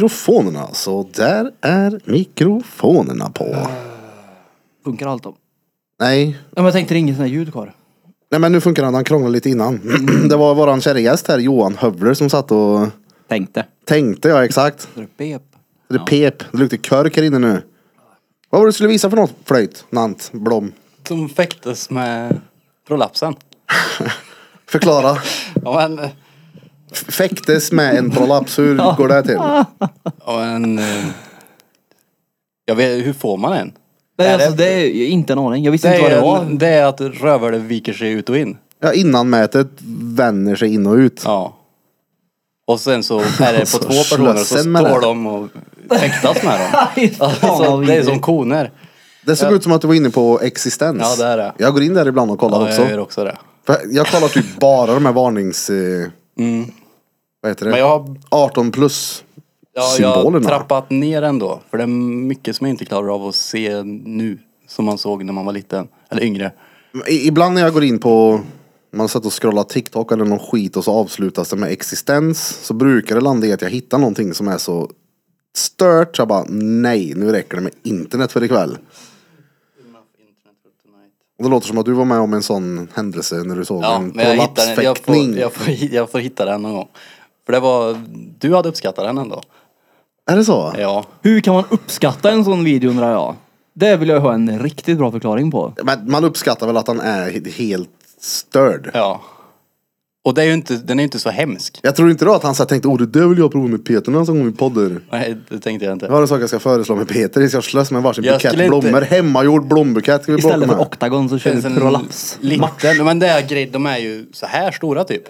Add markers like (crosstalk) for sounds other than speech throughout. Mikrofonerna, så där är mikrofonerna på. Funkar allt då? Nej, Ja, men jag tänkte det är inget sånt här ljud kvar. nej men nu funkar han. Han krånglade lite innan. (clears throat) Det var våran kära gäst här, Johan Hövler, som satt och Tänkte. tänkte, ja exakt. Så det pep. Det pep, det luktar körk här inne nu. Vad var det du skulle visa för något? Flöjt, nant, blom. Som fäktes med prolapsen. Förklara. Ja eh, men, F- Fäktes med en prolaps, hur går det till? ja men. eh, Jag vet, hur får man en? Nej, Är det- alltså, det är ju inte en aning. Jag visste Det inte vad det är, var. en, det är att rövare viker sig ut och in. Ja, innanmätet vänder sig in och ut. Ja. Och sen så är det Alltså, på två personer så slösen med står det. de och fäktas med (laughs) dem. Nej, fan, Alltså, vad det är vidrigt. som koner. Det såg ut som att du var inne på existens. Ja, det är det. Jag går in där ibland och kollar Ja, också. jag gör också det. För jag kollar typ (laughs) bara de här varnings... Eh, Vad heter det? Mm. Men jag har 18 plus ja, jag har symbolerna. trappat ner ändå. För det är mycket som jag inte klarar av att se nu. Som man såg när man var liten. Eller yngre. I, ibland när jag går in på... Man satt och scrollar TikTok eller någon skit och så avslutas det med existens. Så brukar det landa i att jag hittar någonting som är så stört. Så jag bara nej, nu räcker det med internet för ikväll. Och det låter som att du var med om en sån händelse när du såg Ja, en men jag hittar den. Jag får, prolapsfäktning. jag, får, jag får hitta den någon gång. För det var, du hade uppskattat den ändå. Är det så? Ja. Hur kan man uppskatta en sån video undrar jag? Det vill jag ha en riktigt bra förklaring på. Men man uppskattar väl att han är he- helt störd. Ja. Och det är ju inte, den är ju inte så hemsk. Jag tror inte då att han så här tänkte, åh det där vill jag prova med Peter nästa gång vi poddar. Nej, det tänkte jag Jag inte. har en sak jag ska föreslå med Peter. Vi ska slåss med varsin Jag bukett skulle inte- blommor. Hemmagjord blombukett ska vi bråka Istället med. för oktagon så kör vi prolaps. liten, men det är grej, de är ju så här stora typ.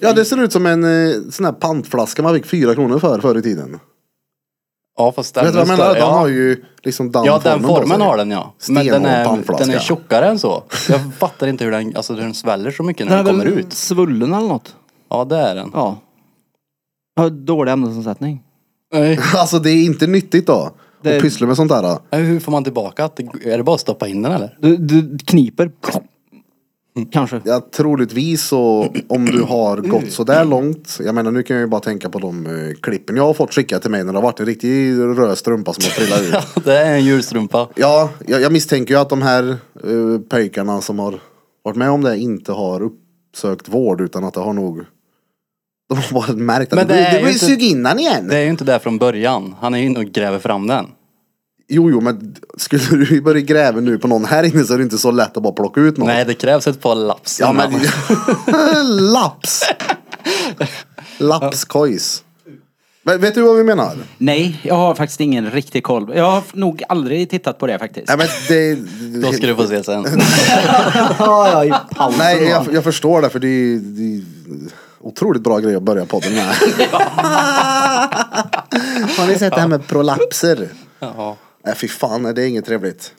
Ja det ser ut som en eh, sån här pantflaska man fick fyra kronor för förr i tiden. Ja fast den Vet du vad jag är menar? större. Den har Ja, ju liksom den ja den på formen sig. har den ja. Men Stenhård den är, pannflaska. den är tjockare än så. Jag fattar inte hur den, alltså, hur den sväller så mycket när den, är kommer väl ut. svullen eller något. Ja det är den. Ja. Jag har dålig ämnesomsättning. Nej. (laughs) Alltså det är inte nyttigt då. Det- Att pyssla med sånt där. då. Hur får man tillbaka att det- Är det bara att stoppa in den eller? (laughs) Du, du kniper. Kanske. Ja, troligtvis så om du har gått sådär långt. Jag menar nu kan jag ju bara tänka på de eh, klippen jag har fått skicka till mig när det har varit en riktig röd strumpa som har trillat ut. det är en djurstrumpa. Ja, jag, jag misstänker ju att de här uh, pöjkarna som har varit med om det inte har uppsökt vård utan att det har nog... (laughs) De har bara märkt att Men det, det blir- är det ju blir inte- suginnan igen. Det är ju inte där från början. Han är ju inne och gräver fram den. Jo, jo, men skulle du börja gräva nu på någon här inne så är det inte så lätt att bara plocka ut någon. Nej, det krävs ett par laps. ja, innan. (laughs) men... (laughs) Laps! Lapskojs. Men vet du vad vi menar? Nej, jag har faktiskt ingen riktig koll. Jag har nog aldrig tittat på det faktiskt. Nej, men det... Då ska du få se (laughs) sen. Ja, ja, i pausen. Nej, jag, jag förstår det för det är, det är otroligt bra grej att börja podden med. (laughs) Har ni sett det här med prolapser? Ja. Nej fy fan, nej, det är inget trevligt.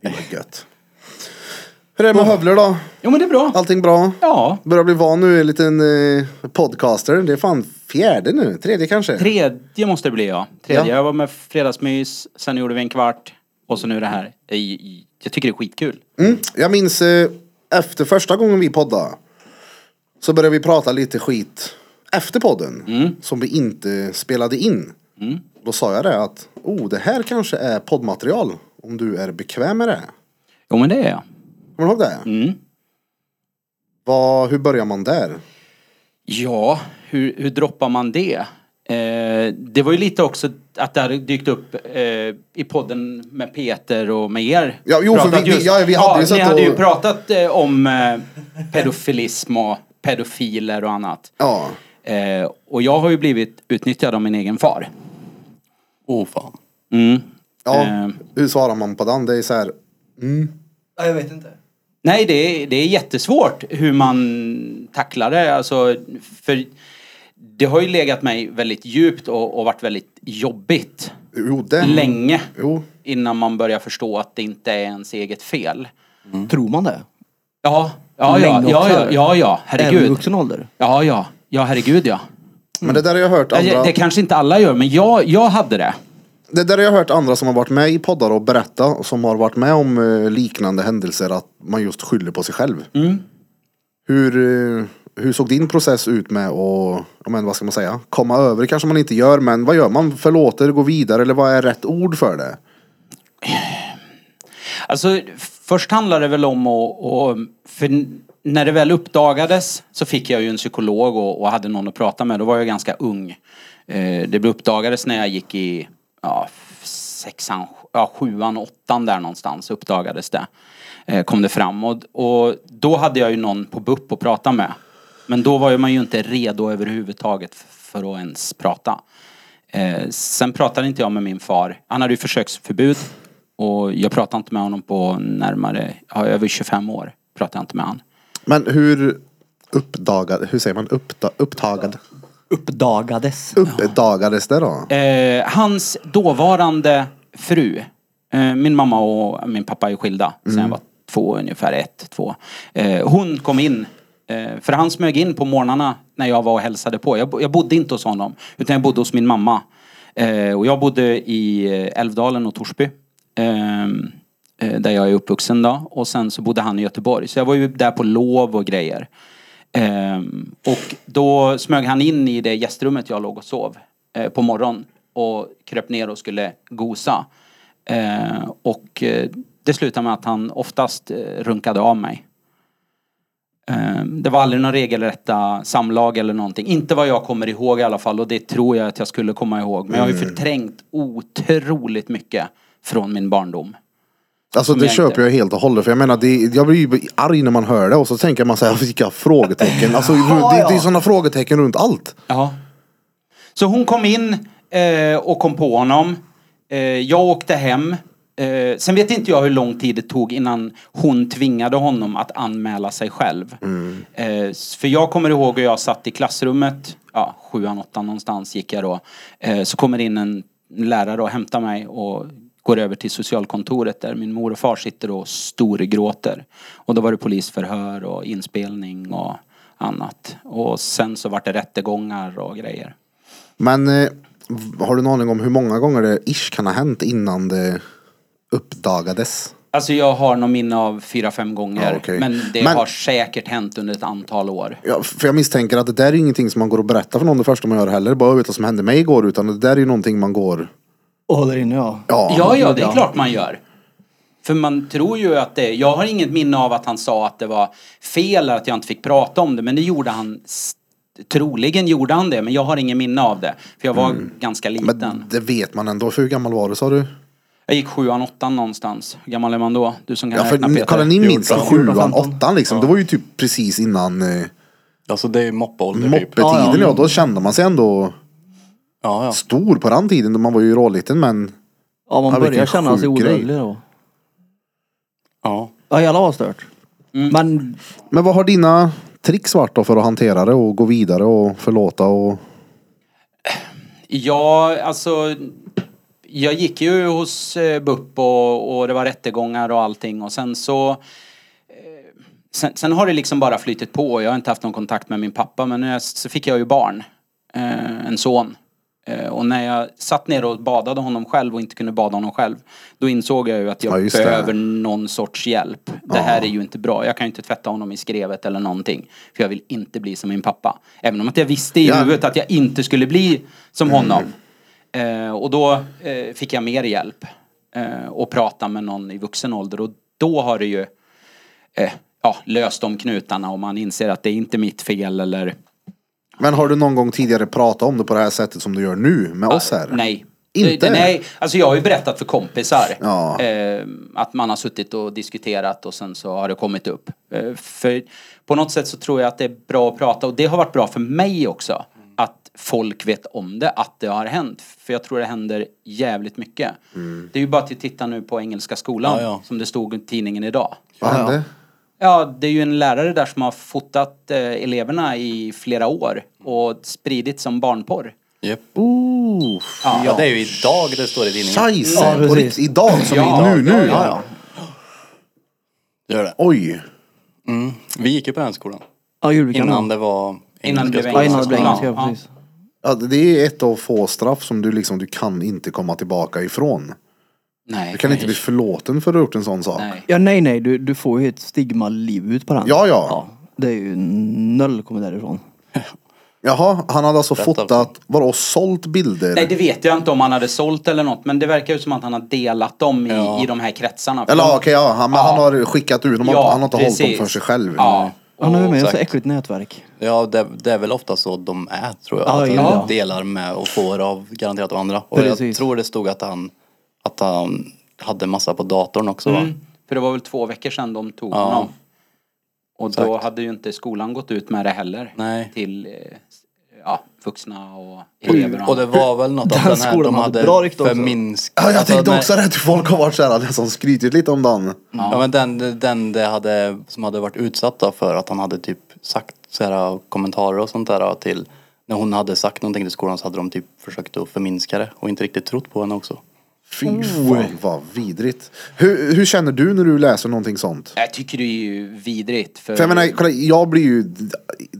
Det var gött. Hur är det med hövler då? Jo men det är bra. Allting bra? Ja. Börjar bli van nu, en liten eh, podcaster. Det är fan fjärde nu, tredje kanske. Tredje måste det bli ja. Tredje. Ja. Jag var med fredagsmys, sen gjorde vi en kvart och så nu det här. I- i- Jag tycker det är skitkul. Mm. Jag minns eh, efter första gången vi poddade så började vi prata lite skit efter podden Mm. som vi inte spelade in. Då sa jag det att oh, det här kanske är poddmaterial om du är bekväm med det. Jo men det är jag. Kommer du ihåg det? Mm. Vad, hur börjar man där? Ja, hur, hur droppar man det? Eh, det var ju lite också att det hade dykt upp eh, i podden med Peter och med er. Ja, jo, för Pratat vi- vi- ja, vi hade ju ni satt hade ju och- pratat eh, om eh, pedofilism och pedofiler och annat. Ja, Eh, och jag har ju blivit utnyttjad av min egen far. Oh fan. Mm. ja. Eh. hur svarar man på den? Det är så här, Ja, jag vet inte. Nej, det är, det är jättesvårt hur man tacklar det. Alltså, för det har ju legat mig väldigt djupt och, och varit väldigt jobbigt jo det. länge. Mm. Jo. Innan man börjar förstå att det inte är ens eget fel. Tror man det? Ja, ja, ja, Länge ja, också, ja, eller? ja, ja, Även i herregud. vuxen ålder? Ja, ja, ja, herregud ja. Men det där har jag hört andra. Det, det kanske inte alla gör, men jag, jag hade det. Det där har jag hört andra som har varit med i poddar och berätta och som har varit med om eh, liknande händelser att man just skyller på sig själv. Hur, eh, Hur såg din process ut med att, ja, men, vad ska man säga, komma över kanske man inte gör, men vad gör man? Förlåter, gå vidare eller vad är rätt ord för det? Alltså, först handlade det väl om att... Och, för när det väl uppdagades så fick jag ju en psykolog och, och hade någon att prata med. Då var jag ganska ung. Eh, det blev uppdagades när jag gick i ja, sexan, ja, sjuan, åttan där någonstans. Uppdagades det. Eh, kom det fram. Och, och då hade jag ju någon på BUP att prata med. Men då var ju man ju inte redo överhuvudtaget f- för att ens prata. Eh, sen pratade inte jag med min far. Han hade ju försöksförbud. Och jag pratade inte med honom på närmare, ja, över 25 år. Pratade jag inte med honom. Men hur uppdagad, hur säger man uppda, upptagad? Uppdagades. Uppdagades det då? Eh, hans dåvarande fru. Eh, min mamma och min pappa är skilda. Sen jag var två, ungefär ett, två. Eh, hon kom in. Eh, för han smög in på morgnarna när jag var och hälsade på. Jag, bo- jag bodde inte hos honom. Utan jag bodde hos min mamma. Eh, och jag bodde i eh, Älvdalen och Torsby. Ehm, eh, där jag är uppvuxen då. Och sen så bodde han i Göteborg. Så jag var ju där på lov och grejer. Ehm, och då smög han in i det gästrummet jag låg och sov eh, på morgonen och kröp ner och skulle gosa. Eh, och eh, det slutade med att han oftast eh, runkade av mig. Ehm, Det var aldrig några regelrätta samlag eller någonting. Inte vad jag kommer ihåg i alla fall och det tror jag att jag skulle komma ihåg. Men jag har ju förträngt otroligt mycket från min barndom. Alltså det jag köper inte- jag helt och hållet för jag menar det, jag blir ju arg när man hör det och så tänker man såhär vilka frågetecken. Alltså det, det är sådana frågetecken runt allt. Ja. Så hon kom in eh, och kom på honom. Eh, jag åkte hem. Eh, sen vet inte jag hur lång tid det tog innan hon tvingade honom att anmäla sig själv. Eh, s- för jag kommer ihåg hur jag satt i klassrummet, ja, sjuan, åttan någonstans gick jag då. Eh, så kommer in en lärare och hämtar mig och går över till socialkontoret där min mor och far sitter och storgråter. Och då var det polisförhör och inspelning och annat. Och sen så vart det rättegångar och grejer. Men eh, v- har du någon aning om hur många gånger det ish kan ha hänt innan det uppdagades? Alltså jag har någon minne av fyra, fem gånger. Ja, okej. Men det Men- har säkert hänt under ett antal år. Ja, för jag misstänker att det där är ingenting som man går och berättar för någon det första man gör heller. Bara vet vad som hände mig igår utan det där är ju någonting man går... Och håller inne ja. Ja. Ja, ja, gud, det är ja. klart man gör. För man tror ju att det... Jag har inget minne av att han sa att det var fel eller att jag inte fick prata om det. Men det gjorde han... s- Troligen gjorde han det, men jag har ingen minne av det. För jag var ganska liten. Mm. Men det vet man ändå. För hur gammal var du sa du? Jag gick sjuan, åttan någonstans. Hur gammal är man då? Du som kan Ja, räkna Peter. för kolla ni minns Fjorton, sjuan, femton. åttan liksom. Det var ju typ precis innan eh, Alltså det är ju moppeålder typ. moppetiden. Ja, Ja, ja. då kände man sig ändå Ja, ja. stor på den tiden. Man var ju råliten men Ja, man Ja, vilken börjar känna sig sjuk grej. odödlig då. ja. Ja, jävlar vad stört. Mm. Men Men vad har dina tricks varit då för att hantera det och gå vidare och förlåta och... Ja, alltså... Jag gick ju hos eh, BUP och, och det var rättegångar och allting och sen så... eh, Sen, sen har det liksom bara flyttit på. Jag har inte haft någon kontakt med min pappa men när jag, så fick jag ju barn. Eh, en son. Eh, och när jag satt ner och badade honom själv och inte kunde bada honom själv. Då insåg jag ju att Ja, jag just det. behöver någon sorts hjälp. Det här är ju inte bra. Jag kan ju inte tvätta honom i skrevet eller någonting. För jag vill inte bli som min pappa. Även om att jag visste i Ja. Mm. huvudet att jag inte skulle bli som honom. Eh, och då eh, fick jag mer hjälp. Eh, och prata med någon i vuxen ålder. Och då har det ju eh, ja, löst de knutarna. Och man inser att det är inte mitt fel eller... Men har du någon gång tidigare pratat om det på det här sättet som du gör nu med oss här? Nej. Inte? Eh, Nej, alltså jag har ju berättat för kompisar Ja. eh, att man har suttit och diskuterat och sen så har det kommit upp. Eh, för på något sätt så tror jag att det är bra att prata och det har varit bra för mig också. Att folk vet om det, att det har hänt. För jag tror det händer jävligt mycket. Det är ju bara att titta nu på Engelska skolan Ja, ja. som det stod i tidningen idag. Vad hände? Ja, det är ju en lärare där som har fotat eh, eleverna i flera år och spridit som barnporr. Japp. Ooh, Ja. ja, det är ju idag det står i tidningen. Scheisse! Ja, på precis. riktigt, idag som Ja, i nu, nu. ja, ja, ja. Gör det. Oj. Mm. Vi gick ju på den skolan. ja, julkalendern. Innan det var Innan det blev Ja, innan det blev Ja, engelska, ja. precis. Ja, det är ett av få straff som du liksom, du kan inte komma tillbaka ifrån. Nej. Du kan inte bli förlåten för att ha gjort en sån sak. Nej. Ja, nej, nej, du, du får ju ett stigma liv ut på den. Ja, ja. ja. Det är ju noll kommer därifrån. Jaha, han hade alltså Berätta. fotat, vadå sålt bilder? Nej det vet jag inte om han hade sålt eller något men det verkar ju som att han har delat dem i, i de här kretsarna. För Eller de- okej, ja, han, men Ja. han har skickat ut dem, han- Ja, han har inte hållit precis. dem för sig själv. Ja. Han är med i ett så exakt. äckligt nätverk. Ja, det, det är väl ofta så de är tror jag. Ja, att de Ah, ja. delar med och får av garanterat av andra. Och jag Precis. tror det stod att han, att han hade massa på datorn också va? Mm. För det var väl två veckor sedan de tog Ja. honom. Och då Exakt. hade ju inte skolan gått ut med det heller. Nej. Till eh, s- ja, vuxna och elever. Och det var väl något att Den den här, de skolan hade hade alltså, bra rykte också. förminskat. Ja, jag Alltså, tänkte när- också rätt, folk har varit såhär, nästan skrytit lite om den. Ja men den, den det hade, som hade varit utsatta för att han hade typ sagt så här kommentarer och sånt där till när hon hade sagt någonting till skolan så hade de typ försökt att förminska det och inte riktigt trott på henne också. Fy Oh. fan vad vidrigt. Hur, hur känner du när du läser någonting sånt? Jag tycker det är ju vidrigt. För, För jag menar, kolla, jag blir ju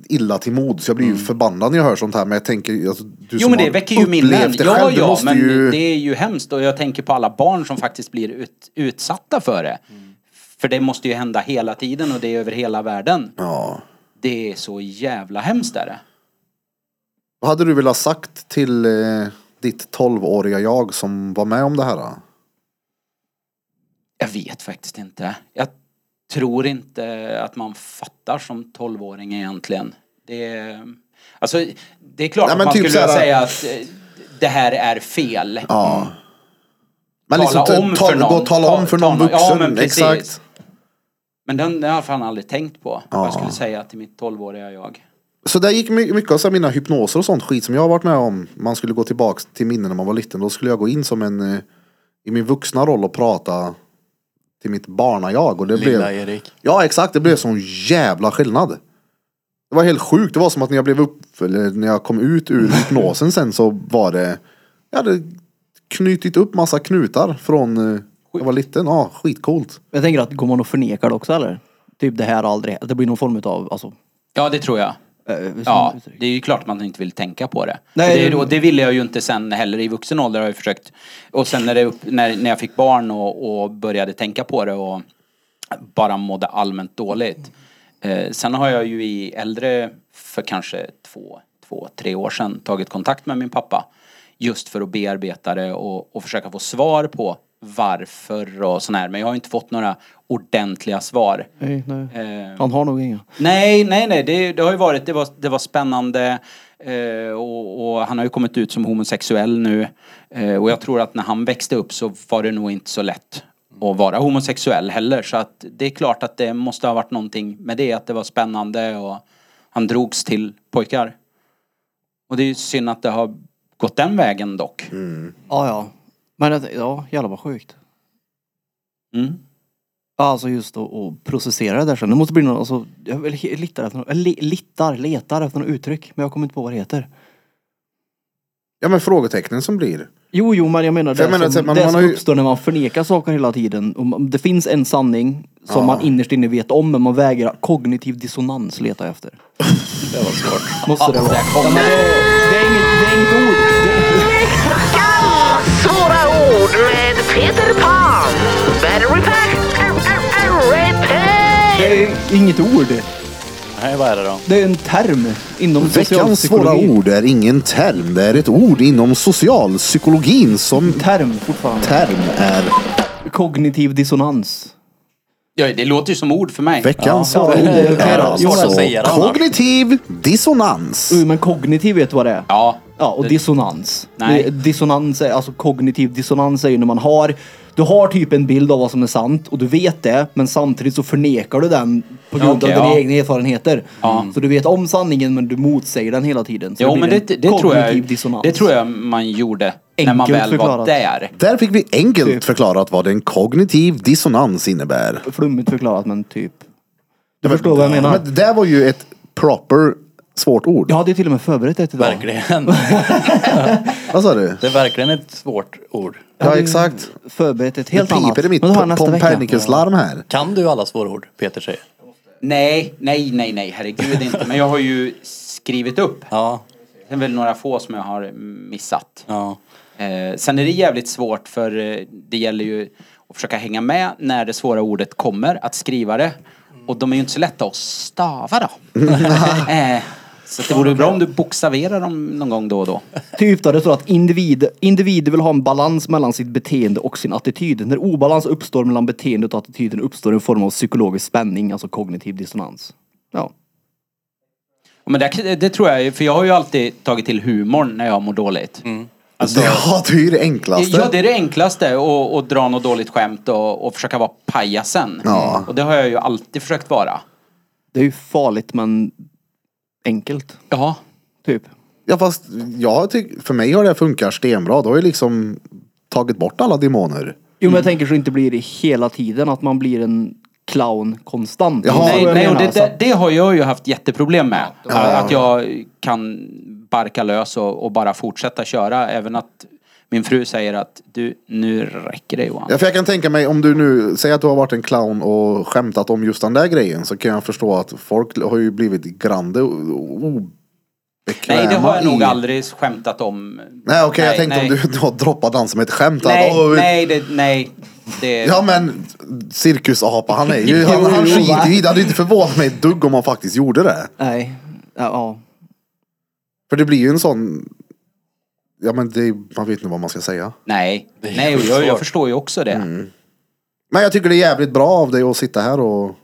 illa till mods, jag blir ju förbannad när jag hör sånt här. Men jag tänker, alltså, du Mm. jo som men det har väcker ju upplevt minnen. det Ja själv, du ja måste men ju... det är ju hemskt. Och jag tänker på alla barn som faktiskt blir ut, utsatta för det. För det måste ju hända hela tiden och det är över hela världen. Ja. Det är så jävla hemskt är det. Vad hade du velat sagt till eh, ditt 12-åriga jag som var med om det här? Då? Jag vet faktiskt inte. Jag tror inte att man fattar som 12-åring egentligen. Det är, alltså, det är klart Nej, att men man typ skulle så här- säga att eh, det här är fel. Ja. Mm. Men liksom, Tala ta- om ta- för någon. gå och Tala Ta- om för ta någon någon. vuxen. Ja, men precis. Exakt. Men den den har jag fan aldrig tänkt på. Vad Ja. jag skulle säga till mitt 12-åriga jag. Så där gick my- mycket av så här mina hypnoser och sånt skit som jag har varit med om. Man skulle gå tillbaks till minnen när man var liten. Då skulle jag gå in som en eh, i min vuxna roll och prata till mitt barna-jag. Och det Lilla blev, Erik. ja exakt, det blev sån jävla skillnad. Det var helt sjukt. Det var som att när jag blev upp, eller när jag kom ut ur hypnosen sen så var det, jag hade knutit upp massa knutar från eh, jag var liten. Ja, skitcoolt. Jag tänker att går man och förnekar det också eller? Typ det här har aldrig hänt. Det blir någon form utav, alltså. Ja, det tror jag. eh, sån Ja, uttryck. det är ju klart man inte vill tänka på det. Nej, det, är det- då, det ville jag ju inte sen heller i vuxen ålder har jag försökt. Och sen när, det, upp- när, när jag fick barn och, och började tänka på det och bara mådde allmänt dåligt. Eh, sen har jag ju i äldre, för kanske två, två, tre år sedan tagit kontakt med min pappa. Just för att bearbeta det och, och försöka få svar på varför och sån här. Men jag har ju inte fått några ordentliga svar. Nej, nej. Eh, Han har nog inga. Nej, nej, nej. Det, det har ju varit, det var, det var spännande. Eh, och, och han har ju kommit ut som homosexuell nu. Eh, och jag tror att när han växte upp så var det nog inte så lätt att vara homosexuell heller. Så att det är klart att det måste ha varit någonting med det, att det var spännande och han drogs till pojkar. Och det är ju synd att det har gått den vägen dock. Ja, ja. Men att- ja, jävlar vad sjukt. Mm. Ja, Alltså just att att processera det där sen. Det måste bli någon, alltså, jag vill- jag litar efter, någon- jag li- litar, letar efter något uttryck. Men jag kommer inte på vad det heter. Ja men frågetecknen som blir. Jo, jo, men jag menar För jag det menar att som, man- det man som har ju- uppstår när man förnekar saker hela tiden. Och man- Det finns en sanning som Ja. man innerst inne vet om, men man vägrar. Kognitiv dissonans letar (laughs) jag efter. Det var svårt. Måste det vara. Ja, men det, det, är inget, det är inget ord. Det, Ja, svåra ord med Peter Pan. Battery pack. Repeat. det är inget ord. Nej, vad är det då? Det är en term inom Veckans svåra socialpsykologi. ord är ingen term, det är ett ord inom socialpsykologin som Term fortfarande. term är Kognitiv dissonans. Ja, det låter ju som ord för mig. veckans Ja, svåra det- ord det- det- är det- alltså svårt att Mm. säga det annars. kognitiv dissonans. Oj, men kognitiv vet du vad det är? Ja. Ja, och dissonans. Nej. Det- Dissonans är, alltså kognitiv dissonans är ju när man har, du har typ en bild av vad som är sant och du vet det, men samtidigt så förnekar du den på grund Okej, av dina ja. egna erfarenheter. Så du vet om sanningen men du motsäger den hela tiden. Så Jo, blir men en det, det, tror jag, kognitiv dissonans. det tror jag man gjorde när man Enkelt väl var förklarat. där. Där fick vi enkelt förklarat vad en kognitiv dissonans innebär. Flummigt förklarat men typ. Du förstår vad jag menar? Men det där var ju ett proper svårt ord. jag hade till och med förberett det idag. (laughs) Verkligen. Vad sa du? Det är verkligen ett svårt ord. Ja exakt. Förberett ett helt Det annat. piper i mitt Men det har jag nästa vecka. Pompernicus-larm här. Kan du alla svåra ord, Peter säger? Nej, nej, nej, nej, herregud inte. Men jag har ju skrivit upp. Ja. Det är väl några få som jag har missat. Ja. Eh, sen är det jävligt svårt för eh, det gäller ju att försöka hänga med när det svåra ordet kommer, att skriva det. Och de är ju inte så lätta att stava (laughs) då. Eh, så det vore bra om du bokstaverar dem någon gång då och då. Typ där det står att individ, individer vill ha en balans mellan sitt beteende och sin attityd. När obalans uppstår mellan beteendet och attityden uppstår en form av psykologisk spänning, alltså kognitiv dissonans. Ja. Men det, det tror jag ju, för jag har ju alltid tagit till humorn när jag mår dåligt. Alltså- Ja, det är ju det enklaste. Ja, det är det enklaste. Och, och dra något dåligt skämt och, och försöka vara pajasen. Ja. Och det har jag ju alltid försökt vara. Det är ju farligt men enkelt, Ja. typ. Ja, fast jag tyck, för mig har det funkat stenbra. Då har jag liksom tagit bort alla demoner. Jo men jag tänker så det inte blir det hela tiden, att man blir en clown konstant. Jaha. Så Nej, jag nej och menar, det, så det, att- det har jag ju haft jätteproblem med. Att jag kan barka lös och, och bara fortsätta köra. Även att min fru säger att du, nu räcker det Johan. Ja, för jag kan tänka mig om du nu, säg att du har varit en clown och skämtat om just den där grejen så kan jag förstå att folk har ju blivit grande och obekväma Nej, det har jag i- nog aldrig skämtat om. Nej okej, jag tänkte nej. om du, du har droppat den som ett skämt. att, Nej, "Åh, nej, det, nej. Det, Ja men cirkusapa, han är (laughs) ju, han, han Jo, jo, va? skiter ju i det. Det hade inte förvånat mig ett dugg om han faktiskt gjorde det. Nej. Ja, ja. För det blir ju en sån, ja men det, man vet inte vad man ska säga. Nej, Det är nej och jag, skitsvårt. jag förstår ju också det. Men jag tycker det är jävligt bra av dig att sitta här och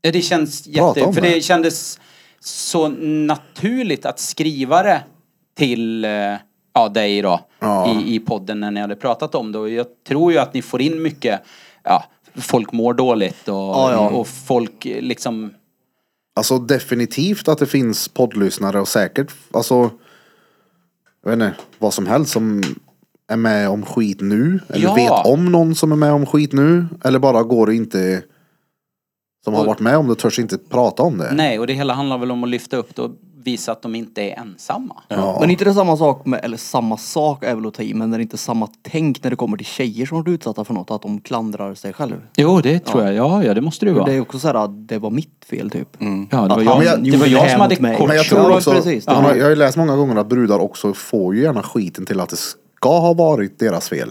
Ja, det känns Prata jätte... om För det. det kändes så naturligt att skriva det till eh, ja, dig då. Ja. I, I podden när ni hade pratat om det. Och jag tror ju att ni får in mycket... Ja, folk mår dåligt och, ja. och folk eh, liksom... Alltså definitivt att det finns poddlyssnare och säkert, alltså jag vet inte, vad som helst som är med om skit nu. Eller Ja. vet om någon som är med om skit nu. Eller bara går och inte, som har Och- varit med om det, törs inte prata om det. Nej, och det hela handlar väl om att lyfta upp det och visa att de inte är ensamma. Ja. Men inte det samma sak med, eller samma sak är väl att ta i, men det är inte samma tänk när det kommer till tjejer som har varit utsatta för något, att de klandrar sig själv. Jo, det tror jag. Ja, ja, det måste det ju För vara. Det är också så här, att det var mitt fel typ. Mm. Ja, det var Att jag, han jag- det var gjorde det jag här som mot hade mig. kort Men jag Ja, tror också, precis. jag har- Ja. jag har ju läst många gånger att brudar också får ju gärna skiten till att det ska ha varit deras fel.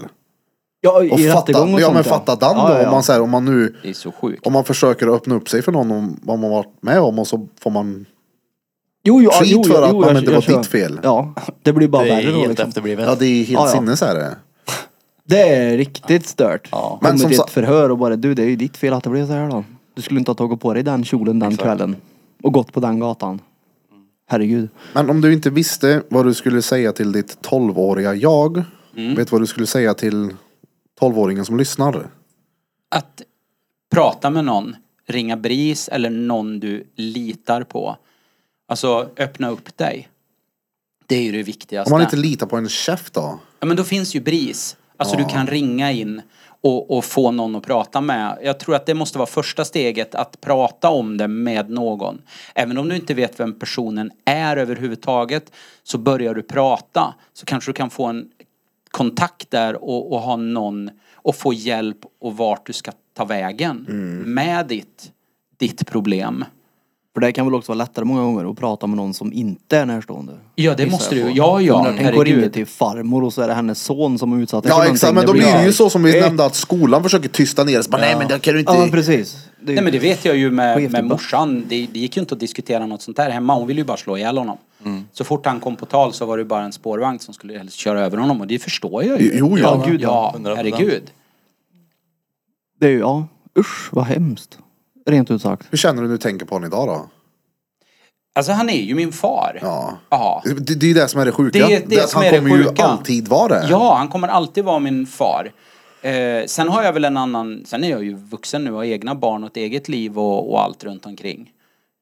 Ja, i Och fatta, rättegång och ja sånt men fatta den då, Om, man, så här, om man nu Det är så sjukt. om man försöker öppna upp sig för någon om vad man varit med om och så får man jo, jo, skit jo, för att, men jag- det var jag kör. ditt fel. Ja, det blir bara Det är värre då helt liksom. efterblivet. Ja det är helt Ja, ja. sinnes är det. Det är riktigt stört. Ja. Men Kommer som till sa- ett förhör och bara, du det är ju ditt fel att det blev så här då. Du skulle inte ha tagit på dig den kjolen den kvällen. Och gått på den gatan. Herregud. Men om du inte visste vad du skulle säga till ditt 12-åriga jag. Mm. Vet du vad du skulle säga till 12-åringen som lyssnar? att prata med någon, ringa BRIS eller någon du litar på. Alltså öppna upp dig. Det är ju det Om viktigaste. man inte litar på en chef då? ja, men då finns ju BRIS. Alltså du kan ringa in och, och få någon att prata med. Jag tror att det måste vara första steget att prata om det med någon. Även om du inte vet vem personen är överhuvudtaget så börjar du prata så kanske du kan få en kontakt där och, och ha någon och få hjälp och vart du ska ta vägen Mm. med ditt, ditt problem. För det kan väl också vara lättare många gånger att prata med någon som inte är närstående. Ja, det Gissar måste jag du- på. ja, ja, Jag menar, Tänk att herregud. ringa till farmor och så är det hennes son som är utsatt för Ja någonting. exakt, men då blir det ju så som vi Eh, nämnde att skolan försöker tysta ner så bara, Nej men det kan du inte. Ja men precis. är ju- Nej men det vet jag ju På med, med eftermiddag. morsan. Det, det gick ju inte att diskutera något sånt där hemma. Hon ville ju bara slå ihjäl honom. Så fort han kom på tal så var det ju bara en spårvagn som skulle helst köra över honom och det förstår jag ju. Jo, ja. ja, gud, ja. 100%. herregud. det är ju, ja. Usch vad hemskt. Rent ut sagt. Hur känner du när du tänker på honom idag då? Alltså han är ju min far. Ja. Ja. Det, det är ju det som är det sjuka. Det är det att som han är det kommer ju sjuka. alltid vara det. Ja, han kommer alltid vara min far. Eh, sen har jag väl en annan, sen är jag ju vuxen nu och har egna barn och ett eget liv och, och allt runt omkring.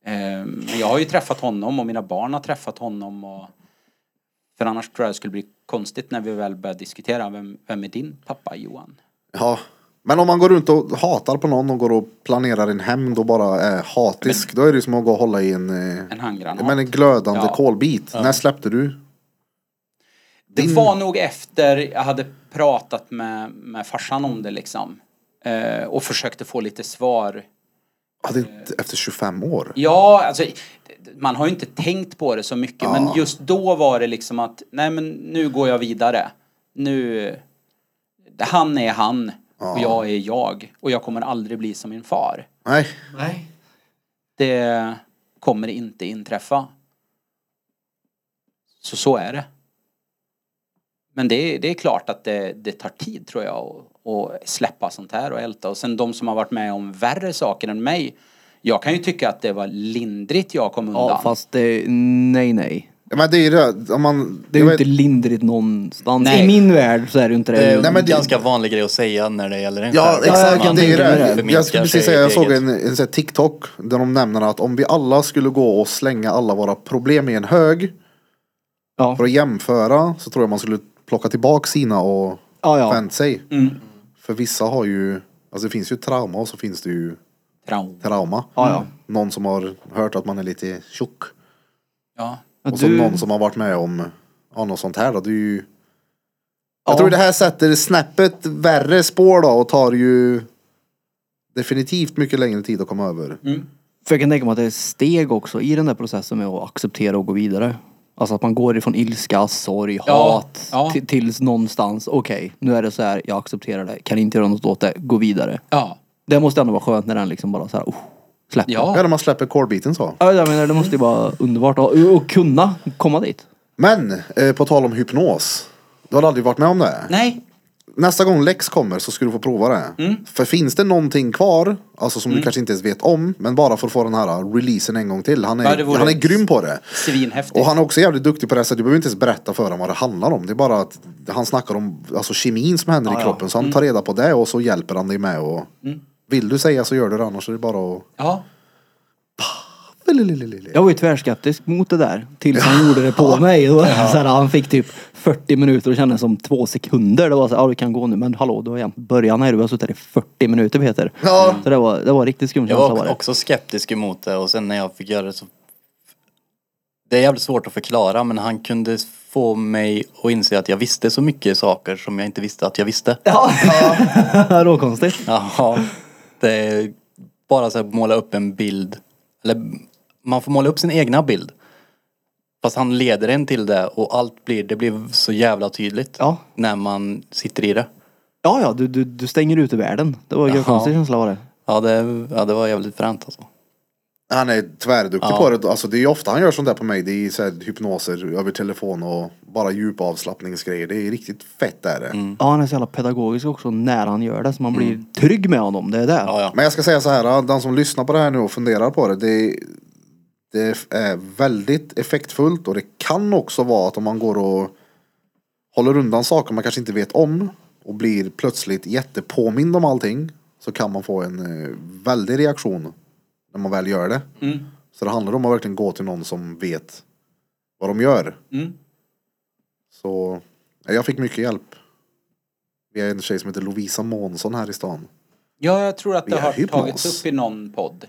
Eh, men jag har ju träffat honom och mina barn har träffat honom och för annars tror jag det skulle bli konstigt när vi väl börjar diskutera vem, vem är din pappa Johan? Ja. Men om man går runt och hatar på någon och går och planerar en hämnd och bara är hatisk. Då är det ju som att gå och hålla i en, eh, En handgranat. men en glödande Ja. kolbit. När släppte du? Det var nog efter jag hade pratat med, med farsan om det liksom. Eh, och försökte få lite svar. Ja, det är inte efter 25 år. Ja, alltså man har ju inte tänkt på det så mycket men just då var det liksom att nej men nu går jag vidare. Nu, han är han och jag är jag och jag kommer aldrig bli som min far. Nej. Det kommer inte inträffa. Så så är det. Men det, är- det är klart att det, det tar tid tror jag att- att släppa sånt här och älta. Och sen de som har varit med om värre saker än mig. Jag kan ju tycka att det var lindrigt jag kom undan. Ja, fast det, nej nej. Ja, men det är ju det, om man... Det är jag ju vet- inte lindrigt någonstans. Nej. I min värld så är det ju inte det. Det är Nej, en men det- ganska vanlig grej att säga när det gäller en Ja, själv. jag exakt. kan Man det är ju tänka mig det. det. Jag förminskar skulle precis sig säga, jag eget. såg en, en sån här TikTok där de nämner att om vi alla skulle gå och slänga alla våra problem i en hög Ja. för att jämföra så tror jag man skulle plocka tillbaka sina och Ja, ja. vänt sig. För vissa har ju, alltså det finns ju trauma och så finns det ju Traum. trauma. Ja, ja. Någon som har hört att man är lite tjock. Ja. Och så Du- någon som har varit med om ja, något sånt här då. Det är ju... Jag Ja. tror det här sätter snäppet värre spår då och tar ju definitivt mycket längre tid att komma över. För jag kan tänka mig att det är steg också i den där processen med att acceptera och gå vidare. Alltså att man går ifrån ilska, sorg, Ja, hat ja. till- tills någonstans, okej, nu är det så här, jag accepterar det, kan inte göra något åt det, gå vidare. Ja. Det måste ändå vara skönt när den liksom bara så här, oh, släpper. Ja, Ja. när man släpper core-biten så. Ja, jag menar, det måste ju vara underbart att och kunna komma dit. Men, eh, på tal om hypnos. Du har aldrig varit med om det? Nej. Nästa gång Lex kommer så ska du få prova det. Mm. För finns det någonting kvar, alltså som du kanske inte ens vet om, men bara för att få den här uh, releasen en gång till. Han är, Ja, det vore han är grym på det. Svinhäftigt. Och han är också jävligt duktig på det, så du behöver inte ens berätta för honom vad det handlar om. Det är bara att han snackar om alltså, kemin som händer i kroppen, Mm. så han tar reda på det och så hjälper han dig med. Och, Vill du säga så gör du det, annars är det bara att... Ja. Jag var ju tvärskeptisk mot det där tills han gjorde det på mig. Då var det (laughs) så här, han fick typ 40 minuter och kändes som två sekunder. Det var så här, ja du kan gå nu men hallå du har jämt början här, du har suttit här i 40 minuter Peter. Ja. Så det var, det var riktigt skum Jag känsla var var det. också skeptisk emot det och sen när jag fick göra det så... Det är jävligt svårt att förklara men han kunde få mig att inse att jag visste så mycket saker som jag inte visste att (laughs) jag visste. (laughs) Ja. Råkonstigt. Jaha. Det är bara så här måla upp en bild. Eller man får måla upp sin egna bild. Fast han leder en till det och allt blir, det blir så jävla tydligt. Ja. När man sitter i det. Ja, ja, du, du, du stänger ute världen. Det var en Jaha. konstig känsla var det. Ja det, ja, det var jävligt fränt alltså. Han är tvärduktig på det. Alltså, det är ju ofta han gör sånt där på mig. Det är så här, hypnoser över telefon och bara djupa avslappningsgrejer. Det är riktigt fett där. Mm. det. Ja, han är så jävla pedagogisk också när han gör det så man blir trygg med honom. Det är det. Ja, ja. Men jag ska säga så här, den som lyssnar på det här nu och funderar på det. Det, det är väldigt effektfullt och det kan också vara att om man går och håller undan saker man kanske inte vet om och blir plötsligt jättepåmind om allting så kan man få en eh, väldig reaktion när man väl gör det. Så det handlar om att verkligen gå till någon som vet vad de gör. Mm. Så ja, jag fick mycket hjälp. Vi har en tjej som heter Lovisa Månsson här i stan. Ja, jag tror att det Via har hypnos. tagits upp i någon podd.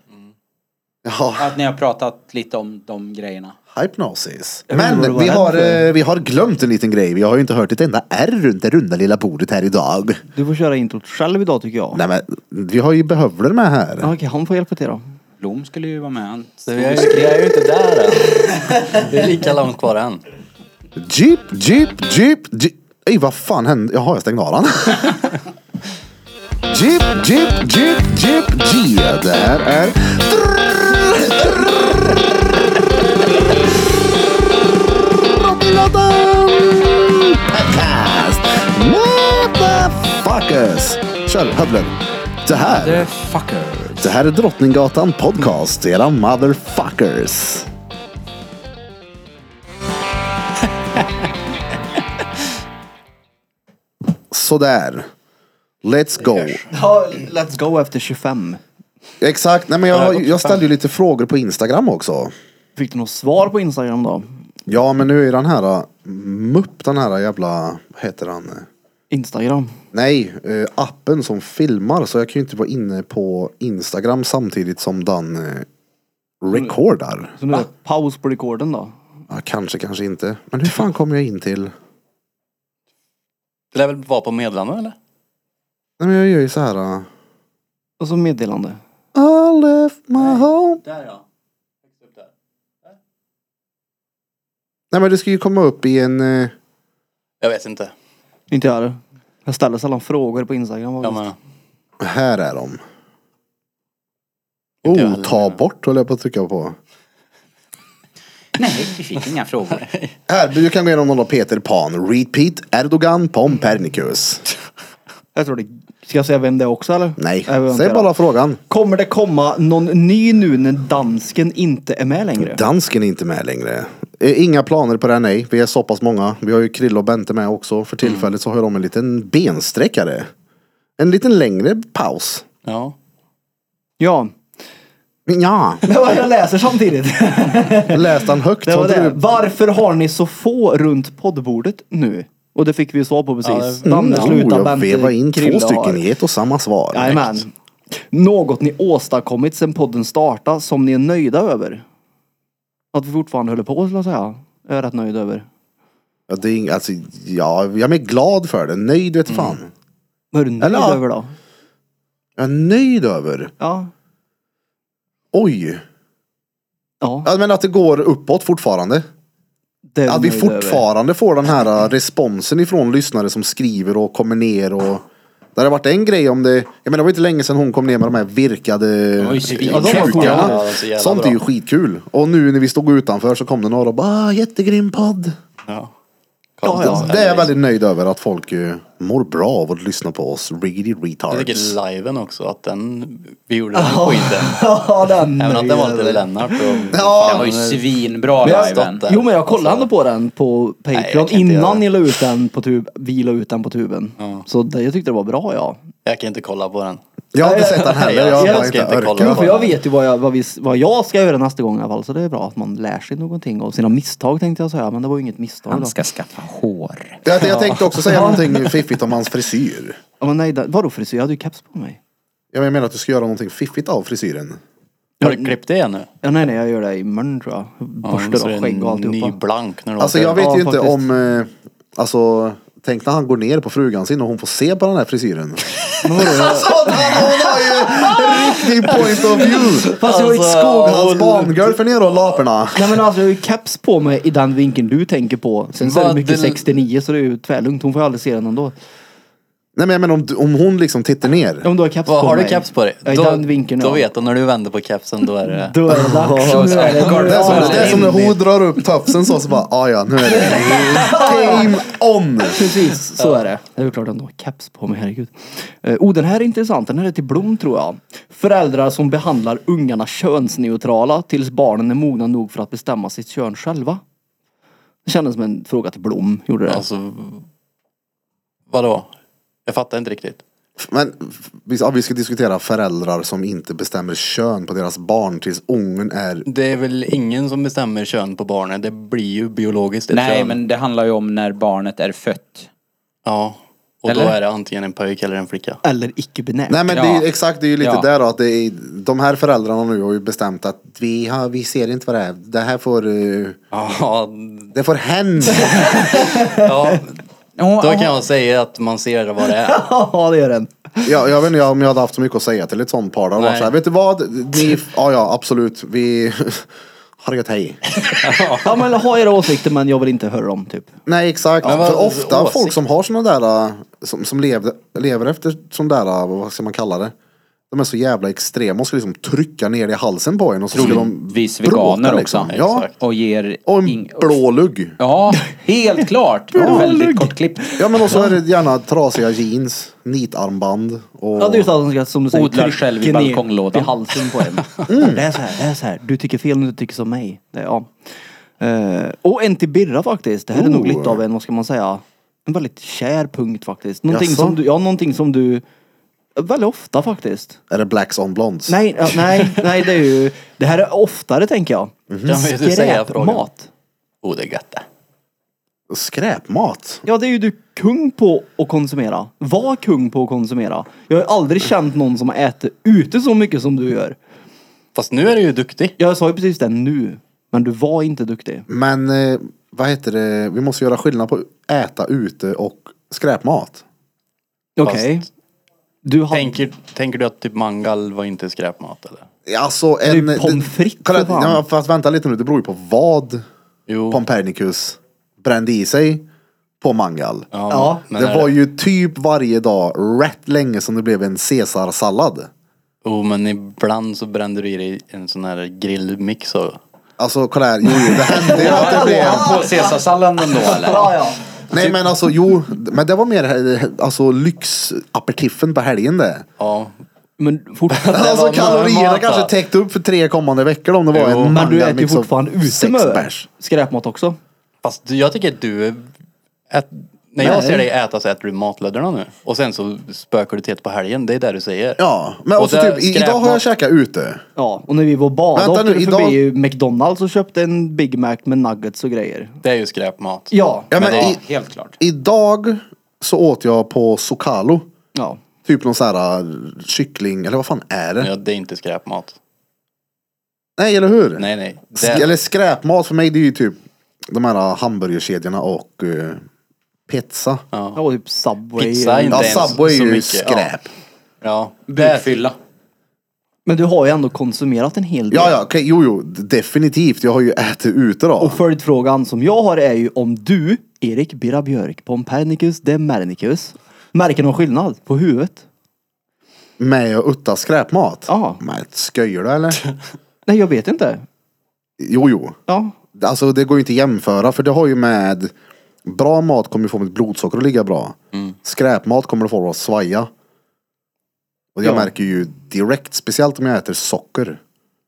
Ja. Att ni har pratat lite om de grejerna. Hypnosis. Jag vet inte Men vad det vi var har, än för- eh, vi har glömt en liten grej. Vi har ju inte hört ett enda R runt det runda lilla bordet här idag. Du får köra introt själv idag tycker jag. Nej men, vi har ju behövler med här. Ja, okej, han får hjälpa till då. Blom skulle ju vara med. Han Så jag, är- jag är ju inte (laughs) där än. Det är lika långt kvar än. Jeep, jeep, jeep, jeep. Ej, vad fan hände? Jaha, jag stängde av den. (laughs) jeep, jeep, jeep, jeep, jeep. Det här är... Drottninggatan Podcast! Motherfuckers! Kör, hövlen. Det här, Fucker. det här är Drottninggatan Podcast, era motherfuckers. (laughs) Sådär. Let's go. Ja, let's go efter 25. Exakt, nej men jag, jag ställde ju lite frågor på Instagram också. Fick du något svar på Instagram då? Ja men nu är den här äh, MUP, den här jävla, vad heter han? Instagram. Nej, eh, appen som filmar så jag kan ju inte vara inne på Instagram samtidigt som den eh, recordar. Så nu är det paus på rekorden då. Ja, kanske, kanske inte. Men hur fan kom jag in till? Nej Det lär väl vara på medlemmar eller? men jag gör ju så här. äh, Och så Alltså meddelande. I left my home. Där ja. Nej men det ska ju komma upp i en... eh, Jag vet inte. Inte jag det. Jag ställer sällan frågor på Instagram. Jag faktiskt. menar. Här är de. Inte jag Oh, heller. ta bort höll jag på att trycka på. Nej, vi fick (laughs) inga frågor. Här, du kan gå igenom någon av Peter Pan, Repeat, Erdogan, Pompernicus. Jag tror det. Ska jag säga vem det är också eller? Nej, Jag vet säg inte. bara frågan. Kommer det komma någon ny nu när dansken inte är med längre? Dansken är inte med längre. Eh, Inga planer på det, här, nej. Vi är så pass många. Vi har ju Krille och Bente med också. Mm. För tillfället så har de en liten bensträckare. En liten längre paus. Ja. Ja. (laughs) Ja, Det var jag (laughs) läser samtidigt. läste han högt. Det Har var inte det. du- Varför har ni så få runt poddbordet nu? Och det fick vi svar på precis. Ja, Danne Oh, slutar, jag Bente, vevade in två Krille har. stycken i ett och samma svar. Jajamän. Något ni åstadkommit sedan podden startade som ni är nöjda över? Att vi fortfarande håller på skulle jag säga. Jag är rätt nöjd över. Ja, det är, ing- alltså, ja, jag är glad för det. Nöjd vet fan. Vad är du nöjd Eller ja. över då? Jag är nöjd över. Ja. Oj. Ja. Ja, men att det går uppåt fortfarande. det är Att vi nöjd över. fortfarande får den här äh, responsen ifrån lyssnare som skriver och kommer ner och det hade varit en grej om det, jag menar det var inte länge sedan hon kom ner med de här virkade ju svinkul. Ja, de var coola. Ja, de var så jävla Sånt är bra. ju skitkul. Och nu när vi stod utanför så kom det några och bara ah, jättegrym podd. ja. det, är jag väldigt nöjd över att folk eh, mår bra av att lyssna på oss. Really Jag retards. tycker liven också, att den, vi gjorde den (laughs) skiten. Ja, den. Även att den var lite Lennart och... Ja. Den var ju jag svinbra liven. stoppade. Jo men jag kollade ändå på den på jag Patreon kan inte innan göra ni la ut den på tub, vi la ut den på tuben. Så det, jag tyckte det var bra ja. Jag kan inte kolla på den. Jag har inte sett den heller. Jag har Jag bara ska inte inte kolla. orkat. Jo, för jag vet ju vad jag, vad, vi, vad jag ska göra nästa gång i alla fall så det är bra att man lär sig någonting av sina misstag tänkte jag säga men det var ju inget misstag. Han då. ska skaffa hår. Jag, jag tänkte också säga någonting fiffigt om hans frisyr. Ja, men nej, det- vadå frisyr? Jag hade ju keps på mig. Jag menar att du ska göra någonting fiffigt av frisyren. Har du klippt det igen nu? Ja, nej, nej, jag gör det i morgon tror jag. så Borstar det är och skägg och alltihopa. Ny blank när du Alltså åker. jag vet Ja, ju inte faktiskt. om, eh, alltså tänk när han går ner på frugan sin och hon får se på den här frisyren. (laughs) alltså han, hon har ju en riktig point of (laughs) view. Fast jag har ju Alltså, skog. Hans barngolf är nere och laperna. Nej men alltså jag har ju keps på mig i den vinkeln du tänker på. Sen så är det Vad mycket den- 69 så det är ju tvärlugnt. Hon får ju aldrig se den ändå. Nej men jag menar om, om hon liksom tittar ner. Om du har keps Vad, på har mig. du keps på dig? Ja, i Då- den vinkeln Då ja. vet du, när du vänder på kepsen då är (laughs) det... Då är det dags. Då Nu ska är det- jag nu är kolla Det är, på som, den. det är som när hon drar upp tafsen så, så bara, ah, ja nu är det game on. Precis, så är det. Det är ju klart att de har keps på mig, herregud. Eh, Oh, den här är intressant. Den här är till Blom tror jag. Föräldrar som behandlar ungarna könsneutrala tills barnen är mogna nog för att bestämma sitt kön själva. Det kändes som en fråga till Blom, gjorde det. Alltså... Vadå? Jag fattar inte riktigt. Men vi, ja, vi ska diskutera föräldrar som inte bestämmer kön på deras barn tills ungen är Det är väl ingen som bestämmer kön på barnen. Det blir ju biologiskt ett Nej, kön. men det handlar ju om när barnet är fött. Ja. Och då Eller? är det antingen en pojk eller en flicka. Eller icke-binärt. Nej men Ja. det är, ju- exakt, det är ju lite Ja. där då, att det är, de här föräldrarna nu har ju bestämt att vi, har, vi ser inte vad det är. Det här får, eh, Ja, det får hända. ja, Oh, då kan jag säga att man ser vad det är. (laughs) Ja, det gör den. jag, jag vet inte om jag hade haft så mycket att säga till ett sånt par. Där. Det var Nej. Så här, vet du vad? Ni, ja ja absolut, vi (laughs) har det gött, hej. Ja, men ha era åsikter men jag vill inte höra dem, typ. Nej exakt, Men vad- för ofta åsikt. folk som har såna där, äh, som, som lever, lever efter sån där, äh, vad ska man kalla det? De är så jävla extrema och ska liksom trycka ner det i halsen på en och så ska de Troligtvis bråka, veganer också. liksom. Ja, Exakt. Och ger... och en ing- blå lugg. Ja, helt klart. Väldigt kortklippt. Ja men också är det gärna trasiga jeans, nitarmband och... Ja, det är just att de ska, som du säger, Odlar själv i ner balkonglådan. i halsen på en. Mm. Det är så här, det är så här. Du tycker fel när du tycker som mig. Det är, ja. Eh, och en till Birra faktiskt. Det här är nog Oh. lite av en, vad ska man säga, en väldigt kär punkt faktiskt. Någonting Jaså? som du, ja någonting som du, väldigt ofta faktiskt. Är det blacks on blondes? Nej, ja, nej, nej det är ju, det här är oftare tänker jag. Kan man ju säga frågan. Skräpmat. Oh, det är gött det. Skräpmat? Ja, det är ju du kung på att konsumera. Var kung på att konsumera. Jag har ju aldrig känt någon som äter ute så mycket som du gör. Fast nu är du ju duktig. Jag sa ju precis det nu. Men du var inte duktig. Men eh, vad heter det, vi måste göra skillnad på äta ute och skräpmat. Okej. Du hade... Tänker, tänker du att typ mangal var inte skräpmat eller? Alltså är en... ju pommes frites, kolla, för fan. ja, fast vänta lite nu, det beror ju på vad Jo. Pompernicus brände i sig på mangal. Ja, men det är var ju typ varje dag rätt länge som det blev en caesarsallad. Jo Oh, men ibland så brände du i dig en sån här grillmix och... Alltså kolla här, jo, jo det hände ju att (laughs) det blev... På caesarsalladen då eller? Ja, ja. Nej men alltså jo, men det var mer eh, alltså lyxaperitiffen på helgen det. Ja. Men (laughs) fortfarande. Alltså var kalorierna normalt, kanske va? täckte upp för tre kommande veckor om det var Jo, en Men du äter ju mandelmix av fortfarande ute sex med bärs. skräpmat också. Fast jag tycker att du... Ät... När jag Nej. ser dig äta så äter du matlödderna nu. Och sen så spökar du till på helgen, det är det du säger. Ja, men Och också där typ, i- idag skräpmat- har jag käkat ute. Ja, och när vi var och badade Vänta åkte nu, vi förbi idag- McDonalds och köpte en Big Mac med nuggets och grejer. Det är ju skräpmat. Ja. Ja, men Men ja, i, helt klart. idag så åt jag på Socalo. Ja. Typ någon sån här eh, kyckling, eller vad fan är det? Ja, det är inte skräpmat. Nej, eller hur? Nej, nej. Sk- Det... Eller skräpmat för mig det är ju typ de här äh, hamburgerkedjorna och eh, pizza. Ja, och typ Subway. Pizza är inte Ja, ens Subway är så ju mycket. skräp. Ja. Det... Bukfylla. Men du har ju ändå konsumerat en hel del. Ja, ja, okej, jo, jo, d- definitivt. Jag har ju ätit ute då. Och följdfrågan som jag har är ju om du, Erik Birra Björk, Pompernicus de Mernicus, märker någon skillnad på huvudet? Med och utta skräpmat. Ja. Men skojar du (laughs) eller? Nej, jag vet inte. Jo, jo. Ja. Alltså det går ju inte att jämföra för det har ju med Bra mat kommer ju få mitt blodsocker att ligga bra. Mm. Skräpmat kommer att få det att svaja. Och jag Ja. märker ju direkt, speciellt om jag äter socker.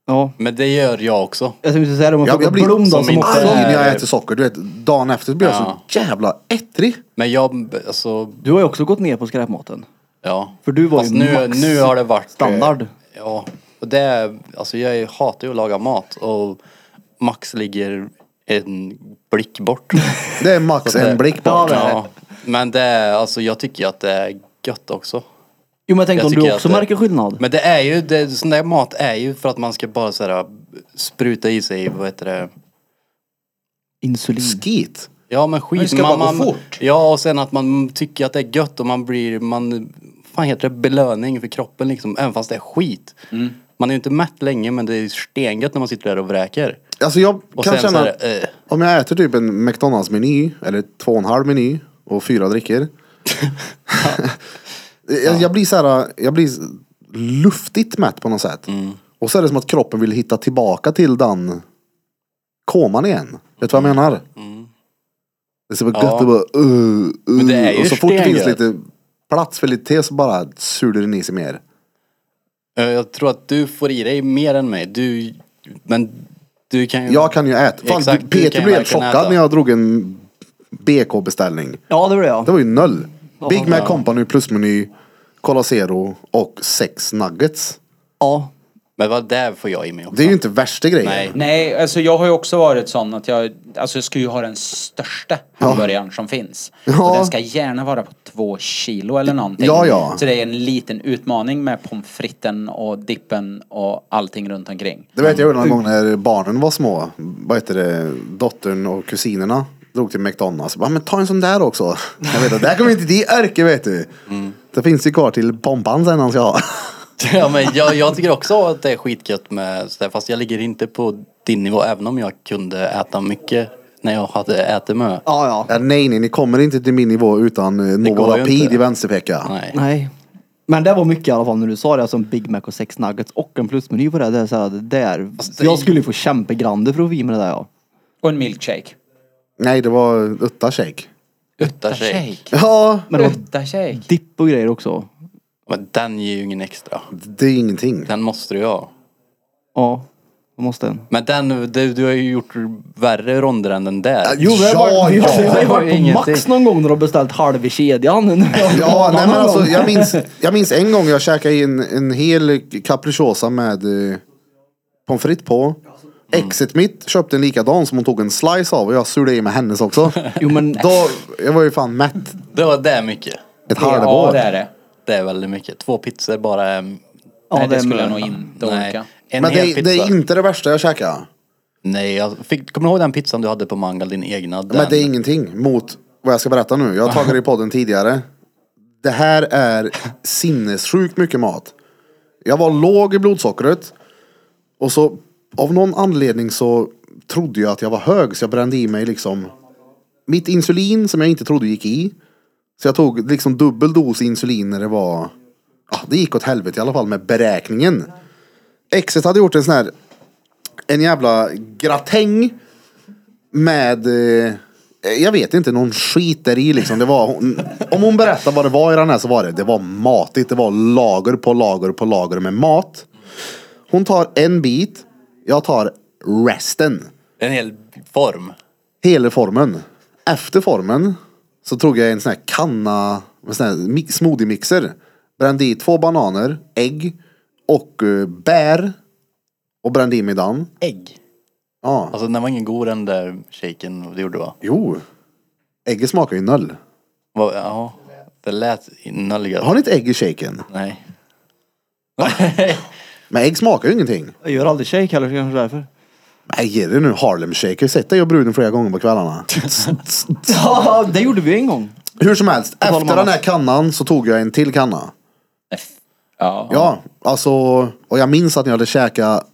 Ja. Men det gör jag också. Jag tänkte säga det, om jag Jag, jag får blir Blom då som som inte också... arg när jag är- äter socker. Du vet, dagen efter blir jag Ja. så jävla ettrig. Men jag, alltså, Du har ju också gått ner på skräpmaten. ja. För du var Fast ju nu, max nu har det varit... eh, standard. Ja. Och det, alltså jag hatar ju att laga mat och Max ligger en (laughs) blick bort. Det är max det- en blick Ja, bort. det är det. ja. Men det, är- alltså jag tycker ju att det är gött också. Jo men jag tänkte Jag om tycker du också att det- märker skillnad. Men det är ju, det, sån där mat är ju för att man ska bara så här, spruta i sig, vad heter det? Insulin. Skit. Ja men skit. det ska bara gå fort. Ja och sen att man tycker att det är gött och man blir, man, fan heter det belöning för kroppen liksom, även fast det är skit. Man är ju inte mätt länge men det är stengött när man sitter där och vräker. Alltså jag Och kan sen så känna är det, eh. om jag äter typ en McDonalds-meny eller två och en halv meny och fyra (laughs) dricker. jag, jag blir så här, jag blir luftigt mätt på något sätt. Mm. Och så är det som att kroppen vill hitta tillbaka till den koman igen. Vet du vad jag menar? Det är så bara Mm. Ja. gött och bara uh, uh. det är ju Och så fort det finns stengött. lite plats för lite te så bara sular den i sig Mm. mer. Eh, Jag tror att du får i dig mer än mig. Du, men du kan ju... Jag kan ju äta. Fan, Exakt, du- du kan Peter ju blev helt verkligen chockad äta. när jag drog en BK-beställning. Ja det blev jag. Det var ju noll. Big Mac Company plusmeny, Cola Zero och sex nuggets. Ja. Men vad där får jag i mig också. Det är ju inte värsta grejen. Nej. Nej, alltså jag har ju också varit sån att jag, alltså jag ska ju ha den största hamburgaren som finns. Ja. Och den ska gärna vara på två kilo eller någonting. Ja, ja. Så det är en liten utmaning med pommes fritesen och dippen och allting runt omkring. Det vet jag gjorde någon Mm. gång när barnen var små. Vad heter det? Dottern och kusinerna drog till McDonalds. Bara, men ta en sån där också. (laughs) Jag vet att där kommer inte de örke vet du. Mm. Det finns ju kvar till pompan sen han ska ha. (laughs) Ja, men jag, jag tycker också att det är skitgött med sådär, fast jag ligger inte på din nivå även om jag kunde äta mycket när jag hade ätit med. Ja ja. Ja, nej, nej, ni kommer inte till min nivå utan eh, går ju Novorapid inte. i vänsterpeka. Nej. Nej. Men det var mycket i alla fall när du sa det, alltså en Big Mac och sex nuggets och en plusmeny på det. Det är såhär, det där. det- Jag skulle ju få kämpegrander för att få i mig det där ja. Och en milkshake. Nej, det var utta shake. Utta shake. Shake. Ja, Men (laughs) det var Utta shake. dipp och grejer också. Men den ger ju ingen extra. det är ingenting. Den måste du ju ha. Ja. Jag måste en. Men den, du, du har ju gjort värre ronder än den där. Jo, men jag var- vi ja. har- vi har ju varit på Ingenting. Max någon gång när du har beställt halv i kedjan. (laughs) Ja, nej, men alltså, jag, minns, jag minns en gång jag käkade in en hel capricciosa med eh, pommes frites på. Exet mitt köpte en likadan som hon tog en slice av och jag surade i mig hennes också. Jo men Då, jag var ju fan mätt Det var det är mycket. ett Ja, halvår. det är det. Det är väldigt mycket. Två pizzor bara. är- Ja, Nej, det är det skulle jag nog möjligt. inte Nej. orka. En Men hel det, pizza. det är inte det värsta jag käkade. Nej, jag fick, kommer du ihåg den pizzan du hade på Mangal, din egna? Den. Men det är ingenting mot vad jag ska berätta nu. Jag har tagit det i podden tidigare. Det här är sinnessjukt mycket mat. Jag var låg i blodsockret. Och så av någon anledning så trodde jag att jag var hög så jag brände i mig liksom mitt insulin som jag inte trodde gick i. Så jag tog liksom dubbel dos insulin när det var ja, det gick åt helvete i alla fall med beräkningen. Exet hade gjort en sån här, en jävla gratäng med, eh, jag vet inte, någon skit där i liksom. Det var, hon, om hon berättar vad det var i den här så var det, det var matigt. Det var lager på lager på lager med mat. Hon tar en bit, jag tar resten. En hel form. Hela formen. Efter formen så tog jag en sån här kanna, en sån här mi- smoothie-mixer. Brände i två bananer, ägg och eh, bär. Och brände i mig den. Ägg. Ja. Alltså den var ingen god den där shaken du gjorde va? Jo. Ägget smakar ju noll. Vad- Ja. Det lät inölgat. Har ni inte ägg i shaken? Nej. (laughs) Men ägg smakar ju ingenting. Jag gör aldrig shake heller, så kanske därför. Nej, ge dig nu. Harlem Shaker. Sätt dig och bruden flera gånger på kvällarna. Ja, det gjorde vi en gång. Hur som helst, tal om efter den här annat. kannan så tog jag en till kanna. Ja. Ja, alltså. Och jag minns att när jag hade käkat.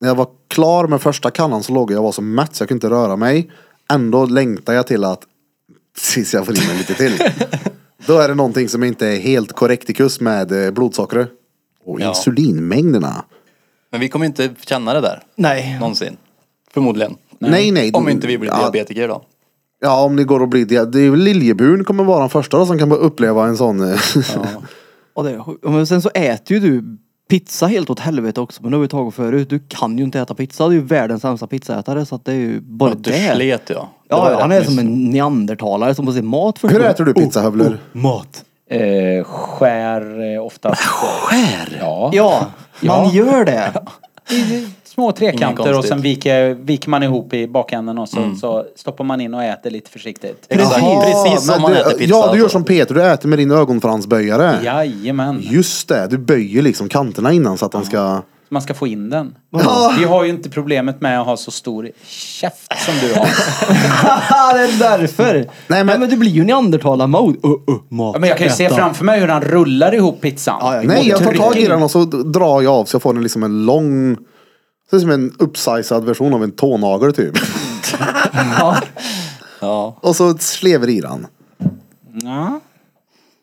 När jag var klar med första kannan så låg jag och var så mätt så jag kunde inte röra mig. Ändå längtade jag till att tills jag får i mig lite till. Då är det någonting som inte är helt korrekt i kurs med eh, blodsockret. Och Ja. insulinmängderna. Men vi kommer inte känna det där. Nej. Någonsin. Förmodligen. Nej, nej. Om inte vi blir ja, diabetiker då. Ja, om det går att bli det. det är väl Liljeburen kommer vara den första då, som kan börja uppleva en sån. eh, Och det är sjukt. Men sen så äter ju du pizza helt åt helvete också. Men det har vi tagit förut. Du kan ju inte äta pizza. Du är ju världens sämsta pizzaätare. Så att det är ju bara Du det. slet ja. Det var Ja, ju ja, han rätt är som nyss. en neandertalare som får se mat (laughs) först. Hur äter du pizzahövler? Oh, Mat. Eh, skär eh, oftast. Skär? Ja. Ja, man Ja. gör (laughs) det. Små Inget trekanter konstigt. Mm. och sen viker, viker man ihop i bakänden och så, så stoppar man in och äter lite försiktigt. Exakt. Jaha, Precis oh. men som man du, äter pizza. Ja, du gör alltså. som Peter. Du äter med din ögonfransböjare. Jajamän. Just det, du böjer liksom kanterna innan så att de ska... Man ska få in den. Vi har ju inte problemet med att ha så stor käft som du har. (laughs) det är därför. Nej men, men- Nej, men du blir ju neandertalar-mode. Oh, Uh, uh, mat. Ja, men jag kan ju se Äta. framför mig hur han rullar ihop pizzan. Ja, ja, Nej, jag tar tag i Trycker den och så d- drar jag av så jag får en, liksom en lång... Det är som en uppsizad version av en tånagel typ. Ja. och så slever i den. Ja.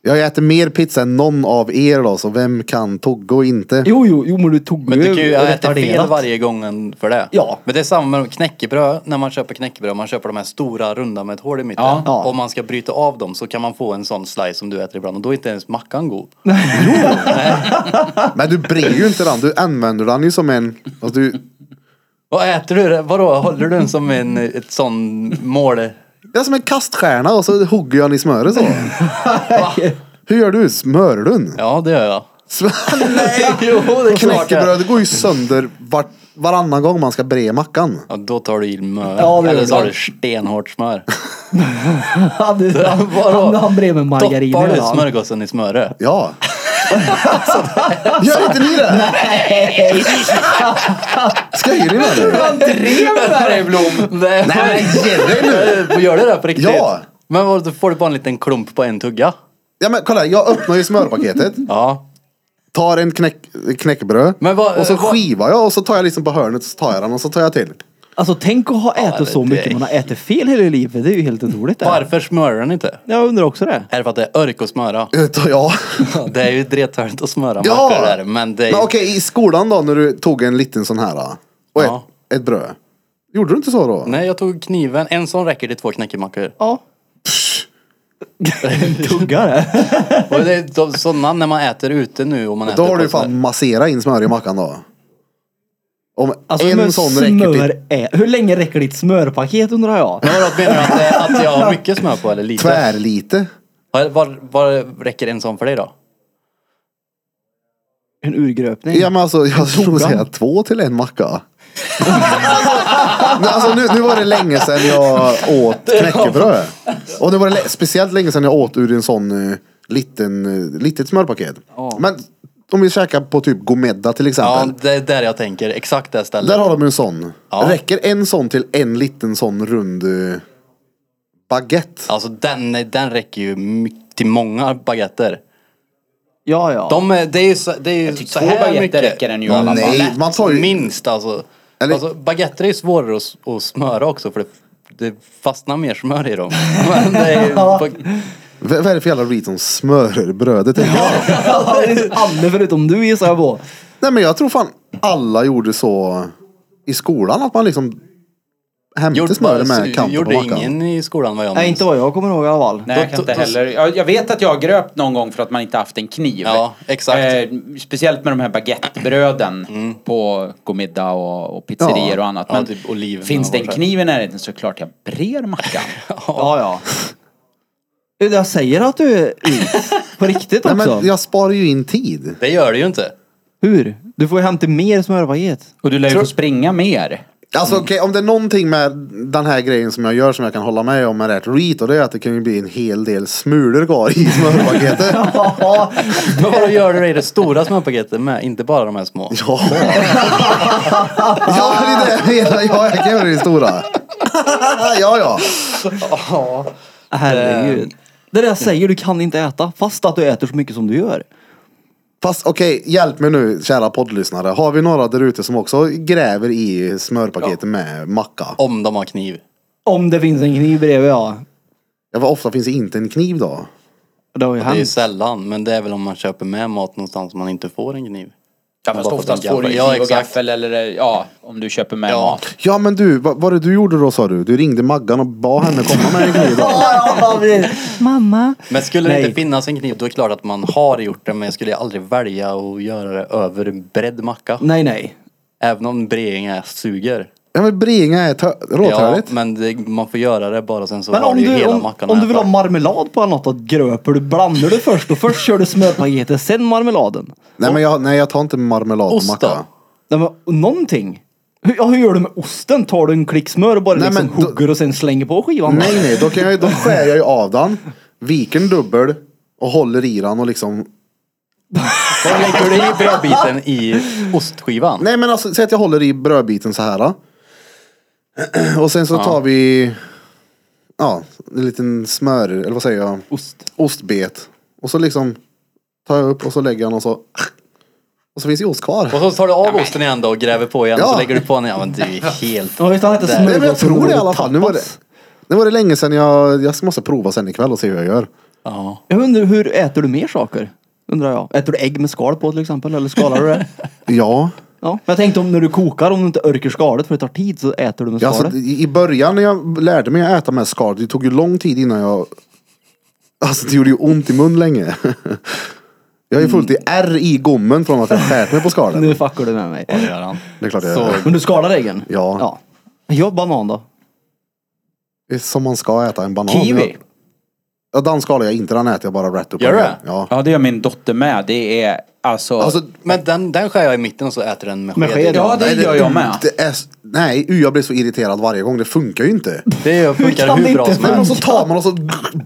Jag äter mer pizza än någon av er då, så vem kan tugga och inte? Jo, jo, jo, men du tog Men du kan ju äta fel retarderat. (laughs) varje gång än för det. Ja. Men det är samma med knäckebröd, när man köper knäckebröd, man köper de här stora runda med ett hål i mitten. Ja. Ja. Om man ska bryta av dem så kan man få en sån slice som du äter ibland och då är inte ens mackan god. Men du brer ju inte den, du använder den ju som en... Alltså du... Vad äter du? det? Vadå, håller du den som en ett sån mål? Det är som en kaststjärna och så hugger jag den i smöret (laughs) så. Hur gör du? Smörar du den? Ja, det gör jag. Smör- (laughs) Nej, jo, det är klart jag- Knäckebröd går ju sönder var, varannan gång man ska bre mackan. Ja, då tar du i mör. Ja, det gör Eller så jag. har du stenhårt smör. Han, (laughs) Vadå? han, han bredvid margarin. Doppar du hela han. smörgåsen i smöret? (laughs) Ja. Gör inte ni det? Nej. Skojar ni med det? Nej, Nej men ge dig nu. (laughs) men... Gör du det på riktigt? Ja. Men vad, då får du bara en liten klump på en tugga? Ja men kolla, jag öppnar ju smörpaketet. Ja. Tar en knäck, knäckebröd. Men vad- och så vad- skivar jag och så tar jag liksom på hörnet så tar jag den och så tar jag till. Alltså tänk att ha ätit det- så mycket det- man har ätit fel hela livet. Det är ju helt otroligt. det. Varför smörar den inte? Jag undrar också det. Är det för att det är örk att smöra? Eh, tar jag. (laughs) Det är ju drethörnt att smöra Ja! mackor där. Men det är... Men okej, i skolan då när du tog en liten sån här då, och Ja. ett, ett bröd. Gjorde du inte så då? Nej, jag tog kniven. En sån räcker till två knäckemackor. (laughs) Ja. Tugga det. Och det är de- sådana när man äter ute nu och man äter Då har på du ju smör. fan masserat in smör i mackan då. Om Alltså, men en sån räcker smör till är... Hur länge räcker ditt smörpaket undrar jag? Men vadå, menar du att, det- att jag har mycket smör på eller lite? tvärlite. Vad- Vad vad räcker en sån för dig då? En urgröpning. Ja men alltså jag skulle säga två till en macka. Nej, alltså, nu, nu var det länge sedan jag (laughs) åt knäckebröd. Och det var det lä- speciellt länge sedan jag åt ur en sån eh, liten, eh, litet smörpaket. Men om vi käkar på typ Gomedda till Ja, exempel. det är där jag tänker. Exakt det stället. Där har de en sån. Ja. Räcker en sån till en liten sån rund eh, baguette. Alltså den, den räcker ju my- till många baguetter. ja. ja. De, är- det är ju så, det är ju så två här baguetter mycket. räcker den ju i Ja, alla fall. lätt. man tar ju- Minst alltså. Eller- alltså baguetter är ju svårare att, s- (laughs) att smöra också för det, det fastnar mer smör i dem. Men det är ju på, Vad vad är det för jävla reet som smörer brödet? Ja. Alla förutom du gissar jag på. Nej men jag tror fan alla gjorde så i skolan att man liksom hämtade smöret med kanten på alltså, gjorde mackan. ingen i skolan vad jag Nej, inte vad jag kommer ihåg i alla fall. Nej, jag kan inte heller. Jag, jag vet att jag har gröpt någon gång för att man inte haft en kniv. Ja, exakt. Eh, speciellt med de här baguettebröden på godmiddag och, och pizzerior Ja. och annat. Ja, Men typ oliverna finns det en och så här. kniv i närheten så klart jag brer mackan. Ja, ja. Jag säger att du är is. På (laughs) riktigt Nej, också. men jag sparar ju in tid. Det gör det ju inte. Hur? Du får ju hämta mer smörpaket. Ehm. Och du lär ju få springa mer. Alltså okej, om det är någonting med den här grejen som jag gör som jag kan hålla med om är rätt reet och det är att det kan ju bli en hel del smulor kvar i smörpaketet. (laughs) Ja, Men vadå gör du det i det stora smörpaketet med? Inte bara de här små. Ja. (laughs) ja, det är det hela. Ja, jag kan göra det i stora. ja, ja. herregud. Det där säger du kan inte äta fast att du äter så mycket som du gör. Fast okej, hjälp mig nu kära poddlyssnare. Har vi några där ute som också gräver i smörpaketet med macka? Om de har kniv. Om det finns en kniv bredvid ja. Ja, vad ofta finns det inte en kniv då? Det har ju Det är (laughs) ju hänt. sällan, men det är väl om man köper med mat någonstans man inte får en kniv. Ja, fast fast oftast oftast får du ju Ja, kniv och exakt. gaffel eller eh, ja, om du köper med Ja. mat. Ja men du, vad var det du gjorde då sa du? Du ringde Maggan och bad henne komma med en kniv då? (laughs) Mamma. Men skulle Nej. det inte finnas en kniv, då är det klart att man har gjort det. Men jag skulle aldrig välja att göra det över en bredd macka. Nej, nej. Även om Breinge suger. Ja men Bringa är tö- Ja, råtörligt. men det, man får göra det bara sen så Men har om du ju du, hela om, mackan om att du vill äta. ha marmelad på något, då gröper du, blandar du först och först kör du smörpaketet, sen marmeladen. Nej men jag, nej, jag tar inte marmelad på Ost macka. då? Nej, men, någonting. Hur, ja, hur gör du med osten? Tar du en klick smör och bara Nej, liksom men då- hugger och sen slänger på skivan? Nej nej, då, kan jag, ju- då skär jag ju av den, viker den dubbel och håller i den och liksom. Då lägger du i brödbiten i ostskivan. Nej men alltså, säg att jag håller i brödbiten så här. (clears throat) Och sen så tar vi, ja, en liten smör, eller vad säger jag? Ost. Ostbet. Och så liksom tar jag upp och så lägger jag den och så. (clears throat) Och så finns ju ost kvar. Och så tar du av osten igen då och gräver på igen. Ja. Så lägger du på en igen. Ja, men du är helt... Ja, visst han äter Där. Nej, men jag smörgås tror det i och alla fall. Nu var det, tapas. nu var det länge sedan jag, jag måste prova sen ikväll och se hur jag gör. Ja. Jag undrar, hur äter du mer saker? Undrar jag. Äter du ägg med skal på till exempel? Eller skalar (laughs) du det? Ja. Ja. Men jag tänkte om när du kokar, om du inte orkar skalet för det tar tid så äter du med Ja, alltså, skalet. I i början när jag lärde mig att äta med skal, det tog ju lång tid innan jag... Alltså det gjorde ju ont i mun länge. (laughs) Jag är fullt i R i gommen från att jag skärt mig på skalet. Mm. Nu fuckar du med mig. Det gör han. Det är klart jag Så. gör. Men du skalar äggen? Ja. ja. Jag banan då? Det är Som man ska äta en banan. Kiwi. Jag- Ja, den skalar jag inte, den äter jag bara rätt upp. Gör och du ner. det? Ja. Ja, det gör min dotter med. Det är alltså... Alltså, Men den, den skär jag i mitten och så äter den med, Med sked, sked. ja, det nej, gör jag med. Det är, s- nej, u, jag blir så irriterad varje gång. Det funkar ju (laughs) inte. Det kan funkar det hur bra inte som Nej, men helst. så tar man och så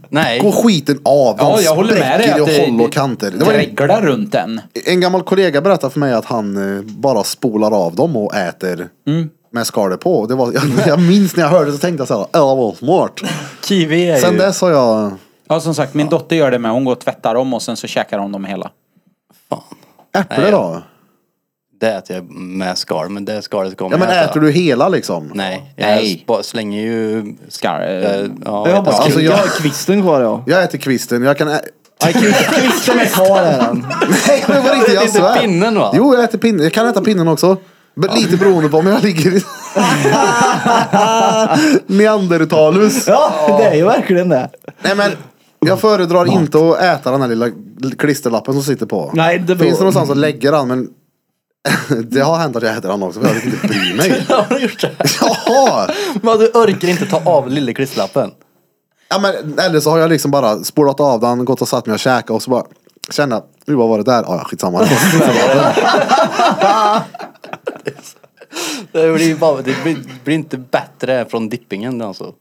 Nej. går skiten av. Den Ja, jag håller med dig. spräcker i att och håll och kanter. Det Det var en dreglar runt den. En gammal kollega berättade för mig att han eh, bara spolar av dem och äter Mm. med skalet på. Och Det var, (laughs) jag, jag minns när jag hörde det så tänkte jag såhär, ja vad smart. Kiwi är Sen ju... dess har jag, Ja, som sagt, min dotter gör det med. Hon går och tvättar dem och sen så käkar hon dem hela. Fan. äpple Nej, då? Det äter jag med skal, men det skalet kommer Ja men jag äta. äter du hela liksom? Nej, jag Nej. spa- slänger ju... Skar, Eh, Ja, eh, Jag har bara alltså, alltså, jag- jag har kvisten kvar ja. Jag äter kvisten, jag kan ä... (laughs) Nej, kvist- Kvisten är kvar är den. Nej men på riktigt, jag inte svär. pinnen, va? Jo jag äter pinnen, jag kan äta pinnen också. Men lite beroende på om jag ligger i... (laughs) (laughs) Neandertalus. Ja, det är ju verkligen det. Nej men, jag föredrar inte att äta den här lilla klisterlappen som sitter på. Nej, det beror- Finns det någonstans att lägga den men (laughs) det har hänt att jag äter den också för jag vill inte bry (laughs) mig. Har du (laughs) gjort det? (laughs) Jaha! Men du orkar inte ta av lille klistlappen. Ja, men, eller så har jag liksom bara spolat av den, gått och satt mig och käkat och så bara känna, nu vad var det där? Ah, ja, skitsamma. Det blir, ju bara, det blir, det blir inte bättre från dippingen alltså.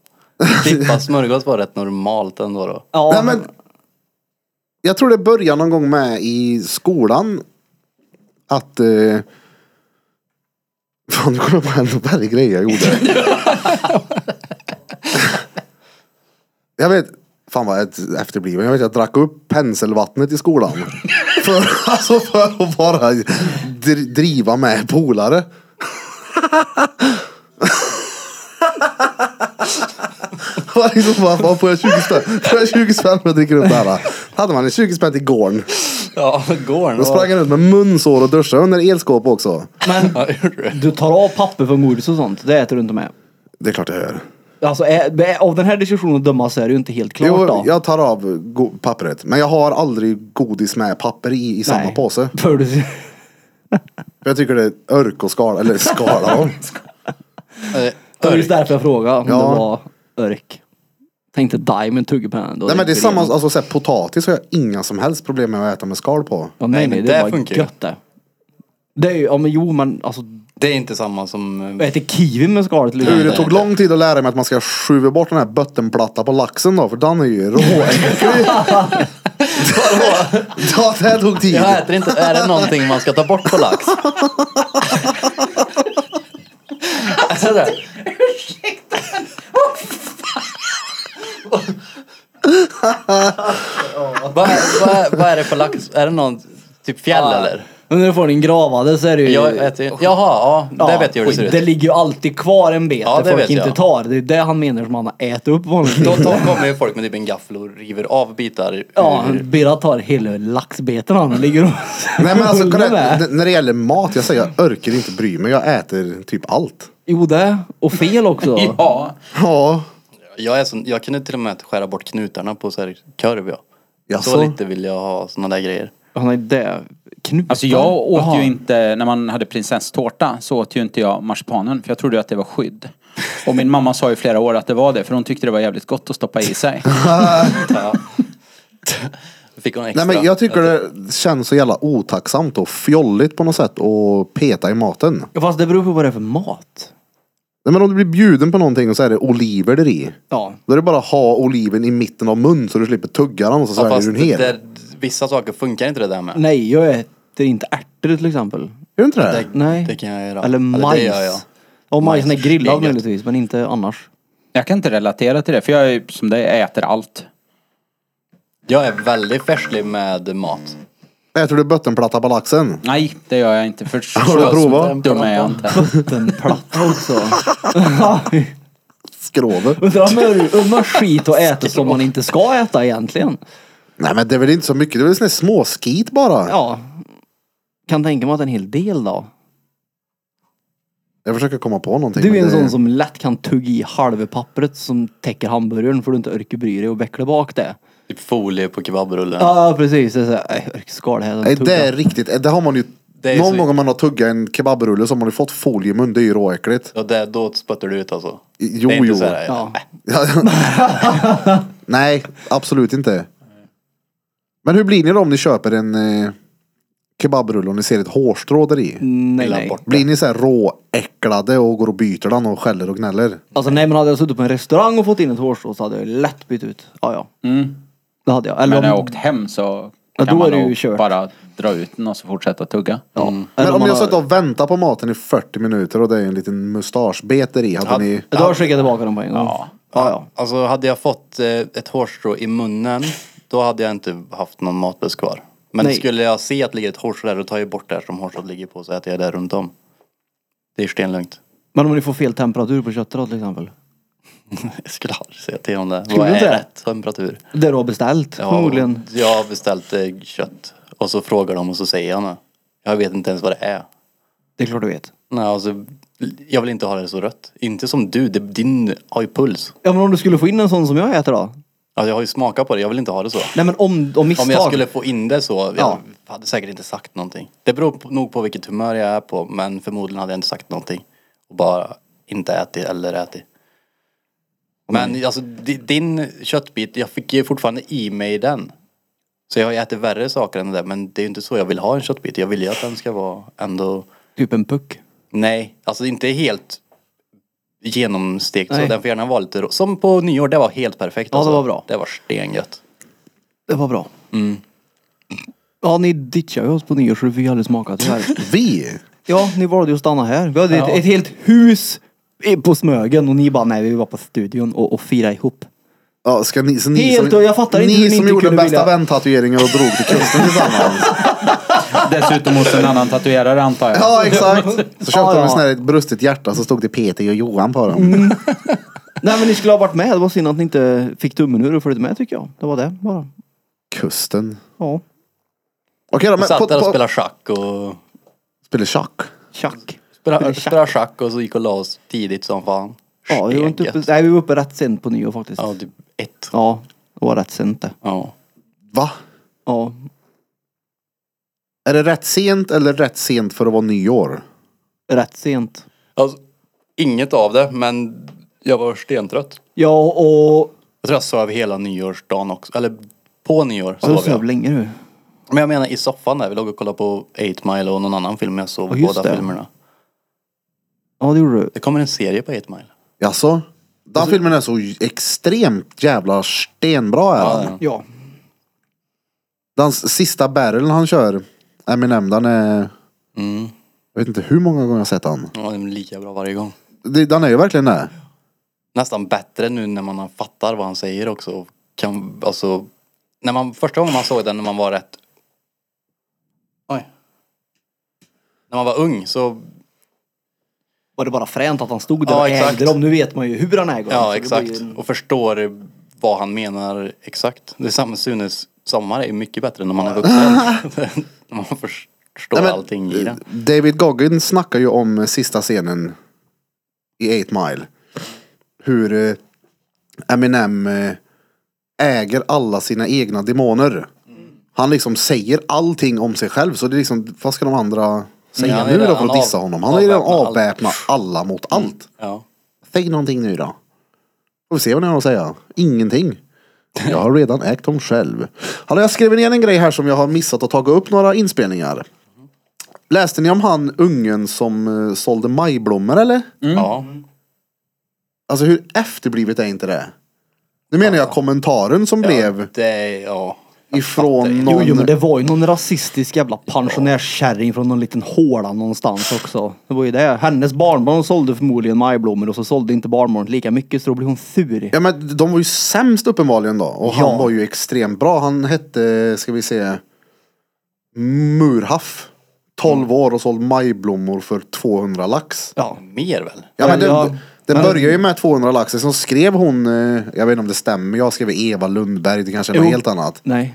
Dippa smörgås var rätt normalt ändå då. Ja, Nej, men, jag tror det började någon gång med i skolan att eh, (laughs) Fan, nu kommer jag på en värre grej jag gjorde. jag vet, fan vad jag är efterbliven. Jag vet, jag drack upp penselvattnet i skolan. för, (laughs) alltså för att bara dr- driva med polare. (laughs) Man liksom bara, bara, får jag 20 spänn? Får jag 20 spänn för att dricka upp det här? Hade man en 20 spänn till gården. Ja, går den? Då sprang han ut med munsår och duschade under elskåp också. Men Ja, gjorde du? du tar av papper från godis och sånt. Det äter du inte med. Det är klart jag gör. Alltså, ä- av den här diskussionen att döma så är det ju inte helt klart Jo, då. jag tar av go- pappret. Men jag har aldrig godis med papper i, i samma Nej. påse. (laughs) För du... För jag tycker det är örk och skala, eller (laughs) skala om. Eh, Det var just örk. därför jag frågade om Ja. det var örk. Tänkte Diamond tugga på den ändå. Nej men det är gick samma, igenom. alltså såhär, potatis har jag inga som helst problem med att äta med skal på. Ja, nej, Nej, nej, men det det var funkar ju. gött det. Det är ju, ja men jo men alltså. Det är inte samma som... Jag äter kiwi med skalet eller Du, hur? det tog lång tid att lära mig att man ska skjuva bort den här bottenplatta på laxen då, för den är (laughs) ju råäcklig. ja, det här tog tid. Jag äter inte... Är det någonting man ska ta bort på lax? alltså, det, vad, är, vad, är, vad är det för lax? Är det någon typ fjäll eller? Men när du får din gravade så är det ju. Jag äter, jaha, ja, det vet jag hur det ser Det ut. ligger ju alltid kvar en bete Ja, det folk vet inte jag. tar. Det är det han menar som han har ätit upp (laughs) vanligtvis. Då, då kommer ju folk med typ en gaffel och river av bitar. ur- Ja, Birra tar hela laxbeten han ligger och Nej men (laughs) alltså, huller kolla, med. n- när det gäller mat, jag säger jag orkar inte bry mig. Jag äter typ allt. Jo det, och fel (laughs) också. Ja. Ja. Jag, är sån, jag kunde till och med skära bort knutarna på så här korv ja. Jaså? Så lite vill jag ha såna där grejer. Han är det. Knutar. Alltså jag åt Jaha. ju inte, när man hade prinsesstårta så åt ju inte jag marsipanen för jag trodde ju att det var skydd. Och min mamma sa i flera år att det var det för hon tyckte det var jävligt gott att stoppa (laughs) i sig. Ja. (laughs) Fick hon extra. typ. Nej men jag tycker det känns så jävla otacksamt och fjolligt på något sätt att peta i maten. Ja, Fast det beror på vad det är för mat. Nej men om du blir bjuden på någonting och så är det oliver där i. Ja. Då är det bara att ha oliven i mitten av mun så du slipper tugga den och så Ja, sväljer fast du den hel. det, där- vissa saker funkar inte det där med. Nej, jag äter inte ärtor till exempel. Är det inte det? Det, Nej. det kan jag göra. Alltså, Eller det majs. gör jag. Ja, majsen är Majs, det är grillad gött. möjligtvis, men inte annars. Jag kan inte relatera till det för jag är som dig, jag äter allt. Jag är väldigt färslig med mat. Äter du bottenplatta på laxen? Nej, det gör jag (laughs) inte. För Har du så provat? dum är jag inte. Bottenplatta också. Skrovet? (laughs) (laughs) Undrar om man- om man skit och äter som man inte ska äta egentligen. Nej men det är väl inte så mycket, det är väl sån här småskit bara. Ja. Kan tänka mig att en hel del då. Jag försöker komma på någonting. Du men är en det- sån som lätt kan tugga i halva pappret som täcker hamburgaren för du inte orkar bry dig och veckla bak det. Typ folie på kebabrullen. Ja, precis. Det är såhär, nej, jag orkar skala här. Nej tugga. det är riktigt, det har man ju... Det är någon så- gång om man har tuggat en kebabrulle så har man ju fått folie i mun, det är ju råäckligt. Och det, då spottar du ut alltså. Jo, det är inte jo. Så här, Ja. (laughs) Nej, absolut inte. Men hur blir ni då om ni köper en eh, kebabrulle och ni ser ett hårstrå där i? Nej, Vill ha nej. bort. Blir ni så här råäcklade och går och byter den och skäller och gnäller? Alltså nej men hade jag suttit på en restaurang och fått in ett hårstrå så hade jag lätt bytt ut. Ja ja. Det hade jag. Eller Mm. Men när jag om, åkt hem så Ja, kan då man är det ju nog kört. bara dra ut den och så (laughs) fortsätta tugga. ja. Men Eller om man ni har har- suttit och väntat på maten i 40 minuter och det är en liten mustaschbete i, hade ni... Då har jag skickat tillbaka dem på en gång. Ja. Ja, ja. Alltså hade jag fått eh, ett hårstrå i munnen, då hade jag inte haft någon matbuss kvar. Men Nej. skulle jag se att det ligger ett hårstrå där, då tar jag bort det här som hårstrået ligger på så äter jag det runt om. Det är stenlugnt. Men om ni får fel temperatur på köttet då till exempel? Jag skulle aldrig säga till om det. Skulle Vad du inte är det? rätt temperatur? Det du har beställt Jag har, förmodligen. jag har beställt eh, kött och så frågar de och så säger jag det. Jag vet inte ens vad det är. Det är klart du vet. Nej, alltså, jag vill inte ha det så rött. Inte som du, det, din har ju puls. Ja men om du skulle få in en sån som jag äter då? Alltså, jag har ju smakat på det, jag vill inte ha det så. Nej men om, om misstag. Om jag skulle få in det så, jag Ja. hade säkert inte sagt någonting. Det beror på, nog på vilket humör jag är på, men förmodligen hade jag inte sagt någonting. Och bara inte ätit eller ätit. Men alltså di- din köttbit, jag fick ju fortfarande i mig den. Så jag har ju ätit värre saker än det där, men det är ju inte så jag vill ha en köttbit. Jag vill ju att den ska vara ändå, Typ en puck. nej, alltså inte helt genomstekt. Så Nej. den får gärna vara lite rå. Som på nyår, det var helt perfekt. alltså. Ja, det var bra. Det var stengött. Det var bra. Mm. Ja ni ditchade ju oss på nyår så du fick ju aldrig smaka tyvärr. (laughs) Vi? ja ni valde ju att stanna här. Vi hade ett, ett helt hus i- på Smögen och ni bara nej vi var på studion och, och firade ihop. Ja, ska ni, så ni Helt, som, och jag fattar inte hur ni ni som inte gjorde kunde bästa vilja- vän-tatueringen och drog till kusten (laughs) tillsammans. Dessutom hos en annan tatuerare antar jag. Ja, exakt. Så köpte de Ja, ja. Mm. en sån här ett brustet hjärta så stod det Peter och Johan på dem. Nej men ni skulle ha varit med. Det var synd att ni inte fick tummen ur och följde med tycker jag. Det var det bara. Kusten. Ja. Okej då, men... Satt på- där och på- spelade schack och... Spelar schack. Tjack. Spelade, spelade schack och så gick och la oss tidigt som fan. Ja, vi var, inte Steget. uppe, nej, vi var uppe rätt sent på nyår faktiskt. Ja, typ ett. Ja, det var rätt sent det. Ja. Va? Ja. Är det rätt sent eller rätt sent för att vara nyår? Rätt sent. Alltså, inget av det, men jag var stentrött. Ja och... Jag tror jag sov hela nyårsdagen också. Eller på nyår Ja, du sov sov jag. länge du. Men jag menar i soffan där. Vi låg och kollade på 8 Mile och någon annan film. Jag sov Ja, i just båda det. filmerna. Ja det gjorde du. Det kommer en serie på 8 Mile. Jaså? Den Alltså- filmen är så extremt jävla stenbra är den. Ja, Ja. Den s- sista barreln han kör, Eminem, den är... Mm. Jag vet inte hur många gånger jag har sett den. Ja, den är lika bra varje gång. Det- Den är ju verkligen det. Nästan bättre nu när man fattar vad han säger också. och Kan, alltså, när man, första gången man såg den när man var rätt... Oj. När man var ung så... Var det bara fränt att han stod där Ja, och exakt. ägde dem? Nu vet man ju hur han äger dem. så Ja, det exakt. blir ju en- Och förstår vad han menar exakt. Det är samma Sunes sommar är ju mycket bättre när man är vuxen. (laughs) när man förstår Nej, men- eh, allting i den. David Goggin snackar ju om eh, sista scenen i 8 Mile. Hur eh, Eminem eh, äger alla sina egna demoner. Han liksom säger allting om sig själv. Så det är liksom, vad ska de andra Ja, säga han är nu då för redan att dissa av- honom? Han har ju redan avväpnat allt. avväpnat alla mot allt. Ja. Säg någonting nu då. Får vi se vad ni har att säga. Ingenting. Jag har redan ägt dem själv. Hallå, jag skrev ner en grej här som jag har missat att ta upp några inspelningar. Läste ni om han ungen som eh, sålde majblommor eller? ja. Alltså Mm. hur efterblivet är inte det? Nu menar jag kommentaren som blev Det är, ja. ifrån Jo, jo men någon... det var ju någon rasistisk jävla pensionärskärring från någon liten håla någonstans också. Det var ju det. Hennes barnbarn sålde förmodligen majblommor och så sålde inte barnbarnet lika mycket så då blev hon sur. Ja men de var ju sämst uppenbarligen då. Och han var ju extremt bra. Han hette, ska vi se, Murhaff. 12 år och såld majblommor för 200 lax. Ja. Mer väl? Ja, men Ja, den, den men- börjar ju med 200 laxer, sen skrev hon, eh, jag vet inte om det stämmer, jag skrev Eva Lundberg, det kanske är något Jo. helt annat. Nej.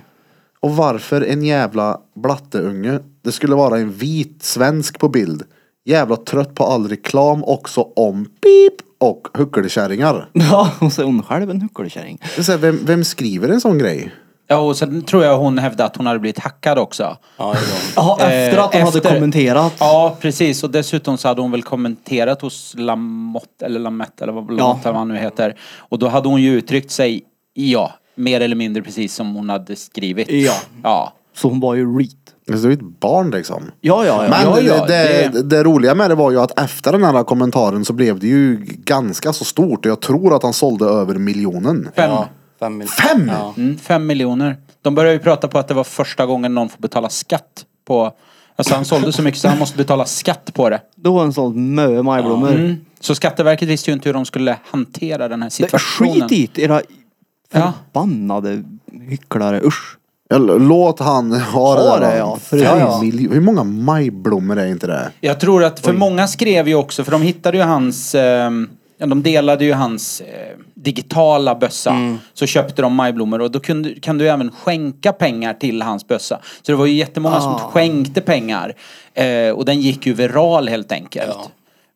Och varför en jävla blatteunge? Det skulle vara en vit svensk på bild. Jävla trött på all reklam också om pip och huckelkärringar. (laughs) Ja, och så är hon själv en huckelkärring. Det är så här, Vem, vem skriver en sån grej? Ja, och sen tror jag hon hävdade att hon hade blivit hackad också. Ja, det är bra. Ja, efter Eh, att hon hade efter- kommenterat. Ja, precis. Och dessutom så hade hon väl kommenterat hos Lamotte, eller Lamette, eller vad, Lamotte, eller vad han nu heter. Och då hade hon ju uttryckt sig, ja, mer eller mindre precis som hon hade skrivit. Ja. Ja. Så hon var ju reet. Alltså, det är ju ett barn liksom. Ja, ja, ja. Men ja, ja, det, det... det- roliga med det var ju att efter den här kommentaren så blev det ju ganska så stort och jag tror att han sålde över miljonen. Fem. Ja, fem? mil- Fem? Ja. Mm, fem miljoner. De började ju prata på att det var första gången någon får betala skatt på... Alltså han sålde så mycket så han måste betala skatt på det. Då har hon sålt mö majblommor. Mm. Så Skatteverket visste ju inte hur de skulle hantera den här Det är situationen. skit i det, era Ja. förbannade hycklare. Usch. Eller, Låt han ha det, Ha där, det, va? ja. Fem Ja, ja. miljoner. Hur många majblommor är inte det? Jag tror att, för många skrev ju också, för de hittade ju hans, eh, ja, de delade ju hans eh, digitala bössa. Mm. Så köpte de majblommor och då kunde, kan du även skänka pengar till hans bössa. Så det var ju jättemånga Ah. som skänkte pengar. Eh, och den gick ju viral helt enkelt. Ja.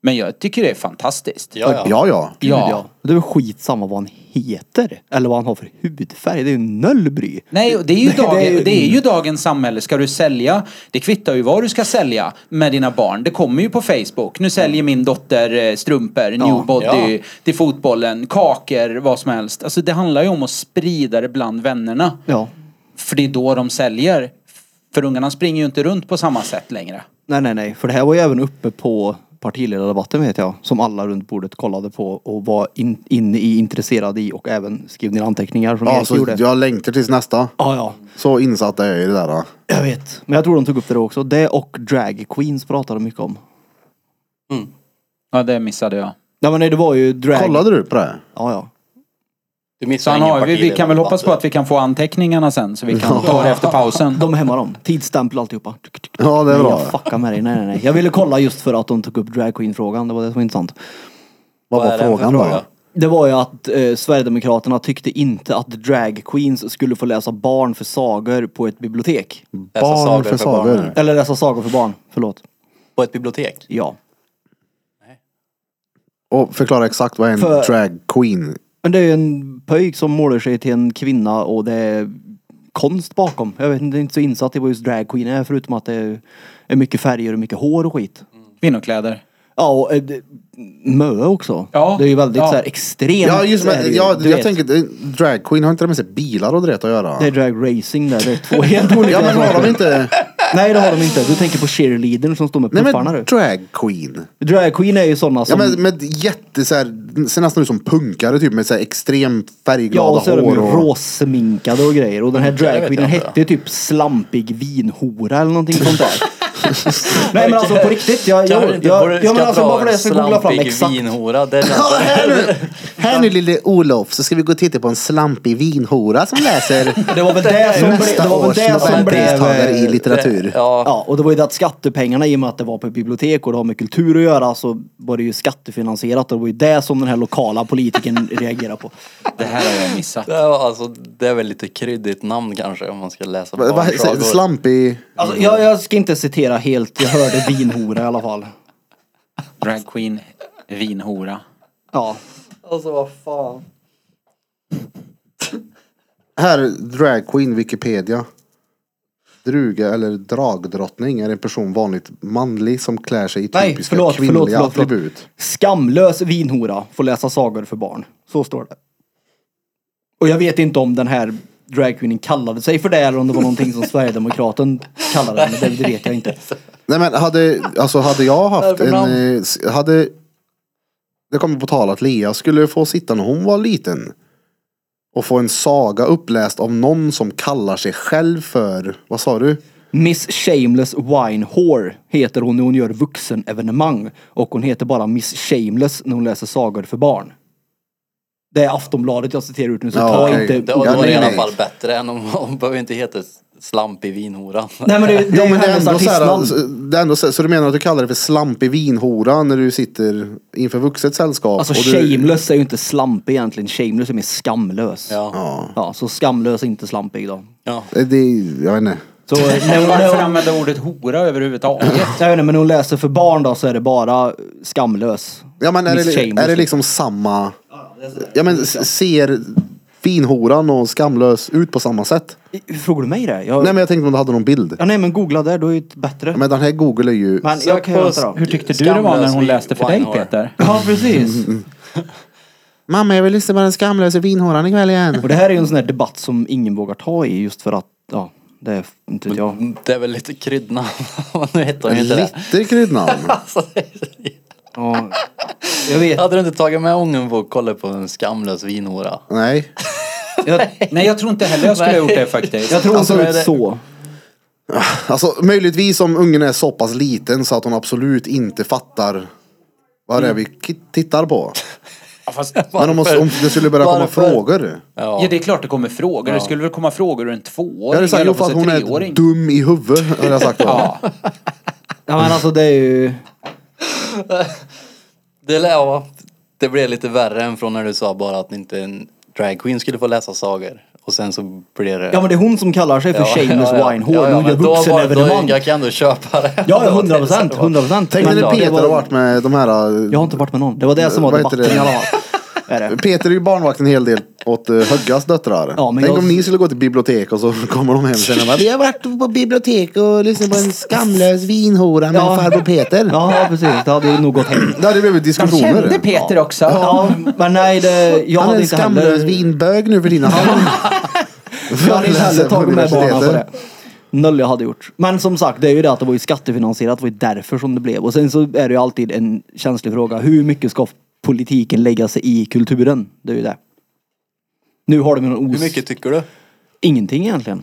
Men jag tycker det är fantastiskt. Ja, ja. Ja, ja. Ja. Ja. Det är väl skitsamma vad han heter. Eller vad han har för hudfärg. Det är ju noll bry. Nej, och det är, ju (laughs) det dagen, det, är- är... ju dagens samhälle. Ska du sälja, det kvittar ju vad du ska sälja med dina barn. Det kommer ju på Facebook. Nu säljer min dotter eh, strumpor, newbody, ja. till fotbollen, kakor, vad som helst. Alltså det handlar ju om att sprida det bland vännerna. Ja. För det är då de säljer. För ungarna springer ju inte runt på samma sätt längre. Nej, nej, nej. För det här var ju även uppe på partiledardebatten vet jag. Som alla runt bordet kollade på och var in, inne i, intresserade i och även skrev ner anteckningar som ja Erik så gjorde. Ja, jag längtar tills nästa. ja. Så insatt är jag i det där. Då. Jag vet. Men jag tror de tog upp det då också. Det och drag queens pratade de mycket om. Ja, det missade jag. Nej, men nej, det var ju drag... Kollade du på det? Ja, ja. Du Så missar han ingen har, vi, vi kan väl hoppas på partiledardebatt. att vi kan få anteckningarna sen så vi kan ta det efter pausen. De är hemma dem. Tidsstämpel alltihopa. Ja, det är Nej, bra. Jag fuckar med dig. Nej, nej, nej. Jag ville kolla just för att de tog upp drag queen frågan Det var det som var intressant. Vad Vad var är det för frågan fråga? då? Det var ju att eh, Sverigedemokraterna tyckte inte att drag queens skulle få läsa barn för sagor på ett bibliotek. Läsa Barn sagor för för barn. sagor. Eller läsa sagor för barn, förlåt. På ett bibliotek. Ja. Och förklara exakt vad en För- drag queen Men det är ju en pöjk som målar sig till en kvinna och det är konst bakom. Jag vet inte, jag är inte så insatt i vad just drag queen är förutom att det är mycket färger och mycket hår och skit. Kvinnokläder. Ja, och eh, det- mö också. Ja. Det är ju väldigt Ja. så här extremt. Ja, just är det men, ju, ja, du jag vet. tänker, eh, drag queen har inte det med sig bilar och det att göra? Det är drag racing där, det är två helt olika Ja men har saker. de (laughs) inte? Nej det har de inte. Du tänker på cheerleadern som står med Nej puffarna men du. Mm. drag queen. Drag queen är ju sådana Ja som... men med jätte så här, ser nästan ut som punkare typ med så här extrem Ja, färgglada och så är de hår ju och... råsminkade och grejer. Och den här Det vet jag dragqueenen inte. hette ju typ slampig vinhora eller någonting sånt där. Nej men alltså på riktigt. Jag, Kan vi jag, inte- borde- jag, ska ja, men alltså dra bara för det en jag ska googla fram slampig exakt. (laughs) vinhora. Det känns- Här nu lille Olof så ska vi gå och titta på en slampig vinhora som läser Det var väl det (laughs) som blev... Det var väl det som blev... eh, litteratur. ja. Ja, och det var ju det att skattepengarna i och med att det var på bibliotek och det har med kultur att göra så var det ju skattefinansierat och det var ju det som den här lokala (laughs) politikern reagerade på. Det här har jag missat. Det, var, alltså, det är väl lite kryddigt namn kanske om man ska läsa Va- va- barnsagor. Slampig... Alltså, jag, jag ska inte citera helt, jag hörde vinhora i alla fall. Drag queen, vinhora. Ja, Alltså vad fan. Här, drag queen Wikipedia. Druga eller dragdrottning är en person vanligt manlig som klär sig i typiska Nej, förlåt, kvinnliga förlåt, förlåt, förlåt. attribut. Skamlös vinhora får läsa sagor för barn. Så står det. Och jag vet inte om den här dragqueenen kallade sig för det eller om det var någonting (laughs) som Sverigedemokraten kallade den. men Det vet jag inte. Nej men hade, alltså hade jag haft Därför en, namn. eh, s- hade, det kommer på tal att Lea skulle få sitta när hon var liten. Och få en saga uppläst av någon som kallar sig själv för, vad sa du? Miss Shameless Wine Whore heter hon när hon gör vuxenevenemang. Och hon heter bara Miss Shameless när hon läser sagor för barn. Det är Aftonbladet jag citerar ut nu så Ja, ta okej. inte... Det var, Ja, det var nej, i alla nej. fall bättre än om hon behöver inte heta slampig vinhora. Nej men det, det Ja, är men det är hennes ändå så, här, artistnamn. så- det är ändå så, här- så du menar att du kallar det för slampig vinhora när du sitter inför vuxet sällskap? Alltså och du, shameless är ju inte slampig egentligen. Shameless är mer skamlös. Ja. Ja, så skamlös, inte slampig då. ja. Eh, Det, är- jag vet inte. Så när hon, när Varför hon, använda ordet hora överhuvudtaget? (laughs) jag vet inte, men när hon läser för barn då så är det bara skamlös. Ja men är Miss det, Shameless. är det liksom samma? Ja men s- ser vinhoran och skamlös ut på samma sätt? Frågar du mig det? Jag, Nej men jag tänkte om du hade någon bild. ja, nej men googla där, då är det bättre. Men den här Google är ju... Men jag kan göra det då. Hur tyckte du det var när hon Skamlös läste för dig vinhora. Peter? Ja, precis. Mamma jag vill lyssna på den skamlösa vinhåran ikväll (laughs) igen. Och det här är ju en sån här debatt som ingen vågar ta i just för att, ja, det är inte vet jag. Det är väl lite kryddnamn. (laughs) nu heter hon ju inte det. Lite kryddnamn. (laughs) Alltså, det- Ja, jag vet. hade du inte tagit med ången på att kolla på en skamlös vinhora? Nej. Jag, (laughs) Nej jag tror inte heller jag skulle ha gjort det faktiskt. jag tror Alltså, inte är det- så. Alltså möjligtvis om ungen är så pass liten så att hon absolut inte fattar vad det är vi ki- tittar (laughs) på. Ja, fast, Men om, Varför? om det skulle börja komma Varför? frågor. ja det är klart det kommer frågor. Det skulle väl komma frågor ur en Jag hade tvååring sagt eller jo för att en hon treåring? är dum i huvudet. Hade jag sagt (laughs) då. Ja. Ja men alltså det är ju... Det, lär- ja, det blev lite värre än från när du sa bara att inte en drag queen skulle få läsa sagor. Och sen så blev det... Ja men det är hon som kallar sig för shameless wine whore. Hon gör men då var- vuxenevenemang. Då, jag kan ändå köpa det. Ja, hundra procent. Hundra procent. Tänk när Men det det Peter var- har varit med de här... Jag har inte varit med någon. Det var det som var Vad heter det? debatten i alla fall. Är det. Peter är ju barnvakt en hel del åt uh, Höggas döttrar. Ja, men Tänk jag- om ni skulle gå till bibliotek och så (laughs) kommer de hem sen och bara, Vi har varit på bibliotek och lyssnat på en skamlös vinhora med Ja. farbror Peter. Ja, precis. Det hade ju nog gått hem. Det hade blivit De diskussioner. kände Peter också. Ja, men nej, det, jag Han är hade en inte skamlös heller... vinbög nu för dina (laughs) Jag hade inte heller Läser på tagit med barnen på det. universitetet. Noll jag hade gjort. Men som sagt, det är ju det att det var ju skattefinansierat. Det var ju därför som det blev. Och sen så är det ju alltid en känslig fråga. Hur mycket ska politiken lägga sig i kulturen? Det är ju det. Nu har de ju någon os... Hur mycket tycker du? Ingenting egentligen.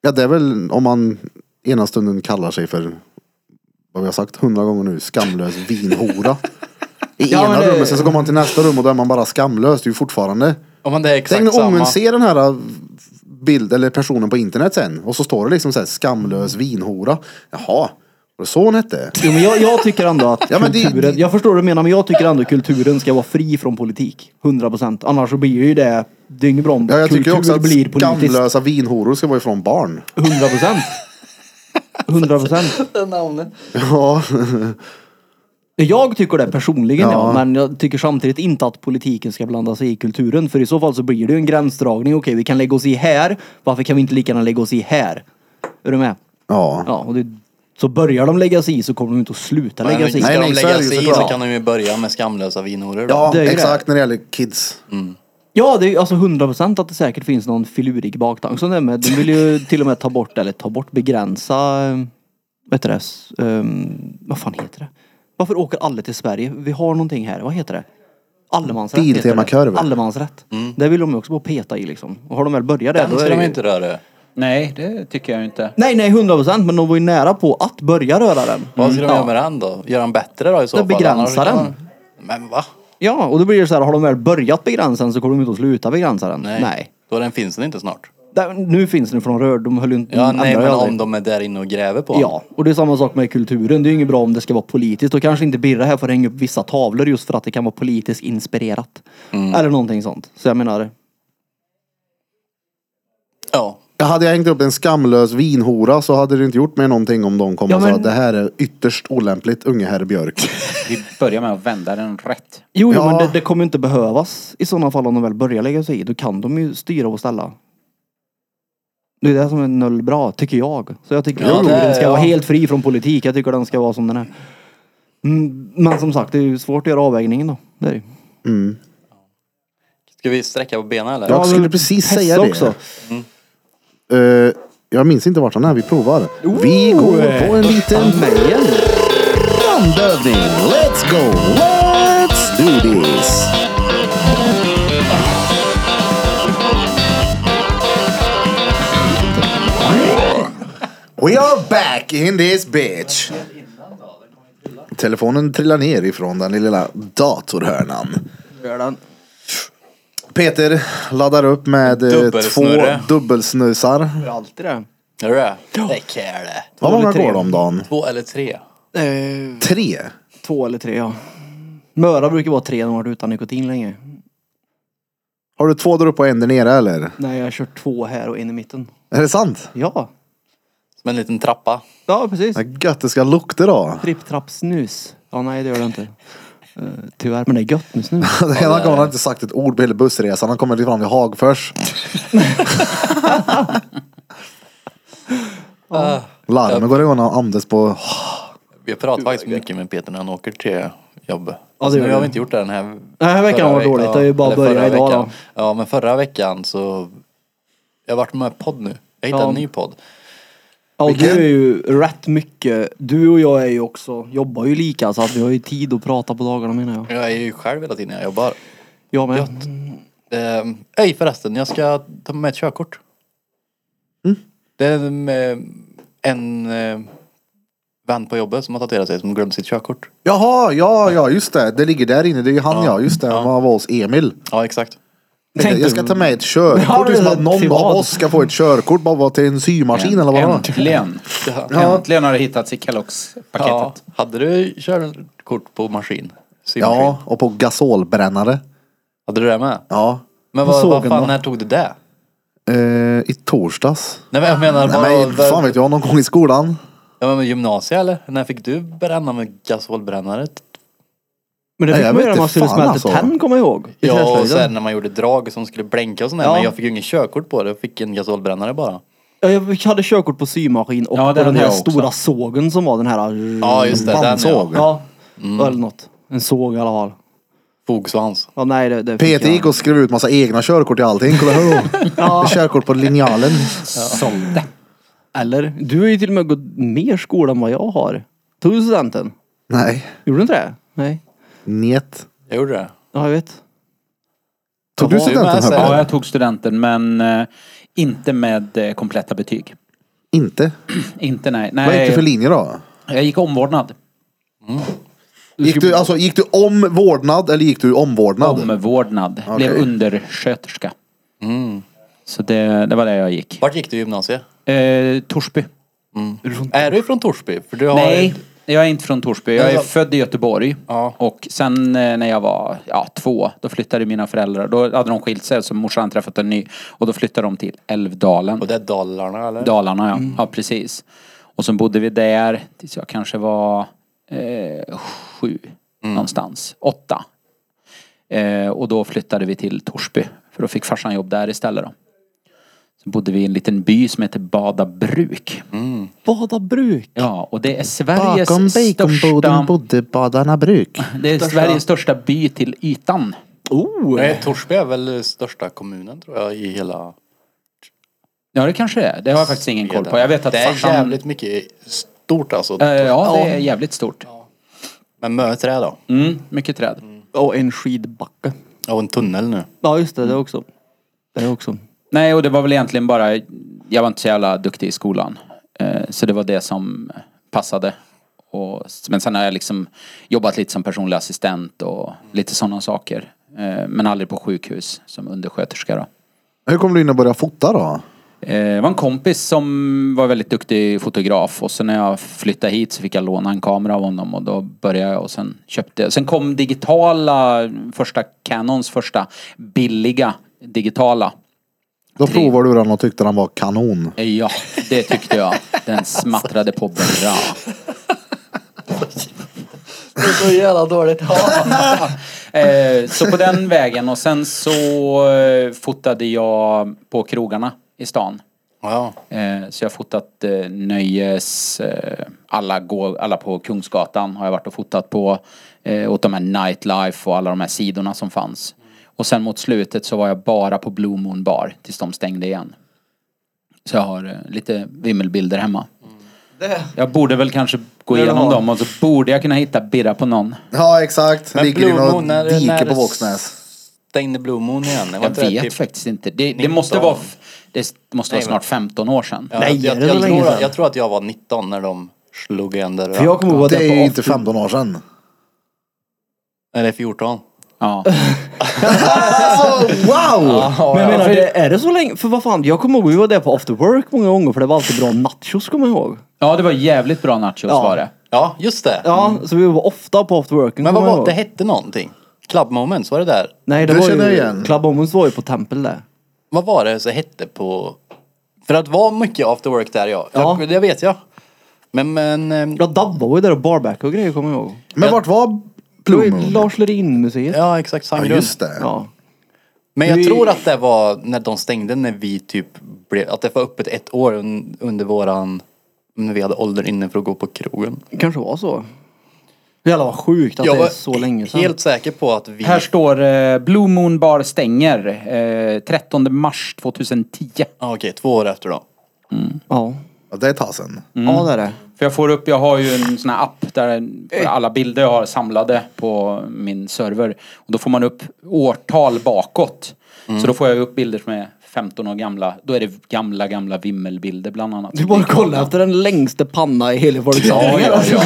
Ja det är väl om man ena stunden kallar sig för, vad vi har sagt hundra gånger nu, skamlös vinhora. I Ja, ena men det- rummet, sen så kommer man till nästa rum och då är man bara skamlös. Det är ju fortfarande. Om man det är exakt Tänk när samma. ungen ser den här äh, bild eller personen på internet sen och så står det liksom så här skamlös vinhora. Jaha. Vad så hon hette? Jo, men jag, jag tycker ändå (laughs) att Ja, men det- kulturen, det- jag förstår vad du menar, men jag tycker ändå att kulturen ska vara fri från politik. 100 procent. Annars så blir ju det, det är inget bra om Ja, jag tycker kultur ju också blir att politiskt. skamlösa vinhoror ska vara ifrån barn. 100 procent. 100 procent. Det namnet. Ja, Jag tycker det personligen ja. Ja. men jag tycker samtidigt inte att politiken ska blanda sig i kulturen. För i så fall så blir det ju en gränsdragning. Okej, vi kan lägga oss i här. Varför kan vi inte lika gärna lägga oss i här? Är du med? ja. Ja, och det, så börjar de lägga sig i så kommer de inte att sluta lägga sig i. Ska Nej, de nej, så är lägga det ju sig i såklart. så kan de ju börja med skamlösa vinhoror då. ja det är ju det. exakt när det gäller kids. Ja, det är ju alltså 100 procent att det säkert finns någon filurig baktanke. som det är med. De vill (laughs) ju till och med ta bort, eller ta bort, begränsa, eh, vad heter det, S- ehm, vad fan heter det? Varför åker alla till Sverige? Vi har någonting här, vad heter det? Allemansrätt heter Biltema det. kurvor. Allemansrätt. Det vill de ju också bara peta i liksom. Och har de väl börjat det, Mm. Den då ska är det de ju... inte röra. Nej, det tycker jag inte. Nej, nej, 100 procent, men de var ju nära på att börja röra den. Mm. Vad ska de göra med den då? Göra den bättre då i så Det fall? begränsar Annars kan den. man- Men va? Ja, och då blir det så här, har de väl börjat begränsa den så kommer de inte att sluta begränsa den. Nej. Mm, Då den finns den inte snart. Där, nu finns den från rör, de höll ju inte... Ja, de nej, ändrade men aldrig. om de är där inne och gräver på den. Ja, och det är samma sak med kulturen. Det är ju inget bra om det ska vara politiskt. Då kanske inte Birra här får hänga upp vissa tavlor just för att det kan vara politiskt inspirerat. Eller någonting sånt. Så jag menar, Ja. Ja, Hade jag hängt upp en skamlös vinhora så hade det inte gjort mig någonting om de kom Ja, och men- sa att det här är ytterst olämpligt unge herr Björk. Vi börjar med att vända den rätt. jo, Ja. men det, det kommer inte behövas i sådana fall om de väl börjar lägga sig i. Då kan de ju styra och ställa. Det är det som är noll bra, tycker jag. Så jag tycker Ja, att det är- den ska ja. vara helt fri från politik. Jag tycker den ska vara som den är. Mm, men som sagt, det är ju svårt att göra avvägningen då. Det är det ju. Ska vi sträcka på benen eller? Jag skulle men precis Hesse säga det. Mm. också. Eh, jag minns inte vart han är, vi provar. Vi går på en liten Mejen. andövning. Let's go, let's do this. We are back in this bitch. Telefonen trillar ner ifrån den lilla datorhörnan. Gör den. Peter laddar upp med eh, två Dubbelsnurre. dubbelsnusar. Gör alltid det. Är du det? Det är det. Vad många eller tre? går det om dagen? Två eller tre? Eh, Tre? två eller tre, ja. Möra brukar vara tre när man har varit utan nikotin länge. Har du två där uppe och en där nere eller? Nej, jag har kört två här och en i mitten. Är det sant? Ja. Som en liten trappa. Ja, precis. Vad gött det ska lukta då. Tripp, trapp, snus. Ja, nej, det gör det inte. Eh, tyvärr, men det är gött med snus. Den ena gången har (laughs) han inte sagt ett ord på hela bussresan. Han kommer fram till (laughs) Hagfors. Larmen går igång när han andas på... Vi har pratat faktiskt mycket med Peter när han åker till jobb. Ja, det Så gör nu har vi. vi inte gjort det den här Den här veckan var dåligt. Det är ju bara att börja idag veckan. Ja, men förra veckan så... Jag har varit med i podd nu. Jag hittade Ja. en ny podd. Ja, och du Vilken? är ju rätt mycket. Du och jag är ju också, jobbar ju lika så att vi har ju tid att prata på dagarna menar jag. Jag är ju själv hela tiden när jag jobbar. Jag med. Gött. Ehm, Ej förresten, jag ska ta med ett körkort. Mm. Det är en, eh, en eh, vän på jobbet som har tatuerat sig som glömde sitt körkort. Jaha, ja, ja, just det. Det ligger där inne. Det är ju han ja, just det. Han var hos Emil. Ja exakt. Tänkte, jag ska ta med ett körkort. Ja, Liksom att till någon vad? av oss ska få ett körkort bara vara till en symaskin eller vad det var. Äntligen. Äntligen har det hittats i Kelloggs-paketet. Ja, hade du körkort på maskin? Symaskin? Ja, och på gasolbrännare. Hade du det med? Ja. Men vad, såg vad den fan, då? när tog du det? Eh, I torsdags. Nej men jag menar, Nej, vad, men vad- fan vet jag. Någon gång i skolan. Ja, men med gymnasiet eller? När fick du bränna med gasolbrännare? Men det Nej, fick jag man vet ju när inte man skulle fan, smälta alltså. tenn kommer jag ihåg. I Ja, och träslöjden. sen när man gjorde drag som skulle blänka och sånt där. Ja. Men jag fick ju ingen körkort på det. Jag fick en gasolbrännare bara. Ja, jag hade körkort på symaskin och Ja, det på den hade här jag också. stora sågen som var den här... Ja just det, den Bandsåg. ja. Ja, eller något. En såg i alla fall. Fogsvans. Ja, nej, det, det fick Peter jag. gick och skrev ut massa egna körkort i allting. Kolla (laughs) här då. Körkort på linjalen. Sålde. Eller? Du har ju till och med gått mer skola än vad jag har. Tog du studenten? Nej. Gjorde du inte det? Nej. Njet. Jag gjorde det. Ja, jag vet. Tog du Jaha, det är studenten med sig. Ja, Högberg? jag tog studenten men eh, inte med eh, kompletta betyg. Inte. Inte nej. Vad gick nej du för linje då? jag gick omvårdnad. Gick du, alltså, gick du om vårdnad eller gick du omvårdnad? Omvårdnad. Blev undersköterska. Mm. Så det, det var det jag gick. Vart gick du i gymnasiet? Eh, Torsby. Är du från Torsby? För du har Nej, jag är inte från Torsby. Jag är Ja. född i Göteborg. Ja. Och sen eh, när jag var ja, två, då flyttade mina föräldrar. Då hade de skilt sig så morsan hade träffat en ny. Och då flyttade de till Älvdalen. Och det är Dalarna eller? Dalarna ja. Mm. Ja precis. Och sen bodde vi där tills jag kanske var eh, sju Mm. någonstans. Åtta. Eh, och då flyttade vi till Torsby. För då fick farsan jobb där istället då. Så bodde vi i en liten by som heter Badabruk. Mm. Bada bruk. Ja, och det är Sveriges största... bodde Badarna Bruk. Det är Sveriges största by till ytan. Oh! Nej, Torsby är väl största kommunen tror jag i hela... Ja, det kanske det är. Det har jag faktiskt ingen koll på. Jag vet att Det är farsan... jävligt mycket stort alltså. Eh, Ja, det är jävligt stort. Men möträ då. Mm, mycket träd. Och en skidbacke. Och en tunnel nu. Ja just det, det också. Det också. Nej, och det var väl egentligen bara, jag var inte så jävla duktig i skolan. Eh, Så det var det som passade. Och, men sen har jag liksom jobbat lite som personlig assistent och lite sådana saker. Eh, Men aldrig på sjukhus som undersköterska då. Hur kom du in och började fota då? Eh, Det var en kompis som var väldigt duktig fotograf och sen när jag flyttade hit så fick jag låna en kamera av honom och då började jag och sen köpte Sen kom digitala, första Canons första billiga digitala. Då provade du den och tyckte den var kanon. Eh, Ja, det tyckte jag. Den smattrade på bra. Det är så jävla dåligt. Eh, så på den vägen och sen så eh, fotade jag på krogarna i stan. ja. Eh, så jag har fotat eh, nöjes, eh, alla, gå, alla på Kungsgatan har jag varit och fotat på. Eh, åt de här nightlife och alla de här sidorna som fanns. Och sen mot slutet så var jag bara på Blue Moon Bar tills de stängde igen. Så jag har eh, lite vimmelbilder hemma. Jag borde väl kanske gå igenom dem och så borde jag kunna hitta birra på någon. Ja exakt. Men Ligger i Blue något Moon, när, dike när på Våxnäs. stängde Blue Moon igen? Det var Jag inte det vet typ- faktiskt inte. Det, det måste 19. vara, f- det måste vara Nej, snart 15 år sedan. Ja, Nej, jag, det jag, var länge tror, sedan. jag tror att jag var 19 när de slog igen det. För jag kommer ihåg att Det är jag ju på inte 15 år sedan. Eller 14. Ja. Wow! Men jag menar, det, är det så länge? För vad fan, jag kommer ihåg vi var där på after work många gånger för det var alltid bra nachos kommer jag ihåg. ja, det var jävligt bra nachos Ja. var det. Ja, just det. Ja, så vi var ofta på after worken. Men vad kommer jag var det? ihåg. hette någonting? Club Moments, var det där? Nej, det, Det var känner ju, jag igen. Club Omens var ju på tempel där. Vad var det så hette på... För att var mycket after work där ja. Ja. ja. Det vet jag. Men, men... ehm, Ja, Dabba var ju där och barback och grejer kommer jag ihåg. Men vart var Det var Blue ju Moon? Lars Lerin-museet. Ja, exakt. Ja Sangrun. just det. Ja. Men jag Vi- tror att det var när de stängde, när vi typ blev... Att det var öppet ett år un, under våran... När vi hade åldern inne för att gå på krogen. kanske var så. Jävlar vad sjukt att jag det är var så länge sedan. helt säker på att vi... Här står eh, Blue Moon Bar stänger eh, 13 mars 2010. Ja, okej, två år efter då. Ja. Ja, Det är ett tag sedan. ja, det är det. För jag får upp, jag har ju en sån här app där alla bilder jag har samlade på min server. Och då får man upp årtal bakåt. Så då får jag upp bilder som är 15 år gamla. Då är det gamla, gamla vimmelbilder bland annat. Du bara kolla efter den längsta panna i hela folks Ja, ja, ja.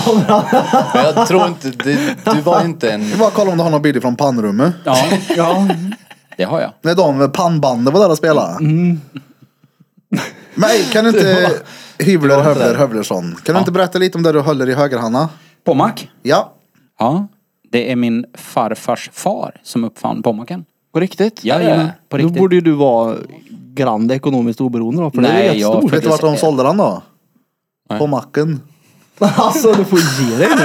Men jag tror inte... Du, du var ju inte en... Vi bara kolla om du har några bilder från pannrummet. (laughs) Ja, ja. det har jag. När de med pannbandet var där och spelade. Mm. Men kan du (laughs) inte Hyvler Hövler Hövlersson. Kan du inte berätta lite om det du håller i högerhanna? Pommack? Ja. Ja. Det är min farfars far som uppfann pommacken. På riktigt? Mm. Jajamän, på Då riktigt. borde ju du vara grand ekonomiskt oberoende då, för det Nej, är ju jag- jag... stort. Vet du vart de sålde den då? Nej. På macken. (laughs) Alltså du får ge dig nu.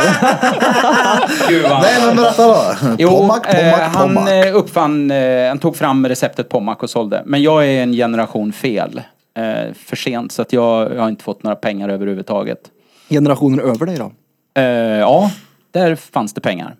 Gud vad Nej men berätta då. Jo, Pommack, eh, pommack, han pommack. eh, uppfann, eh, han tog fram receptet Pommac och sålde. Men jag är en generation fel. Eh, för sent, så att jag, jag har inte fått några pengar överhuvudtaget. Generationen över dig då? Eh, ja, där fanns det pengar.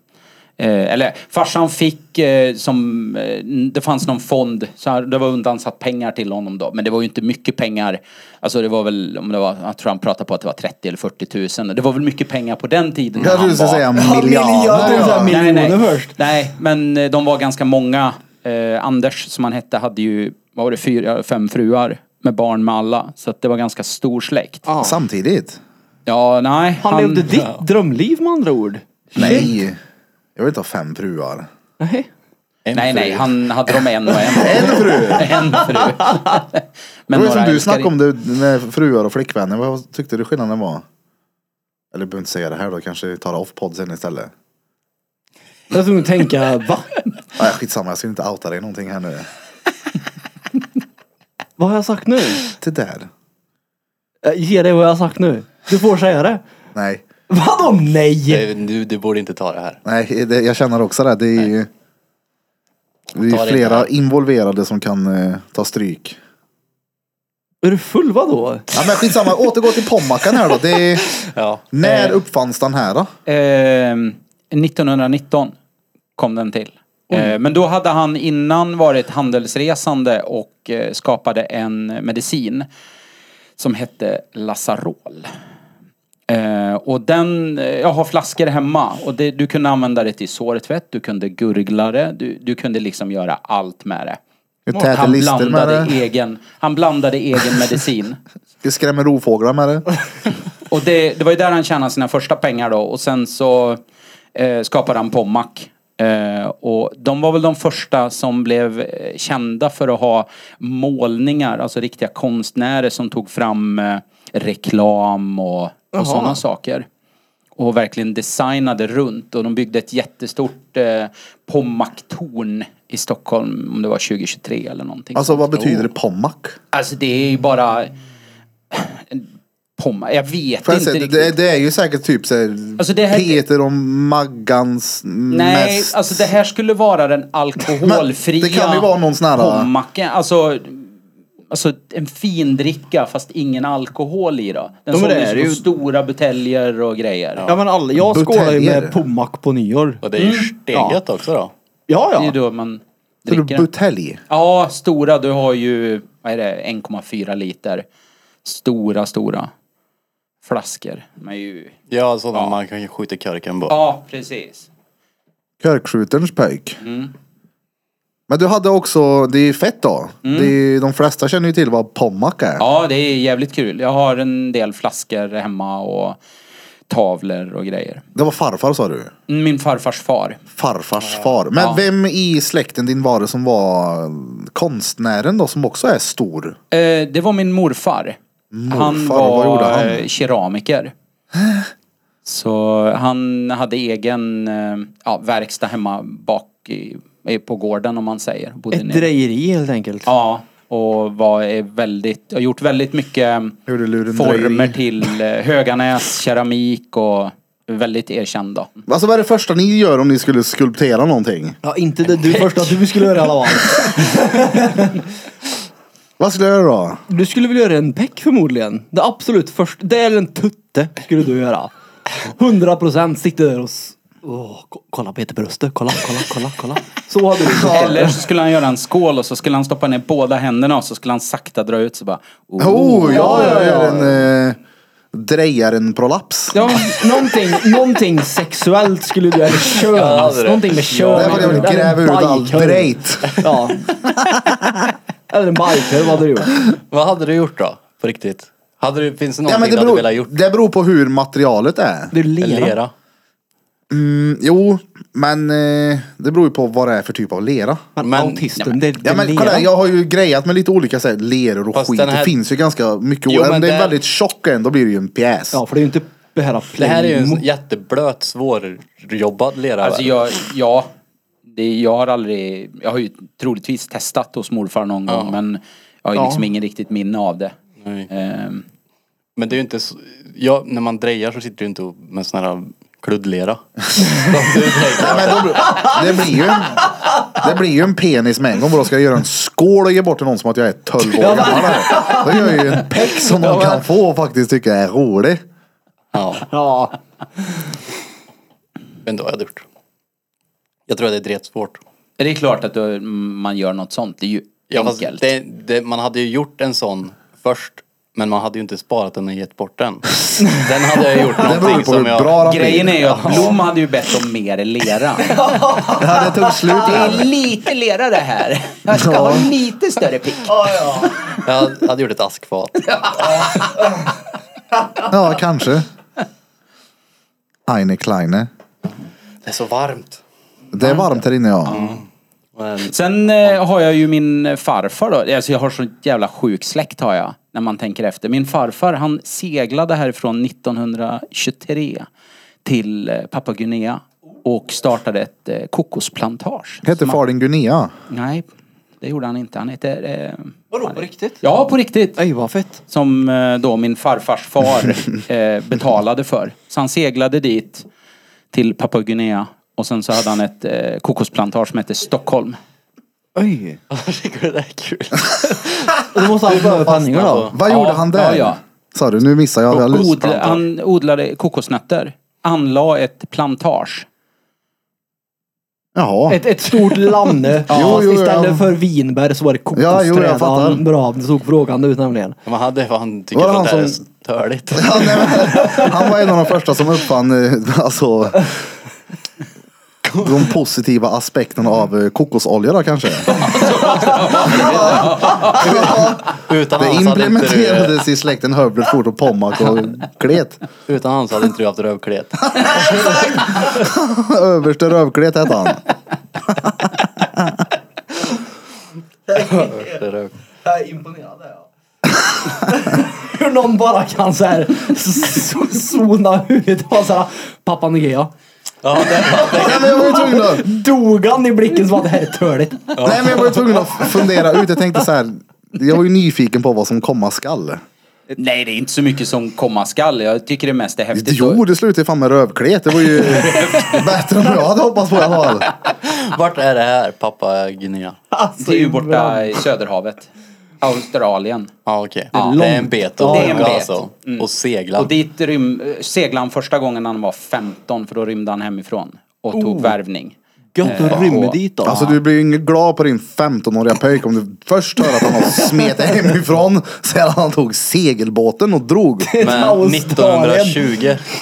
Eh, eller farsan fick eh, som, eh, n- det fanns någon fond, så här, det var undansatt pengar till honom då. Men det var ju inte mycket pengar. Alltså det var väl, om det var, jag tror han pratade på att det var 30 eller 40 tusen. Det var väl mycket pengar på den tiden. när Jag han trodde du skulle var- säga miljarder, miljarder. så här, ja. mil- nej, nej. miljoner först. Nej, men eh, de var ganska många. Eh, Anders, som han hette, hade ju, vad var det, fyra, fem fruar med barn med alla. Så att det var ganska stor släkt. Ja. Samtidigt. Ja, nej. Han, levde ditt drömliv med andra ord. Nej. Jag vill inte ha fem fruar. Nej. en Nej, nej, fru. han hade dem (laughs) en och en. En fru. en fru. Men det var ju några som du älskar snackade om in- det med fruar och flickvänner. Vad tyckte du skillnaden var? Eller behöver inte säga det här då. Kanske ta det off podd sen istället. Jag tror att tänka, va? Nej, skitsamma. Jag ska inte outa dig någonting här nu. Vad har jag sagt nu? Det där. Eh, Ge dig vad jag har sagt nu. Du får säga det. Nej. Vadå nej? Det, du, du borde inte ta det här. Nej, det, jag känner också det. Det är ju det Ta är det flera inte. involverade som kan eh, ta stryk. Är du full vadå? Ja, men skitsamma, återgå till pommakan här då. Det är, Ja. när Eh. uppfanns den här då? Ehm, 1919 kom den till. Eh, Men då hade han innan varit handelsresande och eh, skapade en medicin som hette Lazarol. Eh, och den, eh, jag har flaskor hemma och det, du kunde använda det till sårtvätt, du kunde gurgla det, du, du kunde liksom göra allt med det. Jag Och täter han, lister med blandade det. egen, han blandade (laughs) egen medicin. Vi skrämmer rovfåglar med det. Och det, det var ju där han tjänade sina första pengar då och sen så eh, skapade han Pommac. Eh, och de var väl de första som blev eh, kända för att ha målningar, alltså riktiga konstnärer som tog fram eh, reklam och, och sådana saker. Och verkligen designade runt och de byggde ett jättestort eh, Pommac-torn i Stockholm om det var 2023 eller någonting. Alltså vad betyder det pommac? Alltså det är ju bara... Pomma. Jag vet Får jag inte säga, riktigt. det, det är ju säkert typ så här, Alltså, det här- Peter och Maggans Nej, mest. alltså det här skulle vara den alkoholfria... Men det kan ju vara någon sån här- äh, Pommacken. Alltså, alltså en fin dricka fast ingen alkohol i då. Den men det såldes är på det ju. stora buteljer och grejer. Ja men alla, jag skålar ju Buteljer. med Pommac på nyår. Och det är ju steget också då. Ja Det är ju ja. då man För dricker den. butelj. Ja, stora. Du har ju, vad är det, 1,4 liter. Stora, stora flaskor. De är ju... Ja, sådana man kan ju skjuta körken på. Ja, precis. Körkskjuterns pöjk. Men du hade också, det är ju fett då. Det är, ju- de flesta känner ju till vad pommac är. Ja, det är jävligt kul. Jag har en del flaskor hemma och tavlor och grejer. Det var farfar sa du. Min farfars far. Farfars far. Men Ja. vem i släkten din var det som var konstnären då som också är stor? Eh, det var min morfar. han Morfar, vad gjorde var han? eh, keramiker. Så han hade egen eh, ja, verkstad hemma bak i, eh, på gården om man säger. Bodde Ett nere. drejeri helt enkelt. Ja. Och var eh, väldigt, har gjort väldigt mycket Gjorde lurendrejeri. former till eh, Höganäs keramik och väldigt erkända. Alltså vad är det första ni gör om ni skulle skulptera någonting? Ja inte det du första du skulle göra i alla fall. Vad skulle jag göra då? Du skulle väl göra en peck förmodligen? Det absolut första, det eller en tutte skulle du göra. 100 procent sitter där och... s- Åh, ko- kolla Peter bröstet, kolla, kolla, kolla, kolla. Så hade du gjort. Eller så skulle han göra en skål och så skulle han stoppa ner båda händerna och så skulle han sakta dra ut så bara... Oh. Oh, ja, jag gör en eh, drejaren-prolaps. Ja, någonting, någonting sexuellt skulle du göra, eller Ja, köns, det är det. någonting med kön. Därför att jag vill Eller en gräva ut allt bajkorv. drejt. Ja. Eller en bajkorv hade du gjort. Vad hade du gjort då? På riktigt? Hade du, finns det Ja, någonting men det, du hade velat beror, gjort? det beror på hur materialet är. Det är lera. Lera? Mm, jo, men eh, det beror ju på vad det är för typ av lera. Men, Men- autisten, det, det Ja, är men, lera. kolla, jag har ju grejat med lite olika så här, leror och Fast skit. den här- Det finns ju ganska mycket. Jo, Jo, men Om det är det- väldigt tjock en, då blir det ju en pjäs. Ja, för det är ju inte det här Det här är ju Playmo- en jätteblöt, svårjobbad lera. Alltså väl? jag, ja. Det, jag har aldrig, jag har ju troligtvis testat hos morfar någon gång men jag har ju liksom ingen riktigt minne av det. Nej. Ehm, Men det är ju inte så... Ja, när man drejar så sitter du inte och- med sån här kluddlera. Som du drejar. Ja, men då, det, blir ju en, det blir ju en penis med en gång. Då ska jag göra en skål och ge bort till någon som att jag är 12 år gammal. Då gör jag ju en peck som någon kan få och faktiskt tycka är rolig. Ja, Ja. men då har jag det gjort. Jag tror att det är rätt svårt. det är klart att då, man gör något sånt, det är ju Ja, fast enkelt. det, det, man hade ju gjort en sån först. Men man hade ju inte sparat den och gett bort den. Den hade jag gjort Det beror någonting på hur som jag... bra den Grejen blir. är ju att Blom hade ju bett om mer lera. Ja, det tog slut Det är där. lite lera det här. Jag ska ha lite större pick. Jag hade gjort ett askfat. Ja, kanske. Eine Kleine. Det är så varmt. Det är varmt här inne ja. Men, (laughs) Sen eh, har jag ju min farfar då. Alltså jag har så jävla sjuk släkt har jag. När man tänker efter. Min farfar han seglade härifrån 1923 till eh, Papua Guinea. Och startade ett eh, kokosplantage. Hette far din Gunea? Nej, det gjorde han inte. Han heter... Eh, Vadå, på riktigt? ja, på riktigt. Ej, vad fett. Som eh, då min farfars far eh, betalade för. Så han seglade dit till Papua Guinea. Och sen så hade han ett eh, kokosplantage som hette Stockholm. Oj. jag tycker det där är kul. Då måste han få över penningar då. Vad gjorde han där? ja, ja. Sa du, nu missar jag. jag Od, han odlade kokosnötter. Anlade ett plantage. Jaha. Ett, ett stort lanne. Jo, Fast jo, istället ja. för vinbär så var det kokosträd. Ja, jo, jag fattar. Han, bra, det såg frågande ut nämligen. Man hade fan tycker Var det att det han där är som- störigt. (laughs) Ja, nej, men, han var en av de första som uppfann eh, alltså, de positiva aspekterna av eh, kokosolja då kanske. Utan Det han, så alltså, hade inte du, implementerades i släkten Hövlet, Fort och Pommac och Klet. utan han så hade inte du haft rövklet. Överste Rövklet hette han. Första röv- Jag är imponerad ja. (laughs) Hur någon bara kan så här s- s- sona ut och såhär Pappa Nya. Ja, det, Nej men jag var ju tvungen att, Dog han i blicken så var det här är töligt. nej, men jag var ju tvungen att fundera ut. Jag tänkte så här. Jag var ju nyfiken på vad som komma skall. Nej, det är inte så mycket som komma skall. Jag tycker det mest är häftigt. Jo, det slutade ju fan med rövklet. Det var ju bättre än vad jag hade hoppats på i alla fall. vart är det här pappa Guinea? Alltså, Det är ju borta i Söderhavet. Australien. Ja okej. är Det är en bet att Det är en åka bet. Mm. alltså. Och segla. Och dit rym, eh, seglade han första gången när han var 15 för då rymde han hemifrån. Och tog värvning. Gött att rymma dit då. Alltså du blir ju inte glad på din 15-åriga pöjk om du först hör att han har smetat hemifrån sedan han tog segelbåten och drog. Men 1920,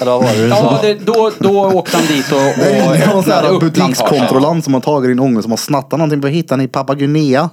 eller vad var det du Ja, sa? det, då, då åkte han dit och, och Det är ju någon sån öppnade här upp plantagen. butikskontrollant som har tagit din unge som har snattat någonting. Vad hittade ni i Papua Guinea?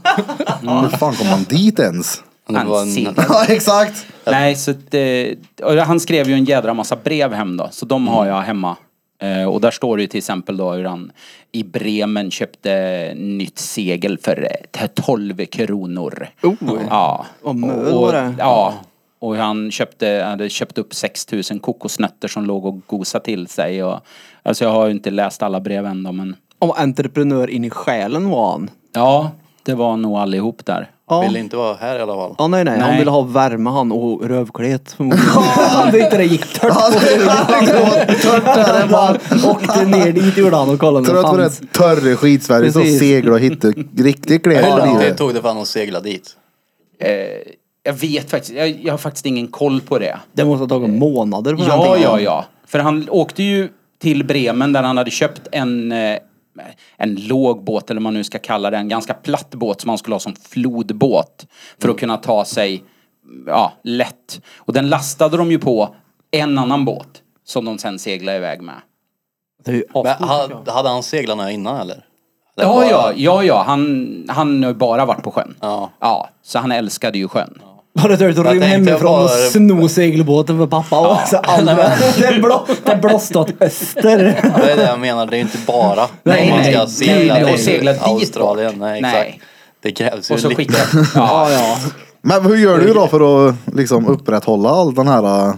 Hur fan kom han dit ens? Det var Han en, seglade. Ja exakt. Nej, så att, eh, och han skrev ju en jädra massa brev hem då, så de Mm. har jag hemma. Eh, och där står det ju till exempel då hur han i Bremen köpte nytt segel för eh, 12 kronor. Oh. Ja. Vad möl var det. Ja. Och han köpte, hade köpt upp 6000 kokosnötter som låg och gosade till sig. Och, alltså jag har ju inte läst alla brev än då, men Om entreprenör in i själen var han. ja, det var nog allihop där. Ja. ville inte vara här i alla fall. Ja nej, nej han Nej. ville ha värme han och rövklet förmodligen. Han tyckte det gick tört Han på tyckte det var tört där Han hemma. bara åkte ner dit gjorde han och kollade om Tror det att det var fanns. rätt törre skitsverige som Precis. seglar och hittar riktigt Hur lång kläder. tid tog det för honom att segla dit? Eh, jag vet faktiskt, jag, jag har faktiskt ingen koll på det. Det måste ha tagit månader för den Ja, tiden. ja, ja. För han åkte ju till Bremen där han hade köpt en, eh, en låg båt, eller vad man nu ska kalla det, en ganska platt båt som han skulle ha som flodbåt. För Mm. att kunna ta sig, ja, lätt. Och den lastade de ju på en annan båt som de sen seglade iväg med. Det är ju Men, ascoolt, tycker jag. ha- hade han seglarna innan eller? eller Ja, bara- ja, ja, ja. Han, han har ju bara varit på sjön. Ja. ja. Så han älskade ju sjön. Har du hört att Jag rymma tänkte hemifrån och bara- sno segelbåten för pappa och också allmänt. (laughs) Det blå- det blåste åt öster. Det är det jag menar, det är inte (laughs) bara Nej, om man nej, ska nej, segla nej, och till segla dit Australien. bort. Nej, Nej. exakt. Det krävs ju Och så lite. skickade... (laughs) Ja, ja. Men hur gör du då för att liksom upprätthålla all den här äh,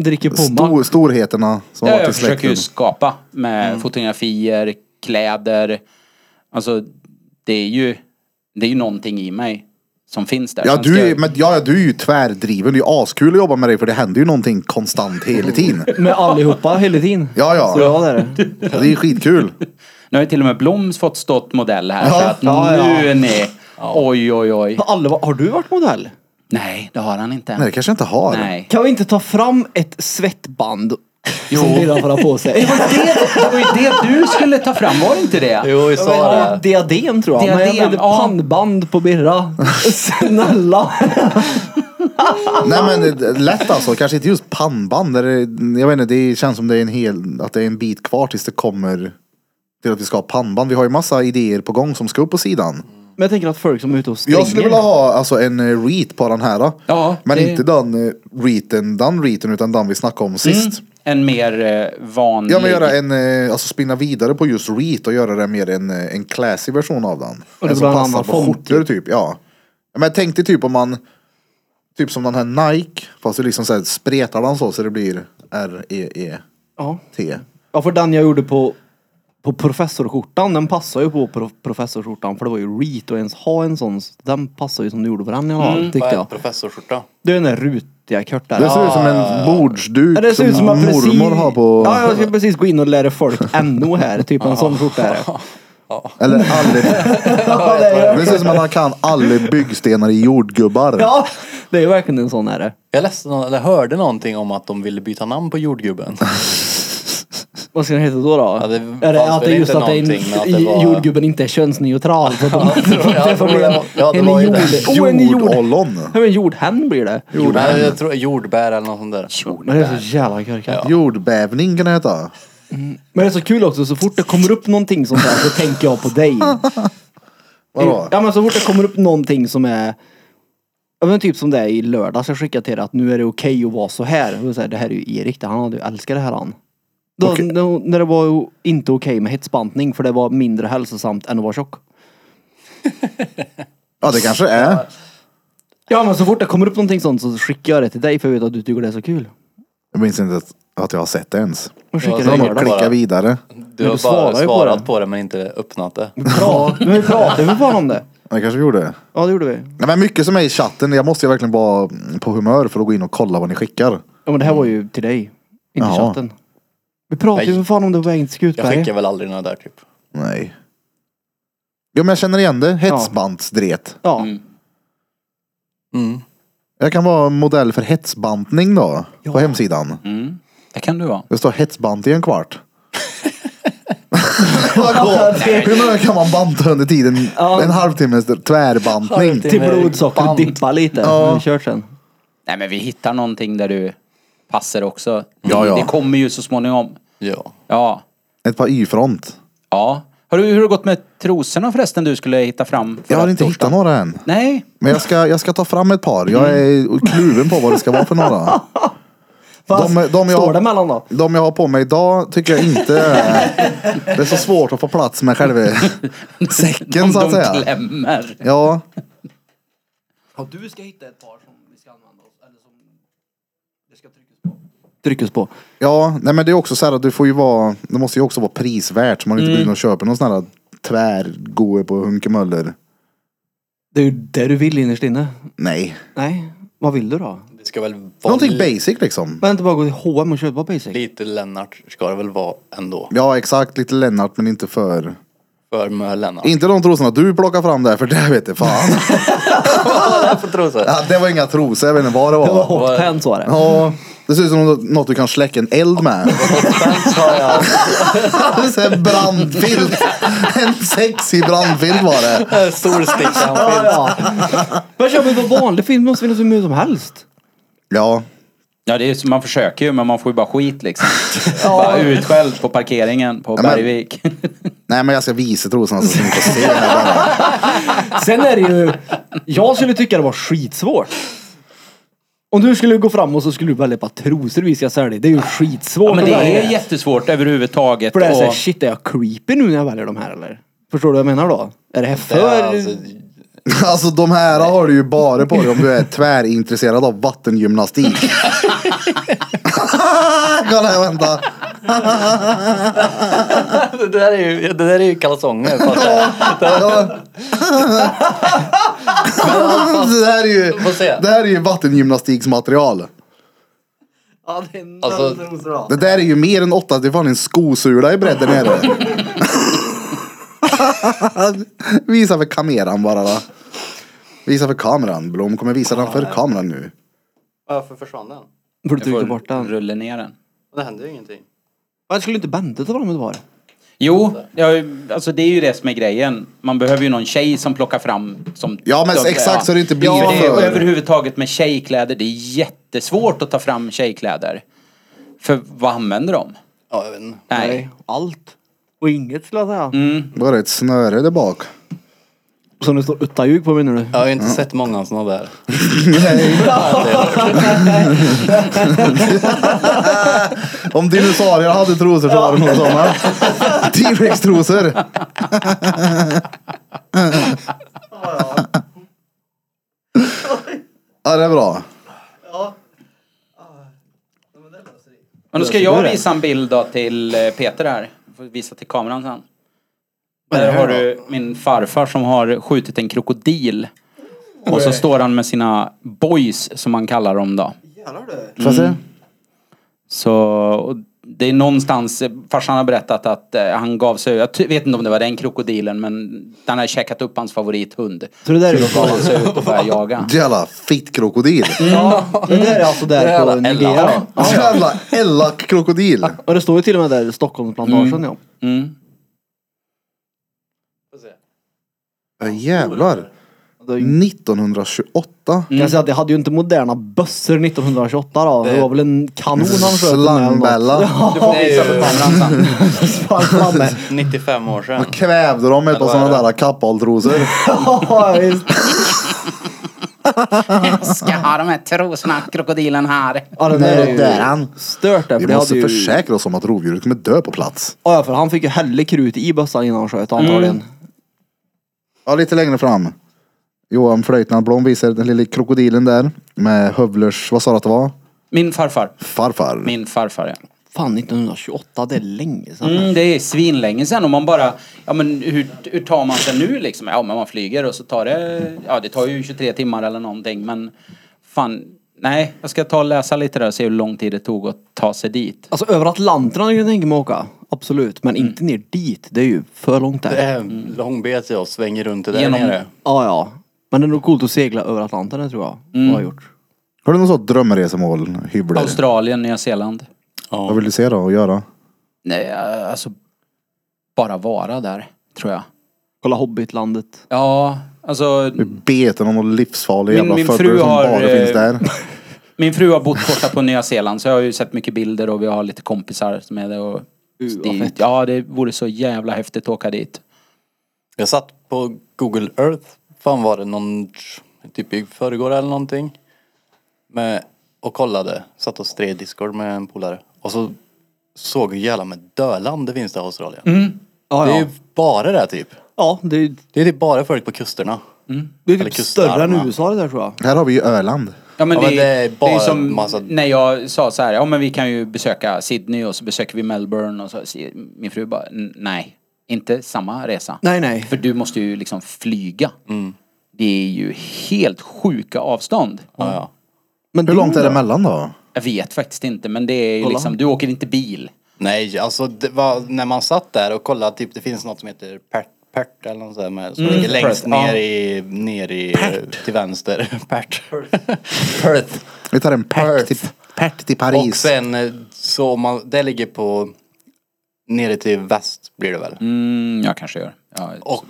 Dricker pomma. stor, storheterna som har Ja, varit i jag försöker släkten? Mm. ju skapa med fotografier, kläder. Alltså, det är ju, det är ju någonting i mig som finns där. Ja Sen Alltså, ska du, är, jag- men, ja, ja, du är ju tvärdriven. Det är ju askul att jobba med dig för det händer ju någonting konstant hela (laughs) tiden. Med allihopa hela tiden. Ja, ja. Så ja det är det. Det är ju skitkul. Nu har ju till och med Bloms fått stått modell här. så att ja, ja. nu är ni... Oj, oj, oj. Har Alla, har du varit modell? Nej, det har han inte. Nej, det kanske jag inte har. Nej. Kan vi inte ta fram ett svettband? Som Birra får ha på sig. Det var ju det du skulle ta fram, var det inte det? Jo, vi Jag vill sa ha det. diadem tror jag. Men jag Diadem, vill ja. pannband (laughs) på Birra. Snälla. Nej men eh, lätt alltså. Kanske inte just pannband. Där det, jag vet inte, det känns som det är en hel, att det är en bit kvar tills det kommer till att vi ska ha pannband. Vi har ju massa idéer på gång som ska upp på sidan. Men jag tänker att folk som är ute och springer. Jag skulle vilja ha alltså en eh, reet på den här. då. Ja, men det- inte den eh, reeten, den reeten utan den vi snackade om sist. en mer eh, vanlig... Ja men göra en, eh, alltså spinna vidare på just Reet och göra det mer en, eh, en classy version av den. en det blir som en passar annan på font, skjortor typ, ja. Ja, Men tänk dig typ om man, typ som den här Nike, fast du liksom så här spretar den så så det blir E R-E-E-T. Ja. ja, för den jag gjorde på, på professorskjortan, den passar ju på pro, professorskjortan för det var ju reet och ens ha en sån. så Den passar ju som du gjorde på den i alla fall, Mm. tyckte Vad är jag. professorskjorta? Det är den där rutiga korta. Det ser ut som en bordsduk Ja, det ser ut som att mormor precis... har på, Ja, jag ska precis gå in och lära folk NO här. Typ en sån skjorta är det. eller alla, (laughs) Ja, det är det ser ut som att man kan alla byggstenar i jordgubbar. Ja, det är verkligen en sån är det. Jag läste nå- eller hörde någonting om att de ville byta namn på (laughs) jordgubben. Vad ska den heta då? då? Ja, det är fanns det att väl det är just inte att det är någonting, men att en, det var- jordgubben inte är könsneutral. Så (laughs) att de- tror jag. det får bli en, Ja, det en var ju jord... det. Oh, en jord... Jordollon. Ja, men jordhen blir det. Nej, jag tror jordbär eller något sånt där. Men det är så jävla korkat. Jordbävning kan det heta. Men det är så kul också, så fort det kommer upp någonting sånt där så tänker jag på dig. Vadå? Ja men så fort det kommer upp någonting som är Ja men typ som det är i lördags jag skickade till dig att nu är det okej att vara så här. Och så här, det här är ju Erik det, han hade ju älskat det här han. Då, då, när det var ju inte okej med hetsbantning för det var mindre hälsosamt än att vara tjock. Ja det kanske är. Ja men så fort det kommer upp någonting sånt så skickar jag det till dig för jag vet att du tycker det är så kul. Jag minns inte att, att jag har sett det ens. Och skickar Ja, det så Jag till de har lördag. bara bara- klickar vidare. Du har svarar ju bara på svarat det. på, det men inte öppnat det. Bra. Men vi pratade väl bara om det? Ja, Det kanske vi gjorde. Ja det gjorde vi. Nej, men mycket som är i chatten. Jag måste ju verkligen vara på humör för att gå in och kolla vad ni skickar. Ja men det här var ju till dig. Inte Jaha. chatten. Vi pratade ju Nej. för fan om det på vägen till Jag Skutberget. skickar väl aldrig några där typ. Nej. Jo men jag känner igen det. Hetsbandsdret. Ja. Mm. Jag kan vara modell för hetsbantning då. På hemsidan. Det kan du vara. Det står hetsbant i en kvart. Ja, det är- Hur många kan man banta under tiden? En halvtimmes tvärbantning. Halvtimme. Till blodsockret Band. dippar lite. Ja. Ja. Kört sen. Nej men vi hittar någonting där du passar också. Ja, ja. Det kommer ju så småningom. Ja. Ja. Ett par Y-front. Ja. Har du, hur har det gått med trosorna förresten du skulle hitta fram? Jag har förra inte torsdagen? hittat några än. Nej. Men jag ska, jag ska ta fram ett par. Jag är kluven på vad det ska vara för några. Fast, de jag- står det mellan då? De jag har på mig idag tycker jag inte är... Det är så svårt att få plats med själva (laughs) säcken (laughs) Om så att de säga. klämmer. Ja, du ska hitta ett par som vi ska använda oss eller som det ska tryckas på. Tryckas på. ja, nej men det är också så här att du får ju vara... Det måste ju också vara prisvärt så man inte går in och köper någon sån här tvärgoe på Hunkemöller. Det är ju det du vill innerst inne. Nej. Nej. Vad vill du då? Det ska väl vara Någonting li- basic liksom. Men inte bara gå till H&M och köpa basic. lite Lennart ska det väl vara ändå. Ja exakt, lite Lennart men inte för... För med Lennart. Inte de trosorna du plockar fram där för det vet jag fan. för trosor. Ja, det var inga trosor, jag vet inte vad det Det var var. hot pants var det. Ja, det ser ut som något du kan släcka en eld (laughs) med. Sen (laughs) sa jag, Så en brandfilt. En sexig brandfilt var det. stor sticka. Ja, ja. Men köper vi på vanlig film måste finnas hur mycket som helst. Ja. Ja det är ju så, man försöker ju men man får ju bara (laughs) skit liksom. Bara utskälld på parkeringen på men- Bergvik. Nej men jag ska visa trosorna så att ni får se här bara. Sen är det ju... Jag skulle tycka det var skitsvårt. Om du skulle gå fram och så skulle du välja ett par trosor vi ska sälja. Det är ju skitsvårt. Ja, men att det välja. är jättesvårt överhuvudtaget. För det är såhär, och- shit är jag creepy nu när jag väljer de här eller? Förstår du vad jag menar då? Är det här för... Alltså, (laughs) Alltså de här har du ju bara på dig om du är tvärintresserad av vattengymnastik. (laughs) Kolla här, vänta. det, där är ju, det där är ju kalsonger. Fast det, Ja. (laughs) Det här är ju, Få se. det här är ju vattengymnastiksmaterial. Ja, det är Alltså- Det där är ju mer än åtta, det är fan en skosula i bredden är det. (laughs) visa för kameran bara va. Visa för kameran. Blom kommer visa den för kameran nu. varför försvann den? För du tryckte får bort den. rulla ner den. Det hände ju ingenting. Varför skulle inte Bente ta fram ett par? Jo, ja, alltså det är ju det som är grejen. Man behöver ju någon tjej som plockar fram som... Ja, men exakt, så det inte blir ja, det är, för- Överhuvudtaget med tjejkläder, det är jättesvårt att ta fram tjejkläder. För vad använder de? Ja, jag vet inte. Nej. Mm. Allt. Och inget skulle jag säga. Bara ett snöre där bak. Som det står Uttajug på menar du? Jag har ju inte sett många sådana där. Om dinosaurier hade trosor så var det nog (laughs) sådana. T-rex-trosor. Ja, det är bra. Men då ska jag visa en bild då till eh, Peter här. Jag får visa till kameran sen. Där har du min farfar som har skjutit en krokodil. Och så står han med sina boys som man kallar dem då. Får jag se? Så och det är någonstans, eh, farsan har berättat att eh, han gav sig, jag ty- vet inte om det var den krokodilen men den har käkat upp hans favorithund. Så det där är Så gav han sig ut och började jaga. Jävla fittkrokodil. Ja, det där är alltså där Mm. på Nigeria. Jävla elak krokodil. Och det står ju till och med där Stockholmsplantagen ja. Mm. Ja, jävlar. Det är Mm. ju- 1928. Mm. Kan jag säga att jag hade ju inte moderna bössor 1928 då. Det var väl en kanon han sköt med eller något. (laughs) Slangbella. Du får visa för kameran sen. (laughs) Fan, med. 95 år sedan. Kvävde de med ett par Eller vad sådana är där (laughs) kappahålltrosor. Ja, visst. Ska ha de här trosorna krokodilen har. Ja, den Nej, där är ju där han. stört där. Vi för det hade måste ju- försäkra oss om att rovdjuret kommer dö på plats. Ja, ja, för han fick ju hälla krut i bössan innan han sköt Mm. antagligen. Ja, lite längre fram. Johan Flöjtnant Blom visar den lilla krokodilen där. Med Hövlers, vad sa du att det var? Min farfar. Farfar. Min farfar ja. Fan 1928, det är länge sedan. Mm, det är svinlänge sen och man bara, ja men hur, hur tar man sig nu liksom? Ja men man flyger och så tar det, ja det tar ju 23 timmar eller någonting men fan, nej jag ska ta och läsa lite där och se hur lång tid det tog att ta sig dit. Alltså över Atlanten hade jag kunnat tänka mig att åka. Absolut. Men inte ner dit. Det är ju för långt Mm. Det där. är en lång bet jag svänger runt det där Genom- nere. Ja, ja. Men det är nog coolt att segla över Atlanten, det tror jag. Mm. Har jag gjort. Har du något sånt drömresemål? Hyvlare? Australien, Nya Zeeland. Vad vill du se då och göra? Nej, eh, alltså bara vara där tror jag. Kolla Hobbitlandet. Ja, alltså Beten om någon livsfarlig Min- jävla min fucker fru som har, bara eh, finns där. min fru har bott borta på Nya Zeeland så jag har ju sett mycket bilder och vi har lite kompisar som är där och Uh, vad dit. fett. Ja det vore så jävla häftigt att åka dit. Jag satt på Google Earth, fan var det någon, typ i förrgår eller någonting. Med, och kollade, satt och stred i Discord med en polare. Och så såg jag hur jävla med döland det finns där i Australien. Ja, Det är ja. ju bara det här, typ. Ja, det är ju Det är typ bara folk på kusterna. det är Eller typ större än kustarna. USA det där tror jag. Här har vi ju Öland. Ja men, Ja, det, men det är är, bara det är som massa- när jag sa så här, ja men vi kan ju besöka Sydney och så besöker vi Melbourne och så, min fru bara, "N- nej, inte samma resa. Nej, nej. För du måste ju liksom flyga. Mm. Det är ju helt sjuka avstånd. Ja, ja. Men Hur långt är det mellan? mellan då? Jag vet faktiskt inte men det är ju Kolla. liksom, du åker inte bil. Nej, alltså det var, när man satt där och kollade, typ, det finns något som heter Pert, Pert eller något sånt där med, som ligger längst Perth, ja. ner i, ner i, till vänster. (laughs) Pert. Perth. Vi tar en Pert Perth. till, Pert till Och Paris. sen eh, så om man, det ligger på, nere till väst blir det väl. Mm, jag kanske gör. Ja, Och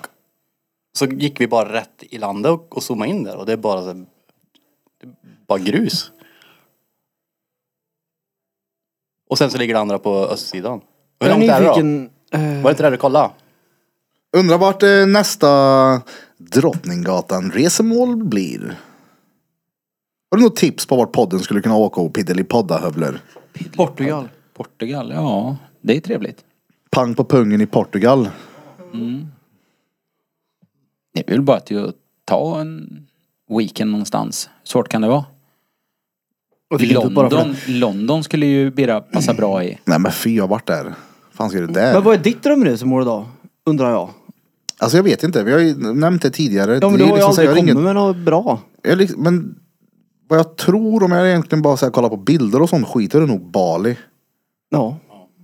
så gick vi bara rätt i landet och, och zoomade in där och det är bara så, här- det är bara grus. Och sen så ligger det andra på östsidan. Hur långt är det då? eh, Var det inte där du kollade? Undrar vart eh, nästa Drottninggatan-resemål blir. Har du något tips på vart podden skulle kunna åka och podda hövler? Portugal. Portugal, ja det är trevligt. Pang på pungen i Portugal. Det är väl bara till att ta en weekend någonstans. Svårt kan det vara. London, London skulle ju Birra passa bra i. Nej men fy, jag har varit där. fan ska du där? Men vad är ditt drömresmål då? Undrar jag. Alltså jag vet inte, vi har ju nämnt det tidigare. Ja men Det du är har ju liksom så här, aldrig jag har ingen- kommit med något bra. Jag liksom, men vad jag tror om jag egentligen bara så här, kollar på bilder och sånt skiter det nog Bali. Ja.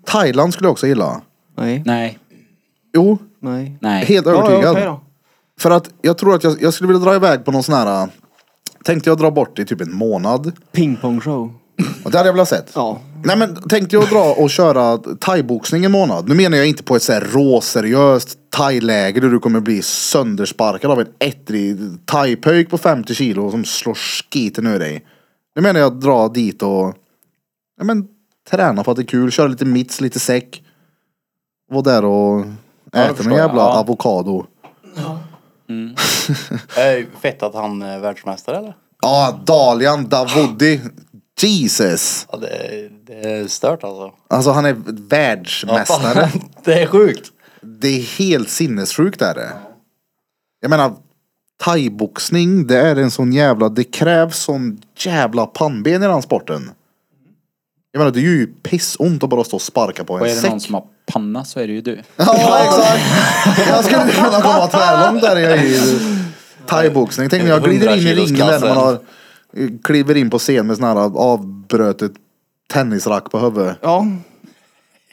Thailand skulle jag också gilla. Nej. Nej, Jo, Nej. nej. helt Ja, övertygad. ja, okej då. För att jag tror att jag, jag skulle vilja dra iväg på någon sån här... äh, Tänkte jag dra bort i typ en månad. Pingpongshow. Och det hade jag velat sett. Ja. Nej men tänkte jag dra och köra thaiboxning en månad. Nu menar jag inte på ett så här råseriöst thailäger där du kommer bli söndersparkad av en ettrig thaipöjk på 50 kilo som slår skiten ur dig. Nu menar jag dra dit och ja, men, träna för att det är kul, köra lite mitts, lite säck. Vara där och äta förstår någon jag. jävla Ja. avokado. Eh, Fett att han är världsmästare eller? Ja, Dalian Davudi. Jesus! Ja, det, det är stört alltså. Alltså han är Ja, fan. världsmästare. (laughs) det är sjukt. Det är helt sinnessjukt är det. Jag menar, thaiboxning det är en sån jävla, det krävs sån jävla pannben i den sporten. Jag menar det gör ju pissont att bara stå och sparka på en Och är det säck. någon som har panna så är det ju du. Ja exakt. (laughs) Jag skulle kunna komma tvärlångt där jag i thaiboxning. Tänk när jag glider in i ringen där när man har, kliver in på scen med sån här avbrötet tennisrack på huvudet. Ja.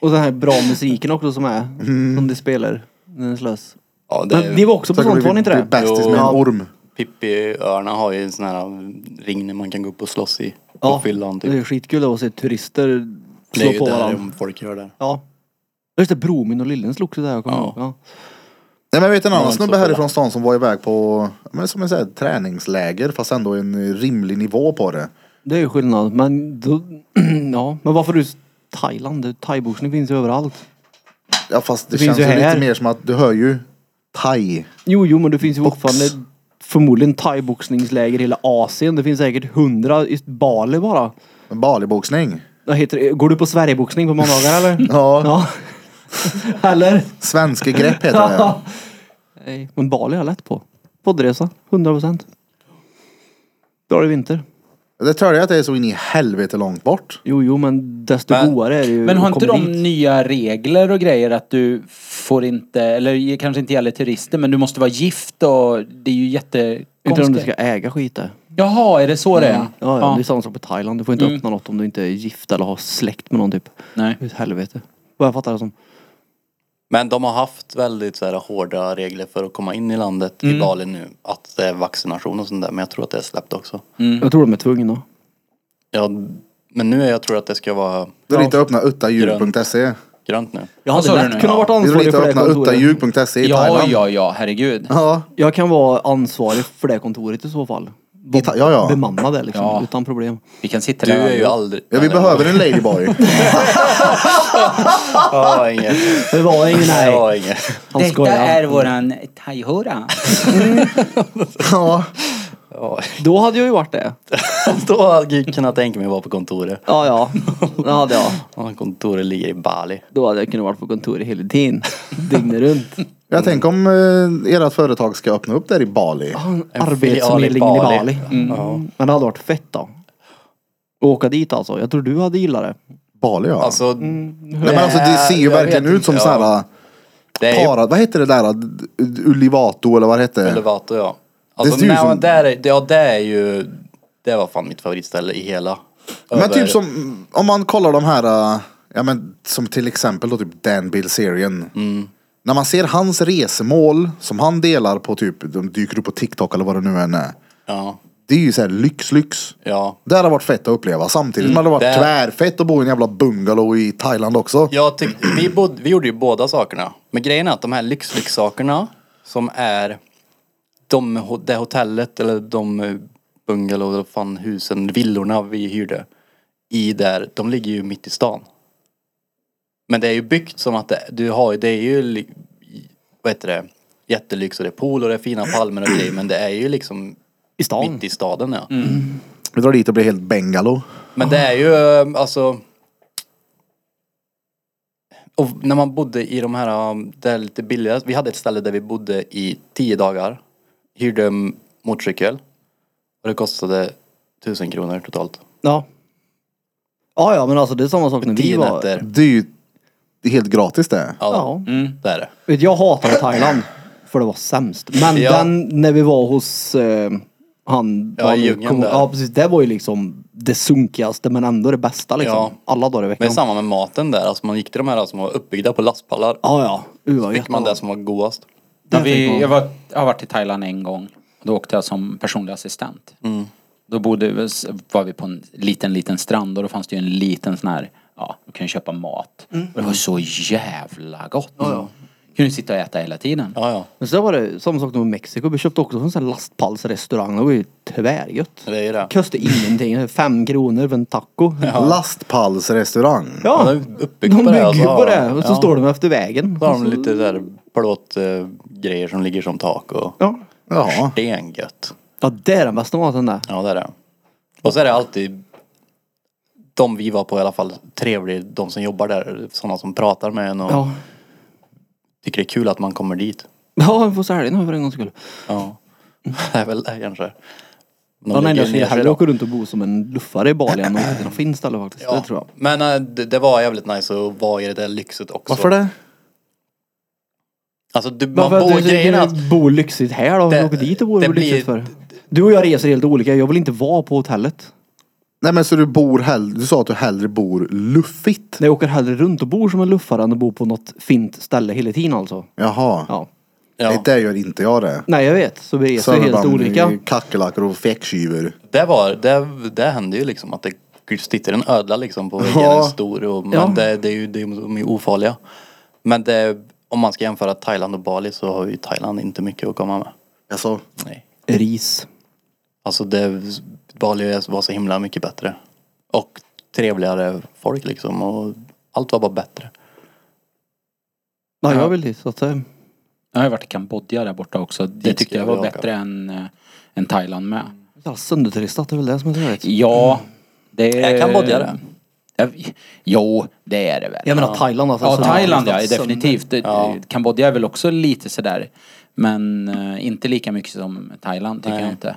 Och den här bra musiken också som är. Som de spelar. Den är slös. Ja, Mm. det Men ni är... var också på sånt var ni inte det? bästis med en Jo. orm. Pippi-öarna har ju en sån här ring där man kan gå upp och slåss i. På fyllan det är typ. skitkul att se turister Det är ju slå på varandra. där folk gör det. Ja. Just det, Bromin och Lillen slogs ju där jag kommer Ja. ihåg. Ja. Nej men jag vet en var annan inte snubbe så härifrån stan som var iväg på, ja, men som jag säger, träningsläger fast ändå en rimlig nivå på det. Det är ju skillnad. Men då, (clears throat) ja. Men varför du Thailand? Det- Thaiboxning finns ju överallt. Ja fast det, Det finns känns ju ju här. lite mer som att du hör ju thai. Jo, jo, men det finns ju fortfarande förmodligen thaiboxningsläger i hela Asien. Det finns säkert hundra i Bali bara. Baliboxning. Vad heter det? Går du på Sverigeboxning på måndagar eller? Ja. (laughs) ja. eller? Svenske grepp heter (laughs) det. Nej, men Bali har jag lätt på. Poddresa, 100 procent. Då är det vinter. Det tror jag att det är så in i helvete långt bort. Jo, jo, men desto Men- godare är det ju Men har att inte komma de dit. nya regler och grejer att du får inte, eller kanske inte gäller turister, men du måste vara gift och det är ju Inte om du ska jättekonstigt. äga skit där. Jaha, är det så det är? Ja, ja, det är samma sak på Thailand. Du får inte öppna något om du inte är gift eller har släkt med någon typ. Nej. Det är ett helvete. Vad jag fattar det som. Men de har haft väldigt så här, hårda regler för att komma in i landet Mm. i Bali nu. Att det är vaccination och sånt där. Men jag tror att det är släppt också. Jag tror de är tvungna. Ja, men nu är jag tror att det ska vara Du inte öppna uttadjur.se. grönt nu. Alltså, Jag Vad sa hade du lätt nu? kunnat Ja. vara Du ansvarig inte för det öppna kontoret. uttadjur.se i Ja, Thailand. Ja, ja, ja, herregud. ja. Jag kan vara ansvarig för det kontoret i så fall. I Ta- ja, ja. Bemanna det liksom, Ja. utan problem. Vi kan sitta Du där. är ju aldrig... Ja, vi eller- behöver en ladyboy. Ja, inget. Det var ingen (laughs) nej. Ja, inget. Han skojar. våran thaihora. ja. Ja, Då hade jag ju varit det. (laughs) då hade jag kunnat tänka mig att vara på kontoret. Ja, ja. Det hade jag. Ja, kontoret ligger i Bali. Då hade jag kunnat vara på kontoret hela tiden. Dygnet runt. Jag tänker om eh, ert företag ska öppna upp där i Bali. Ah. En Arbetsförmedlingen i filial i Bali. Bali. Mm. Men det hade varit fett då. Åka dit alltså. Jag tror du hade gillat det. Bali ja. Alltså, Nej, men alltså det ser ju jag verkligen vet ut som inte, sådana här eh, det är ju Para, vad heter det där? Ulivato eller vad hette det? Elevator ja. Alltså, Det ser ju det nej, som- men där är, ja, det är ju... Det var fan mitt favoritställe i hela. Men Över- typ som, om man kollar de här, äh, ja men som till exempel då typ Dan Bilzerian. Mm. När man ser hans resemål som han delar på typ, de dyker upp på TikTok eller vad det nu än är. Ja, Det är ju såhär lyx, lyx. ja. Det hade varit fett att uppleva samtidigt som det hade varit Mm. Det- tvärfett att bo i en jävla bungalow i Thailand också. Jag tyck, vi, bod, vi gjorde ju båda sakerna. Men grejen är att de här lyxlyxsakerna som är de, ho- det hotellet eller de eh, bungalow eller fan husen, villorna vi hyrde i där, de ligger ju mitt i stan. Men det är ju byggt som att det, du har ju, det är ju, li- vad heter det, jättelyx och det är pool och det är fina palmer och grejer men det är ju liksom I stan. mitt i staden ja. Vi drar dit och blir helt bengalo. Men det är ju eh, alltså... Och när man bodde i de här, um, det är lite billigare. Vi hade ett ställe där vi bodde i tio dagar. Hyrde en motorcykel. Och det kostade tusen kronor totalt. Ja. Ja, ja, men alltså det är samma sak när vi Tio var... nätter. Det är ju helt gratis det. Ja, Ja. det är det. Vet, jag hatade Thailand. För det var sämst. Men Ja. den, när vi var hos eh, han... Ja, vad han i nu djungeln kom- där. Ja, precis. Det var ju liksom det sunkigaste men ändå det bästa liksom. Ja. Alla dagar i veckan. Men samma med maten där. Alltså man gick till de här som var uppbyggda på lastpallar. Ja, ja. Uh, vad Fick gött man det det var. som var godast. Ja, Där fick vi, man- jag var, jag har varit i Thailand en gång. Då åkte jag som personlig assistent. Då bodde, vi- var vi på en liten, liten strand och då fanns det ju en liten sån här, ja, du kan ju köpa mat. Och det var så jävla gott. Mm. Kunde sitta och äta hela tiden. Ja, ja. Men sen var det samma sak med Mexiko. Vi köpte också en sån här lastpallsrestaurang. Det var ju tvärgött. Det är ju det. Kostade ingenting. Fem kronor för en taco. Ja. Lastpallsrestaurang. Ja, de är De uppbyggda på det, bygger alltså. på det. Och så Ja. står de efter vägen. Då har Och de så- eh, lite där plåtgrejer som ligger som tak och... Ja. Jaha. Stengött. Ja, det är den bästa maten där. Ja, det är det. Och så är det alltid de vi var på i alla fall trevlig, de som jobbar där, sådana som pratar med en och Ja. tycker det är kul att man kommer dit. Ja, vi får sälja den här för en gångs skull. Ja, det är väl det kanske. De Mm. Ja, nej, lägger jag ner skulle sig hellre då. åka runt och bo som en luffare i Bali än att åka till något fint ställe faktiskt. Ja. Det tror jag. Men eh, det, det var jävligt nice att vara i det där lyxet också. Varför det? Alltså du, man Varför bor att du grejen är att att... bo lyxigt här då? Det- Vi åker dit och bor det det blir- lyxigt för. Du och jag reser helt olika. Jag vill inte vara på hotellet. Nej men så du bor hellre, du sa att du hellre bor luffigt. Nej, Jag åker hellre runt och bor som en luffare än att bo på något fint ställe hela tiden alltså. Jaha. Ja. Nej, ja, det gör inte jag det. Nej, jag vet. Så vi reser helt olika. kackerlackor och fäckkyver. det var, det, det hände ju liksom att det sitter en ödla liksom på väggen, Ja. en stor och, men Ja. det, det är ju, det är, ju- de är ju ofarliga. Men det, om man ska jämföra Thailand och Bali så har ju Thailand inte mycket att komma med. Alltså, Nej. Ris. Alltså det, Bali var så himla mycket bättre. Och trevligare folk liksom och allt var bara bättre. Nej, Ja. jag vill dit. Så att, eh, Jag har ju varit i Kambodja där borta också. Det Dit tyckte ska jag jag var åka. bättre än, eh, än Thailand med. ja, sönderturistat är väl det som är trevligt. Ja, det Är Kambodja det? Jag- Jo, det är det väl. Jag menar Thailand alltså. Ja, Så- Thailand ja, Sönder- definitivt. Det- Ja. Kambodja är väl också lite sådär. Men eh, inte lika mycket som Thailand tycker Nej. jag inte.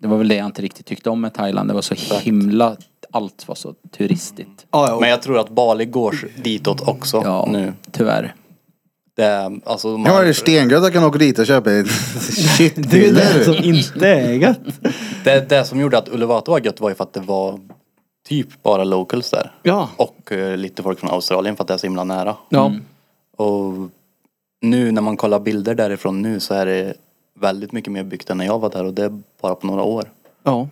Det var väl det jag inte riktigt tyckte om med Thailand. Det var så himla... Allt var så turistigt. Ja, ja. Men jag tror att Bali går ditåt också Ja, nu. tyvärr. Det, är- alltså, man, jag har stengött att jag kan åka dit och köpa ett Det är det som shitdiller. inte är gött. det, det som gjorde att Uluwatu var gött var ju för att det var typ bara locals där. Ja. Och eh, lite folk från Australien för att det är så himla nära. Ja. Och nu när man kollar bilder därifrån nu så är det väldigt mycket mer byggt än när jag var där och det är bara på några år. Ja.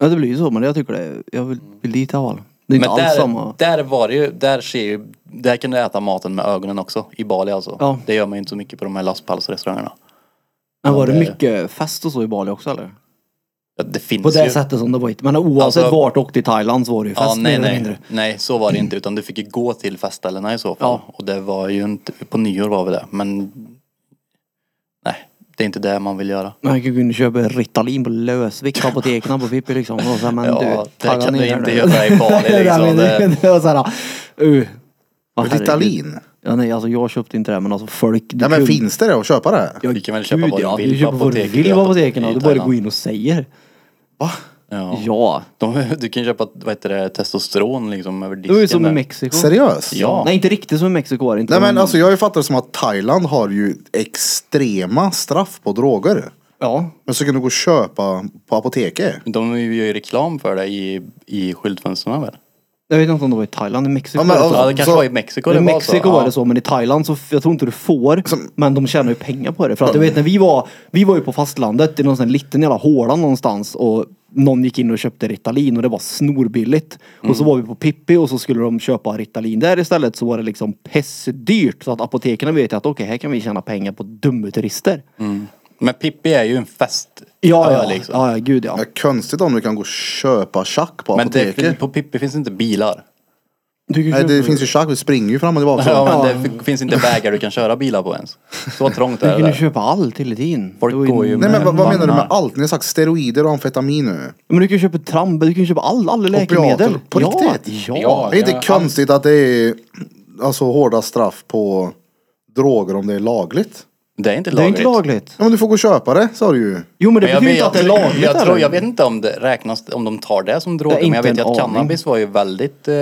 Ja det blir ju så men jag tycker det. Jag vill, vill dit i alla fall. Det är inte Men alls där, samma. där var det ju, där ser ju, där kan du äta maten med ögonen också. I Bali alltså. Ja. Det gör man ju inte så mycket på de här lastpallsrestaurangerna. Men var det det- mycket fest och så i Bali också eller? Ja, Det finns På det ju. sättet som det var hit. Men oavsett Alltså- vart du åkte i Thailand så var det ju fest Ja, nej, mer eller nej. mindre. nej, så var (clears throat) det inte. Utan du fick ju gå till festställena i så fall. Och det var ju inte, på nyår var vi det. Men nej, det är inte det man vill göra. Man kan ju kunna köpa Ritalin på Lösvikt, på apoteken på Fippi liksom. Och så, här, men Ja, du, det tagga kan ner du inte nu. göra i Bali, (laughs) Det där liksom. menar jag. Det- Det var såhär, uh. Vad herregud. Ritalin. Ja, nej, alltså jag köpte inte det men alltså folk. du Nej men kunde- finns det det att köpa det? Du kan väl köpa vad du ja, vill du köper vad du vill på apoteken. i ja. Du bara Thailand. går in och säger. Ja. Ja. De, du kan köpa, vad heter det, testosteron liksom över Det var ju disken som i där. Mexiko. Seriöst? Ja. Nej inte riktigt som i Mexiko var det inte. Nej men alltså jag har ju fattat det som att Thailand har ju extrema straff på droger. Ja. Men så kan du gå och köpa på apoteket. De gör ju reklam för det i, i skyltfönstren väl? Jag vet inte om det var i Thailand, i Mexiko Ja, men, var alltså, det Ja, så. det kanske Så- var i Mexiko I det Mexiko var Ja. det så, men i Thailand så, jag tror inte du får. Men de tjänar ju pengar på det. För att du vet när vi var, vi var ju på fastlandet i någon sån här liten jävla håla någonstans och någon gick in och köpte Ritalin och det var snorbilligt. Och Mm. så var vi på Pippi och så skulle de köpa Ritalin där istället så var det liksom pessdyrt. Så att apotekerna vet ju att okej, här kan vi tjäna pengar på dumma turister. Mm. Men Pippi är ju en fest. Ja, ja, ö, liksom. ja, ja, gud ja. Ja, konstigt om du kan gå och köpa tjack på Men det, apoteket. på Pippi finns inte bilar. Du kan Nej köpa- (laughs) det finns ju tjack, vi springer ju fram och tillbaka. Ja, men det f- finns inte vägar du kan köra bilar på ens. Så trångt du är det kunde där. köpa allt hela tiden. Folk Det var går ju Nej men vad, vad menar du med Vagnar. allt? Ni har sagt steroider och amfetamin nu. Men du kan ju köpa trampe, du kan ju köpa all, alla läkemedel. på ja, riktigt? Ja. Ja. Det är inte det- konstigt att det är alltså, hårda straff på droger om det är lagligt. Det är inte Det är lagligt. inte lagligt. Ja, men du får gå och köpa det, sa du ju. Jo men det Men jag, betyder vet, inte att det är lagligt jag, tror, eller? jag vet inte om det räknas, om de tar det som droger. Det är Men jag inte vet ju en att aning. cannabis var ju väldigt, eh,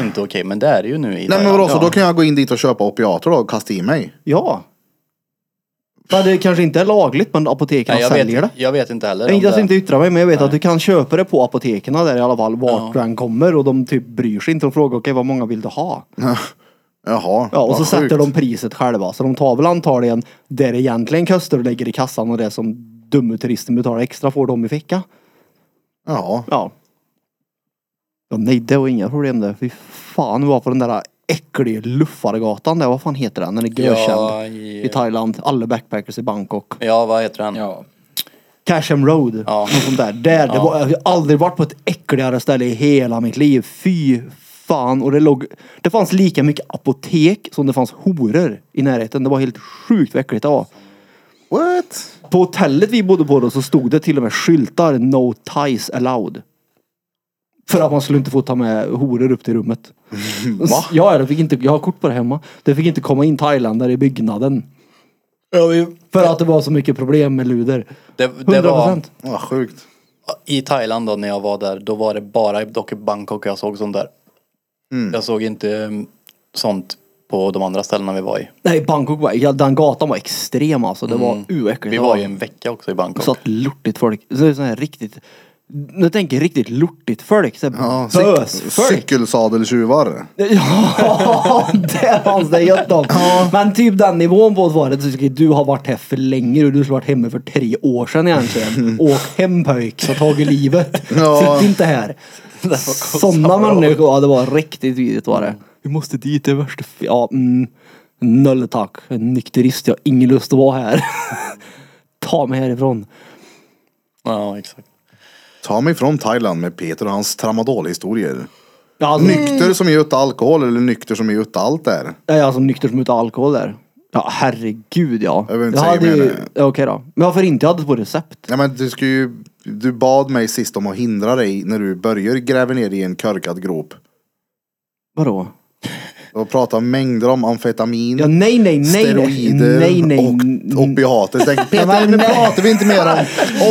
(clears throat) inte okej. men det är det ju nu i Nej men Thailand. vadå, så då kan jag gå in dit och köpa opiater då och kasta i mig? Ja. Men det kanske inte är lagligt men apoteken Nej, jag, säljer vet, det. jag vet inte heller Jag om inte ens det. inte yttra mig men jag vet att du kan köpa det på apoteken där i alla fall vart du än kommer och de typ bryr sig inte. De frågar okej vad många vill du ha? Jaha, Ja och vad så sjukt. sätter de priset själva. Så de tar väl antagligen det det egentligen kostar och lägger i kassan och det som dumme turisten betalar extra får de i ficka. Ja. Ja. ja nej, det var inga problem det. Fy fan, vi var på den där äckliga luffargatan där. Vad fan heter den? Den är görkänd. Ja, i... i- Thailand. Alla backpackers i Bangkok. Ja, vad heter den? Ja. Casham Road. Ja. Något sånt där. där det var, jag har aldrig varit på ett äckligare ställe i hela mitt liv. Fy fan. Och det låg... Det fanns lika mycket apotek som det fanns horor i närheten. Det var helt sjukt vad äckligt det var. What? På hotellet vi bodde på då så stod det till och med skyltar No ties allowed. För att man skulle inte få ta med horor upp till (laughs) rummet. Va? Ja, det fick inte, jag har kort på det hemma. Det fick inte komma in thailändare i byggnaden. För att det var så mycket problem med luder. Det, 100%. det var Vad sjukt. i Thailand då när jag var där, då var det bara dock i Bangkok jag såg sånt där. Jag såg inte mm, sånt på de andra ställena vi var i. Nej, Bangkok var, ja, den gatan var extrem alltså. Det var uäckligt. Mm. Vi var ju en vecka också i Bangkok. Så att lortigt folk. Så det är sån här riktigt. Nu tänker jag riktigt lortigt folk. Så Ja, här cyk- bösfolk. cykelsadeltjuvar. (laughs) Ja, det fanns det gött om. Men typ den nivån på svaret, så tycker jag, du har varit här för länge och du skulle varit hemma för tre år sedan (laughs) egentligen. Åk hem pöjk, så tagit livet. Ja. Sitt inte (laughs) här. Sådana människor, ja det var riktigt vidrigt var det. Vi måste dit, det är värsta f- Ja, mm, noll tack. Jag är Nykterist, jag har ingen lust att vara här. (laughs) Ta mig härifrån. Ja, exakt. Ta mig från Thailand med Peter och hans tramadolhistorier. Ja, alltså, Nykter som är ute alkohol eller nykter som är ute allt där. Jag är alltså nykter som utan alkohol där. Ja herregud ja. Jag vill inte säga hade mer ju- nu. ja, Okej då. Men varför inte? Jag hade på recept. Ja, men du, ska ju, du bad mig sist om att hindra dig när du börjar gräva ner i en körkad grop. Vadå? Och prata mängder om amfetamin, Ja nej nej nej nej steroider nej nej. och opiater. Så tänkte jag, Ja, Peter, men nu nej. pratar vi inte mer om...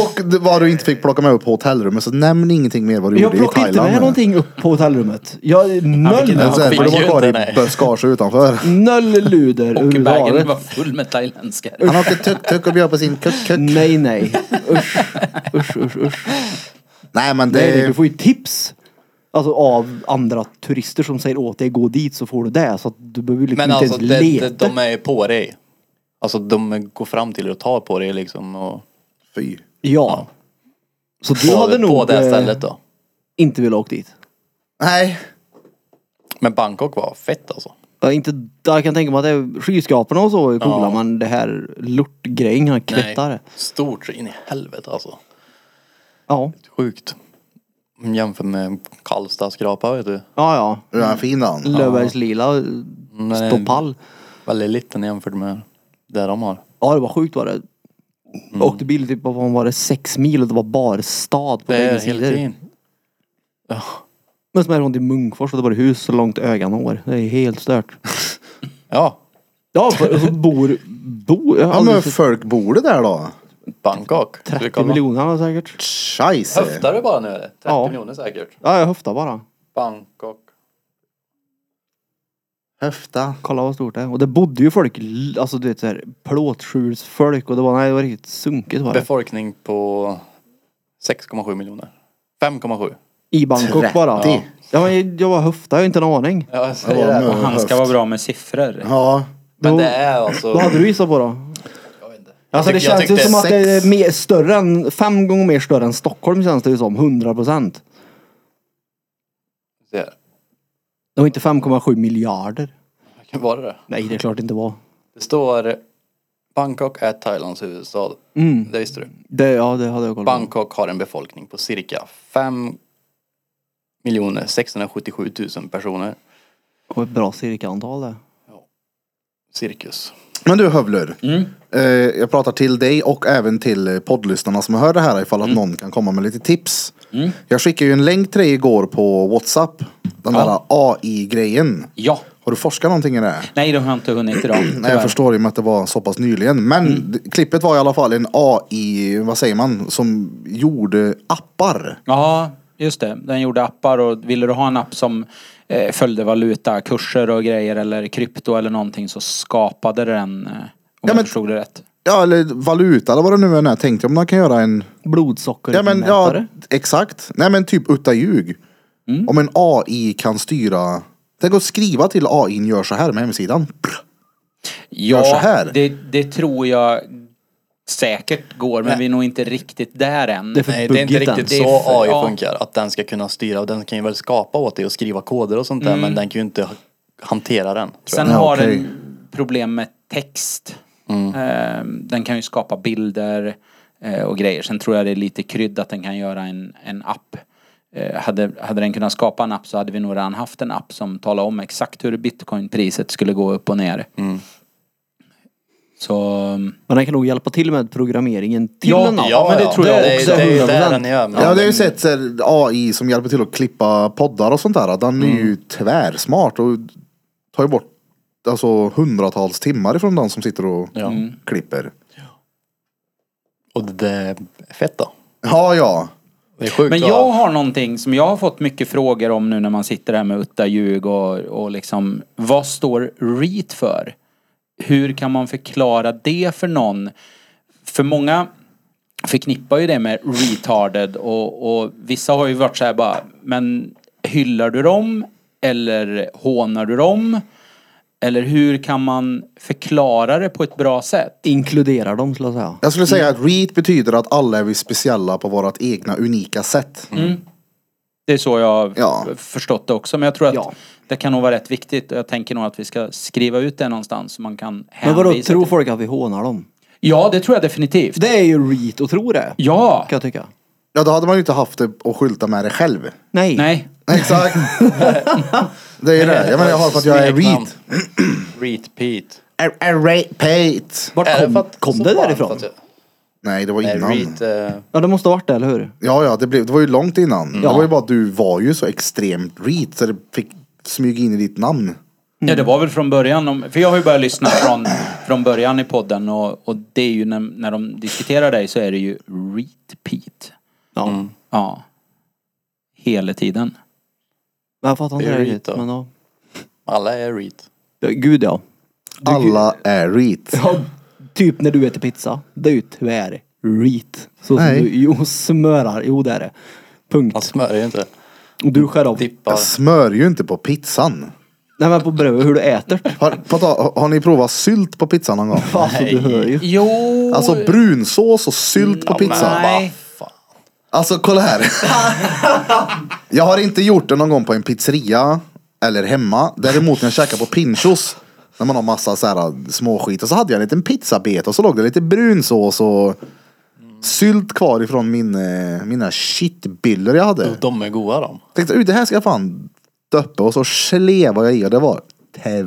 Och det- vad du inte fick plocka med upp på hotellrummet. Så nämn ingenting mer vad du Jag gjorde i plockade Thailand. Alltså- inte med någonting upp på hotellrummet. Jag noll, Men sen, för fick de ju var kvar inte, nej. i buskage utanför. noll luder Och bagen var överhuvudtaget. full med thailändskar. Han åkte tuk-tuk och bjöd på sin kuk-kuk. Nej nej. Usch usch usch usch. Nej men det... Nej, nej, du får ju tips. Alltså av andra turister som säger åt dig gå dit så får du det. Så att du behöver ju liksom Men inte alltså ens det, leta. det, de är på dig. Alltså de går fram till dig och tar på dig liksom och Fy. Ja. Så du på, hade nog på det eh, stället då. inte velat åka dit. Nej. Men Bangkok var fett alltså. Ja, inte, jag kan tänka mig att det är skyskraporna och så är coola men det här lortgrejen, den här klättare. Stort så in i helvete alltså. Ja, Sjukt. Jämför med Karlstadskrapa vet du. ja, ja. Hur är han fin han? Löfbergs lila Nej. ståpall. Väldigt liten jämfört med det de har. Ja det var sjukt var det. Mm. Åkte bil typ, vad fan var det, sex mil och det var barstad på Det bägge är hela sidor. tiden. Men som är runt i Munkfors och det var hus så långt ögat når. Det är helt stört. Ja, (laughs) Ja, för, och så bor, bor, jag har Ja men aldrig sett folk bor det där då? Bangkok. Ska vi 30 kolla? miljoner har jag säkert. Scheisse. Höftar du bara nu eller? 30 Ja. miljoner säkert. Ja jag höftar bara. Bangkok. Höfta. Kolla vad stort det är. Och det bodde ju folk, l- alltså du vet såhär plåtskjulsfolk och det var, nej det var riktigt sunkigt var det. Befolkning på 6,7 miljoner. 5,7. I Bangkok bara. Ja. men jag var höfta, jag har inte en aning. Ja, jag säger Ja, men- det. Och han ska vara bra med siffror. Ja. Då, Men det är alltså... Vad hade du gissat på då? Alltså det tycker- jag känns ju tyckte som att det sex. är mer, större än, fem gånger mer större än Stockholm känns det ju som. 100 procent. Det Det var inte 5,7 miljarder. kan vara det. Nej det är klart det inte var. Det står Bangkok är Thailands huvudstad. Det visste du. Mm. Det, ja det hade jag koll på. Bangkok har en befolkning på cirka 5 miljoner 677 000 personer. Och ett bra cirkaantal det. Cirkus. Men du Hövler. Eh, jag pratar till dig och även till eh, poddlyssnarna som hör det här ifall att någon kan komma med lite tips. Jag skickade ju en länk till dig igår på Whatsapp. Den där AI-grejen. Ja. Har du forskat någonting i det? här? Nej, de har inte hunnit idag. Nej, jag tyvärr. förstår i och med att det var så pass nyligen. Men d- klippet var i alla fall en AI, vad säger man, som gjorde appar. Ja, just det. Den gjorde appar och ville du ha en app som eh, följde valuta, kurser och grejer eller krypto eller någonting så skapade den, eh, om jag men- förstod det rätt. Ja, eller valuta eller vad det nu än är. Tänkte jag om man kan göra en... Ja, men, ja, Blodsockermätare. exakt. Nej, men typ utta ljug. Mm. Om en AI kan styra... Tänk att skriva till AI n gör så här med hemsidan. Prr. Ja, så här. Det, det tror jag säkert går men vi är nog inte riktigt där än. Det är för Nej, det är inte buggigt riktigt den. så Det är för- AI ja. funkar. Att den ska kunna styra. Och den kan ju väl skapa åt dig och skriva koder och sånt där. Men den kan ju inte hantera den. Tror jag. Sen Ja, har okej. Mm. den problem med text. Ehm, Den kan ju skapa bilder eh, och grejer. Sen tror jag det är lite krydd att den kan göra en, en app. Eh, Hade, hade den kunnat skapa en app så hade vi nog redan haft en Mm. app som talar om exakt hur bitcoinpriset skulle gå upp och ner. Så... ehm, Men den kan nog hjälpa till med programmeringen till Ja, en app. ja, men det tror jag är också. också. Det, är ju där 100%. den är. men- Ja, det har ju sett så här, AI som hjälper till att klippa poddar och sånt där. Den är ju Mm. tvärsmart och tar ju bort alltså, hundratals timmar ifrån den som sitter och Ja. Mm. klipper. Och det är fett då. Ja, ja. Det är sjukt. Men va? jag har någonting som jag har fått mycket frågor om nu när man sitter här med utta ljug och, och liksom vad står REIT för? Hur kan man förklara det för någon? För många förknippar ju det med retarded och, och vissa har ju varit så här bara men hyllar du dem eller hånar du dem? Eller hur kan man förklara det på ett bra sätt? Inkluderar dem skulle jag säga. Jag skulle säga att REIT betyder att alla är vi speciella på vårt egna unika sätt. Mm. Det är så jag har Ja. f- förstått det också. Men jag tror att Ja. det kan nog vara rätt viktigt. Jag tänker nog att vi ska skriva ut det någonstans så man kan Men hänvisa vadå, tror till. folk att vi hånar dem? Ja, det tror jag definitivt. Det är ju reet att tro det. Ja! Kan jag tycka. Ja, då hade man ju inte haft det och skylta med det själv. Nej. Nej. Mm. Exakt. det är ju det. Jag menar, jag har för att jag är Smeknamn. REIT. (clears throat) Reed Pete. REIT. Vart Är kom, för att- kom så det fan därifrån? för att jag- Nej, det var Nej, innan. Reed, eh, Ja, det måste ha varit det, eller hur? Ja, ja, det, blev, det var ju långt innan. Det Ja. var ju bara att du var ju så extremt reet så det fick smyga in i ditt namn. Ja, det var väl från början. om- För jag har ju börjat lyssna från, från början i podden och, och det är ju när, när de diskuterar dig så är det ju repeat. Ja. Ja. Hela tiden. Men jag fattar inte Det är det reet riktigt. då. Men ja. alla är Reed. Ja, Gud ja. Alla är reet. ja. Typ när du äter pizza. Det är ju tyvärr reet. Så som Nej. du, jo, smörar. Jo, det är det. Punkt. Man smörjer ju inte. Och du skär av. typ- Dippar. Jag smör ju inte på pizzan. Nej, men på brödet, hur du (laughs) äter. Har, på tal- har ni provat sylt på pizzan någon gång? Alltså, du hör ju. Jo! Alltså brunsås och sylt på Mm. pizza. Nej. Alltså kolla här. jag har inte gjort det någon gång på en pizzeria eller hemma. Däremot när jag käkar på Pinchos. När man har massa så här äh, småskit. Och så hade jag en liten pizzabet och så låg det lite brunsås och sylt kvar ifrån min, eh, mina shitbyllor jag hade. De är goda de. Tänkte, "Ui, det här ska jag fan döppa och så slevar jag i och det var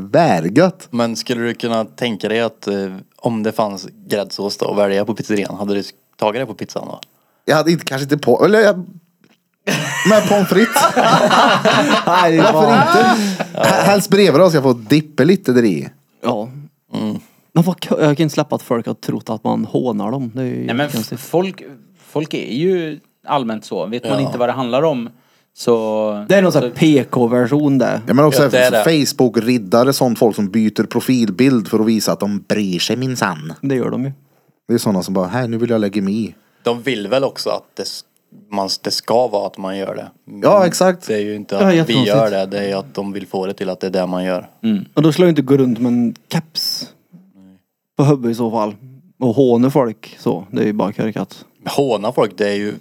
tvärgött. Men skulle du kunna tänka dig att eh, om det fanns gräddsås då att välja på pizzerian, hade du tagit det på pizzan då? Jag hade inte, kanske inte på, eller jag, med pommes frites. Nej, det Varför var... inte? H- Helst bredvid då så jag får dippa lite där i. Ja. Mm. Men vad, jag kan inte släppa att folk har trott att man hånar dem. Det är ju Nej men f- konstigt. folk, folk är ju allmänt så. Vet man inte vad det handlar om så... Det är någon sån här PK-version där. Ja, men också Ja, det är det. Facebook-riddare, sånt folk som byter profilbild för att visa att de bryr sig minsann. Det gör de ju. Det är sådana som bara, här nu vill jag lägga mig i. De vill väl också att det, s- man, det ska vara att man gör det. Ja, exakt. Mm. Det är ju inte Ja, att vi jättekonstigt. gör det, det är ju att de vill få det till att det är det man gör. Och då skulle jag inte gå runt med en keps. På huvudet i så fall. Och håna folk så. Det är ju bara korkat. Håna folk, det är ju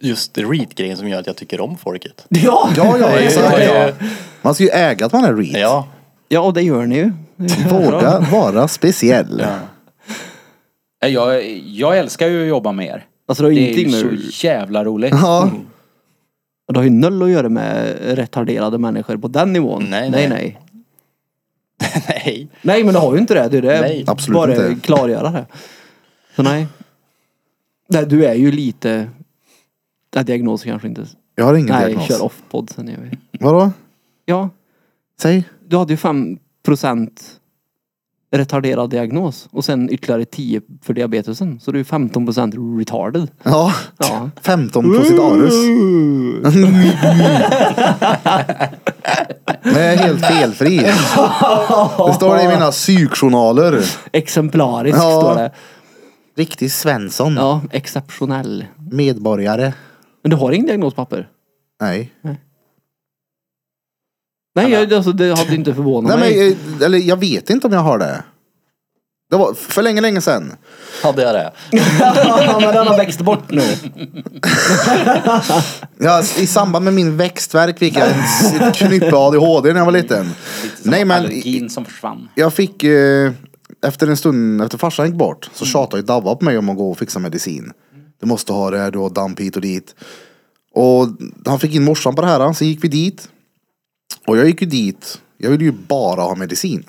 just read-grejen som gör att jag tycker om folket. Ja! (laughs) Ja, ja, Det är ju- exakt. det är ju- Man ska ju äga att man är read. Ja, Ja, och det gör ni ju. Det är bra. (laughs) Våga vara speciell. Nej, Eh, Jag, jag älskar ju att jobba med er. Alltså det har ju Det är ju ingenting med... så jävla roligt. Ja. Mm. Det har ju noll att göra med retarderade människor på den nivån. Nej, nej. nej. Nej, nej. Nej, men det har ju inte det. Det är det. Nej. Absolut bara inte. klargöra det. Så nej. nej. Du är ju lite... Nej, diagnos kanske inte. Jag har ingen nej, diagnos. kör off-podd sen gör vi. Vadå? Ja, Säg. du hade ju 5% retarderad diagnos och sen ytterligare 10 för diabetesen. Så du är 15% retarded. Ja. Ja. 15 (laughs) Posidarius. Men jag är helt felfri. Det står det i mina psykjournaler. Exemplariskt Ja. står det. Riktig Svensson. Ja, exceptionell. Medborgare. Men du har ingen diagnospapper? Nej. Mm. Nej, jag, alltså, det hade inte förvånat Nej, mig. men, eh, eller jag vet inte om jag har det. Det var för länge, länge sedan. Hade jag det? ja, men den har växt bort nu. Ja, I samband med min växtverk fick jag en s- ett knyppe ADHD när jag var liten. Lite som Nej men Allergin som försvann. jag fick, eh, efter en stund, efter farsan gick bort, så tjatade ju Davva på mig om att gå och fixa medicin. Du måste ha det här, du har damp hit och dit. Och han fick in morsan på det här, så gick vi dit. Och jag gick ju dit, jag ville ju bara ha medicin.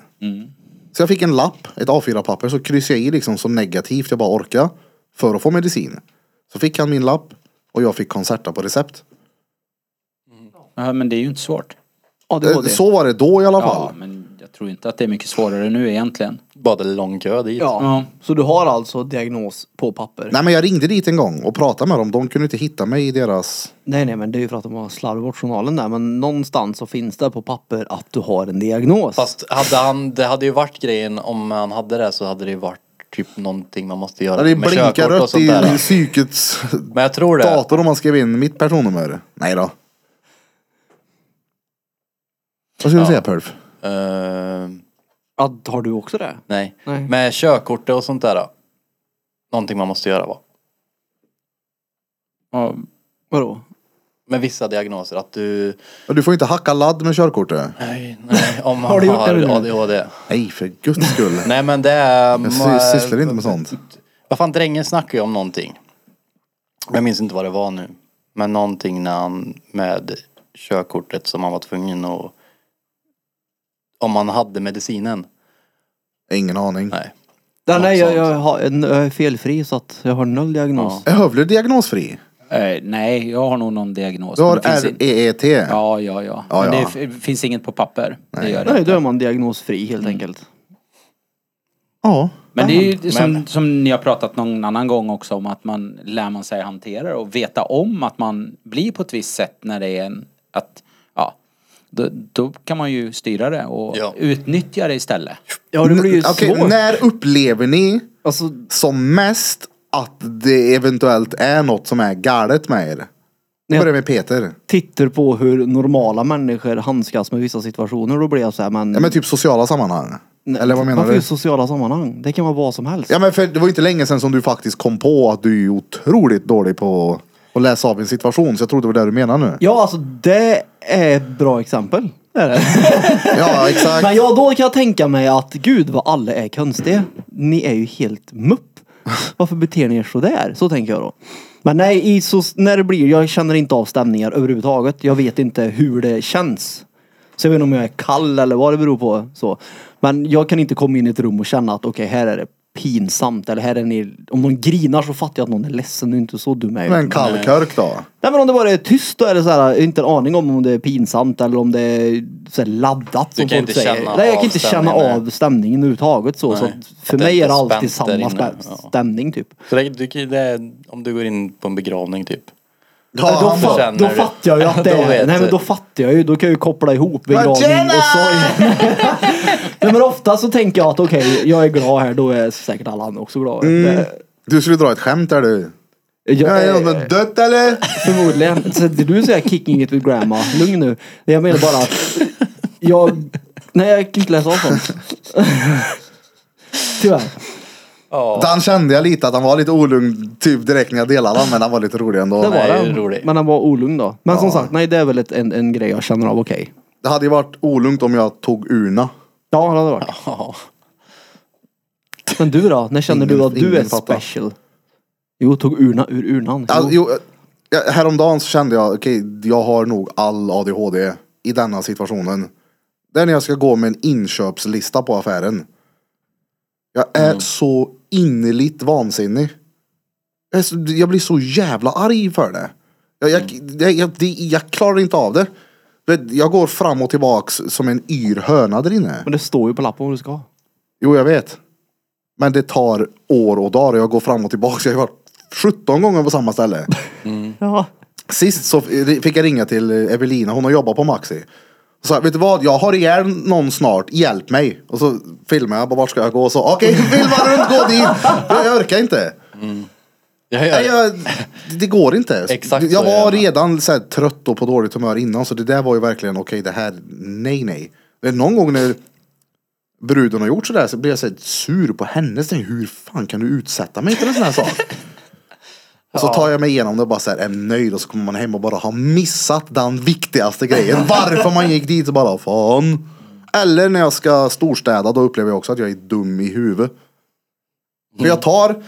Så jag fick en lapp, ett A4-papper, så kryssade jag i liksom så negativt jag bara orkade. För att få medicin. Så fick han min lapp och jag fick Concerta på recept. Ja, men det är ju inte svårt. Ja, det var Eh, det. Så var det då i alla Ja, fall. men jag tror inte att det är mycket svårare nu egentligen. Bara det är lång kö dit. Ja. Ja. Så du har alltså diagnos på papper? Nej men jag ringde dit en gång och pratade med dem. De kunde inte hitta mig i deras... Nej, nej, men det är ju för att de har slarvat bort journalen där. Men någonstans så finns det på papper att du har en diagnos. Fast hade han, det hade ju varit grejen om han hade det så hade det ju varit typ någonting man måste göra Ja, det med blinkar körkort och rött sånt i där. psykets Men jag tror det. dator om man skrev in mitt personnummer. Nej då. Vad skulle du säga Perf? Eh, Ja, har du också det? nej. Nej. Med körkortet och sånt där. Någonting man måste göra va? Ja, Vadå? Med vissa diagnoser att du... Ja, Du får ju inte hacka ladd med körkortet. Nej, nej, (laughs) om man Har du gjort det nu? har ADHD. Nej för guds skull. Nej men det är... Jag sy- sysslar inte med sånt. Vad fan, drängen snackar ju om någonting. Jag minns inte vad det var nu. Men någonting när han med körkortet som han var tvungen att... Om man hade medicinen. Ingen aning. Nej. Nej, Något nej jag, sånt. jag, har en, jag är felfri så att jag har noll diagnos. Är Hövler diagnosfri? eh, nej, jag har nog någon diagnos. Du har E men det finns i- REET. Ja, ja, ja. Ja, men det ja. f- finns inget på papper. Det gör det. Nej, då är man diagnosfri Mm. helt enkelt. Ja. Men det är ju som, Men- som ni har pratat någon annan gång också om att man lär man sig hantera och veta om att man blir på ett visst sätt när det är en, att, ja, då, då kan man ju styra det och Ja. utnyttja det istället. Ja, det blir ju Okej, svårt. när upplever ni Alltså, som mest att det eventuellt är något som är galet med er? Nej. Jag börjar med Peter. tittar på hur normala människor handskas med vissa situationer, då blir jag så här, men... Ja men typ sociala sammanhang. Eller vad menar Varför du? just sociala sammanhang? Det kan vara vad som helst. Ja men för det var ju inte länge sedan som du faktiskt kom på att du är otroligt dålig på att läsa av en situation. Så jag tror det var det du menar nu. Ja, alltså det är ett bra exempel. Det är det. Ja exakt. Men ja, då kan jag tänka mig att gud vad alla är konstiga. Ni är ju helt mupp. Varför beter ni er sådär? Så tänker jag då. Men nej, i så, när det blir, jag känner inte av stämningar överhuvudtaget. Jag vet inte hur det känns. Så jag vet inte om jag är kall eller vad det beror på. Så. Men jag kan inte komma in i ett rum och känna att okej, här är det pinsamt. Eller här är ni, om någon grinar så fattar jag att någon är ledsen. Det är inte så dum jag är. Men kallkörk då? Nej men om det bara är tyst då är det så här, jag har inte en aning om om det är pinsamt eller om det är så här laddat som kan folk inte säger. känna Nej jag kan av inte känna stämningen, nej. av stämningen överhuvudtaget så. Nej. så att för Att det mig inte är det är alltid spänt där samma inne, spä- ja. stämning typ. Så det, det, det är, om du går in på en begravning typ. Nej, Ja, då, han fa- känner då det. fattar jag ju att det (laughs) Då är, vet nej men du. då fattar jag ju, då kan jag ju koppla ihop begravning och sorg. (laughs) nej men ofta så tänker jag att okej, jag är glad här, då är säkert alla andra också glada. Det- Du skulle dra ett smämt där du. jag- Mm. Ja, är någon som är dött eller? Förmodligen. Så det du säger kicking it with grandma. Lugn nu. Det Jag menar bara att jag... Nej, jag kan inte läsa av sånt. (laughs) Tyvärr. Den kände jag lite att han var lite olugn typ direkt när jag delade han men han var lite rolig ändå. Det var Nej, det är den. roligt. Men den var olugn då. Men som sagt, nej det är väl ett, en, en grej jag känner av okej. Det hade ju varit olugnt om jag tog urna. Ja, det hade det varit. Ja. Men du då? När känner du Ingen- att du ingen är fattar. special? Jo, tog urna ur urnan. Ja, Jo. jo, eh, ja, häromdagen så kände jag, okej, jag har nog all ADHD i denna situationen. Det är när jag ska gå med en inköpslista på affären. Jag är så innerligt vansinnig. Jag, är så, jag blir så jävla arg för det. Jag, jag, jag, jag, det, jag klarar inte av det. Du vet, Jag går fram och tillbaks som en yr höna där inne. Men det står ju på lappen vad du ska ha. Jo, jag vet. Men det tar år och dagar och jag går fram och tillbaks. Jag har varit 17 gånger på samma ställe. Ja. Sist så fick jag ringa till Evelina, hon har jobbat på Maxi. Och sa, vet du vad, jag har ihjäl någon snart, hjälp mig. Och så filmade jag, bara, vart ska jag gå? Och så, okej, filma runt, gå dit. Jag orkar inte. Jag Nej, gör, jag, det går inte. Exakt jag så är var det. redan så här, trött och på dåligt humör innan, så det där var ju verkligen, okej, det här, nej, nej. Det är någon gång när bruden har gjort sådär så blir jag så här, sur på henne. Så tänker jag, hur fan kan du utsätta mig för en sån här sak? (laughs) Och så tar jag mig igenom det och bara så här, är nöjd och så kommer man hem och bara har missat den viktigaste (laughs) grejen. Varför man gick dit och bara fan. Eller när jag ska storstäda då upplever jag också att jag är dum i huvudet. För jag tar,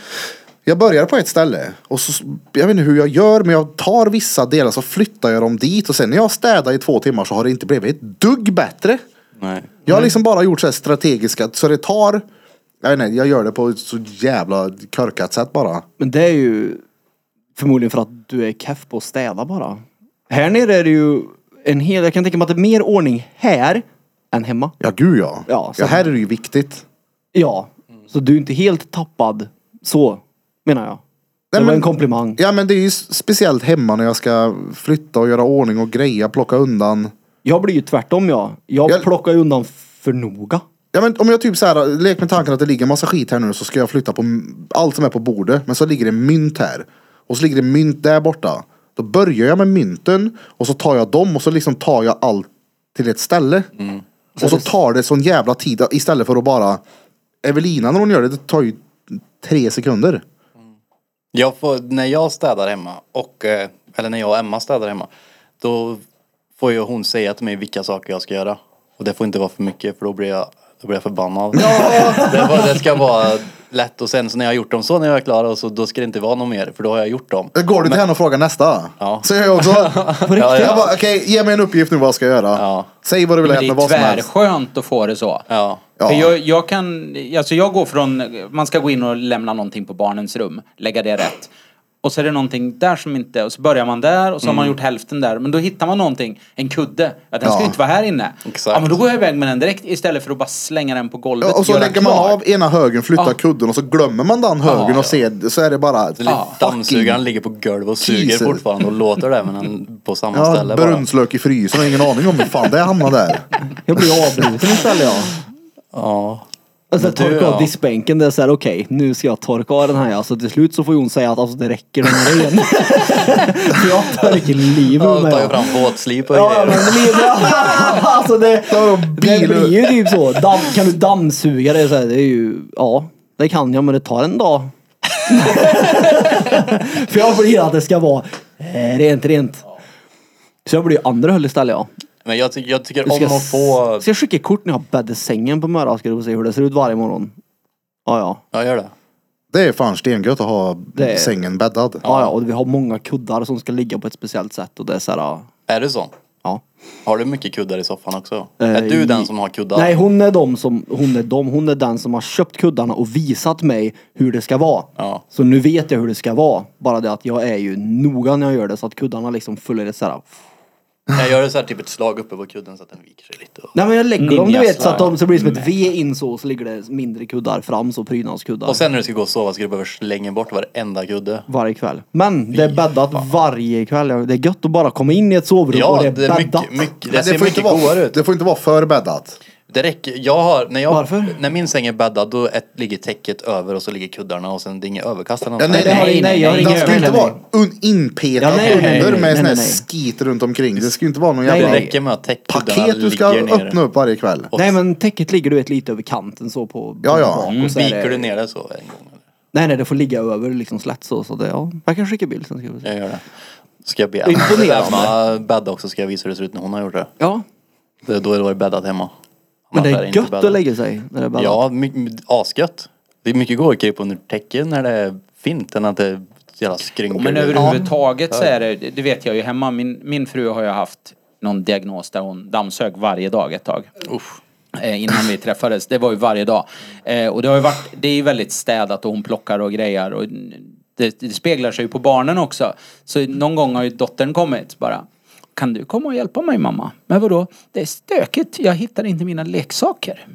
jag börjar på ett ställe och så, jag vet inte hur jag gör men jag tar vissa delar så flyttar jag dem dit och sen när jag städar i två timmar så har det inte blivit ett dugg bättre. Nej. Jag har liksom bara gjort så här strategiska, så det tar, jag vet inte, jag gör det på ett så jävla korkat sätt bara. Men det är ju förmodligen för att du är keff på att städa bara. Här nere är det ju en hel, jag kan tänka mig att det är mer ordning här än hemma. Ja gud ja. Ja, så- ja här är det ju viktigt. Ja. Så du är inte helt tappad så, menar jag. Det Nej, var men- en komplimang. Ja men det är ju s- speciellt hemma när jag ska flytta och göra ordning och greja, plocka undan. Jag blir ju tvärtom jag. Jag, Jag- plockar ju undan för noga. Ja men om jag typ så här, lek med tanken att det ligger en massa skit här nu så ska jag flytta på m- allt som är på bordet. Men så ligger det mynt här. Och så ligger det mynt där borta. Då börjar jag med mynten och så tar jag dem och så liksom tar jag allt till ett ställe. Mm. Och så tar det sån jävla tid istället för att bara Evelina när hon gör det, det tar ju tre sekunder. Jag får, när jag städar hemma, och, eh, eller när jag och Emma städar hemma, då får ju hon säga till mig vilka saker jag ska göra. Och det får inte vara för mycket för då blir jag, då blir jag förbannad. (laughs) det, var, det ska vara lätt och sen så när jag har gjort dem så när jag är klar och så, då ska det inte vara något mer för då har jag gjort dem. Går du till henne och frågar nästa? Ja. Så gör jag också. (laughs) ja. Jag bara, okej, ge mig en uppgift nu vad jag ska göra. Ja. Säg vad du vill Men det äta, är vad som helst. tvärskönt att få det så. Ja. Ja. För jag, jag kan, alltså jag går från, man ska gå in och lämna någonting på barnens rum, lägga det rätt. Och så är det någonting där som inte, och så börjar man där och så har man gjort hälften där. Men då hittar man någonting, en kudde. Ja, den ska Mm. Ja. ju inte vara här inne. Exakt. Ja, men då går jag iväg med den direkt istället för att bara slänga den på golvet. Ja, och så göra lägger man klart. av ena högen, flyttar Ja. kudden och så glömmer man den högen och ser, så är det bara Ah, Ja. Dammsugaren ligger på golvet och suger Jesus. fortfarande och låter det men han på samma ja, ställe bara. brunnslök i frysen och ingen aning om hur fan det hamnade där. Jag blir avbruten istället jag. Ja. Alltså Men du, torka av ja. diskbänken, det är såhär okej nu ska jag torka av den här ja. Så till slut så får Jon säga att alltså det räcker den är (laughs) ren. För jag torkar livet Då ur mig. tar jag ja. fram våtslip och Ja, grejer. men det blir det. (laughs) Alltså (laughs) det, det blir ju typ så. Damm, kan du dammsuga det så här, det är ju, ja. Det kan jag men det tar en dag. (laughs) För jag blir att det ska vara eh, rent, rent. Så jag blir ju andra höll istället ja. Men jag, ty- jag tycker Du om ska, att få... ska jag skicka kort när jag bäddar sängen på morgonen ska du få se hur det ser ut varje morgon. Ja ja. Ja, gör det. Det är fan stengött att ha Det är- sängen bäddad. Ja ja och vi har många kuddar som ska ligga på ett speciellt sätt och det är så här, ja. Är du sån? ja. Har du mycket kuddar i soffan också? Eh, är du den som har kuddar? Nej hon är, de som, hon är de, hon är den som har köpt kuddarna och visat mig hur det ska vara. Ja. Så nu vet jag hur det ska vara. Bara det att jag är ju noga när jag gör det så att kuddarna liksom följer ett såhär. Jag gör så här, typ ett slag uppe på kudden så att den viker sig lite. Och, Nej men jag lägger dem du vet så att de Ninjaslöja. så blir det som ett V in så och så ligger det mindre kuddar fram så prydnadskuddar. Mm. och sen när du ska gå och sova ska du behöva slänga bort varenda kudde. Varje kväll. Men det är bäddat varje kväll. Det är gött att bara komma in i ett sovrum och Ja, det det, är är bäddat. mycket, mycket, det, Men ser får inte mycket vara, godare ut. det får inte vara för bäddat. Det räcker, jag har, när, jag, Varför? när min säng är bäddad då är, ligger täcket över och så ligger kuddarna och sen det är inget överkast eller något. Ja, nej, Det har- nej, nej, jag har Den inga ska inte överlämning. vara un- inpetad Ja, nej, nej, nej, under med nej, sån här nej, nej. skit runt omkring. Det ska ju inte vara någon Nej, jävla Det nej. räcker med att täckkuddarna paket du ska ligger ner. öppna upp varje kväll. Nej men täcket ligger du vet lite över kanten så på Ja, ja. bak Mm, och så är det- Viker du ner det så en gång? eller? Nej nej det får ligga över liksom slätt så. så det, ja. Jag kan skicka bild sen ska vi se. Jag gör det. Ska jag be Imponerande. Emma bädda också ska jag visa hur det ser ut när hon har gjort det. Ja. det då är det bäddat hemma. Men det Annars är inte gött bäddat. att lägga sig när det är bäddat. Ja, my- my- asgött. Det är mycket godare att krypa under täcken när det är fint än att det är jävla skrynkor. Men överhuvudtaget så är det, det vet jag ju hemma, min, min fru har ju haft någon diagnos där hon dammsög varje dag ett tag. Eh, innan vi träffades, det var ju varje dag. Eh, och det har ju varit, det är ju väldigt städat och hon plockar och grejar och det, det speglar sig ju på barnen också. Så någon gång har ju dottern kommit bara. Kan du komma och hjälpa mig mamma? Men vadå? Det är stökigt, jag hittar inte mina leksaker.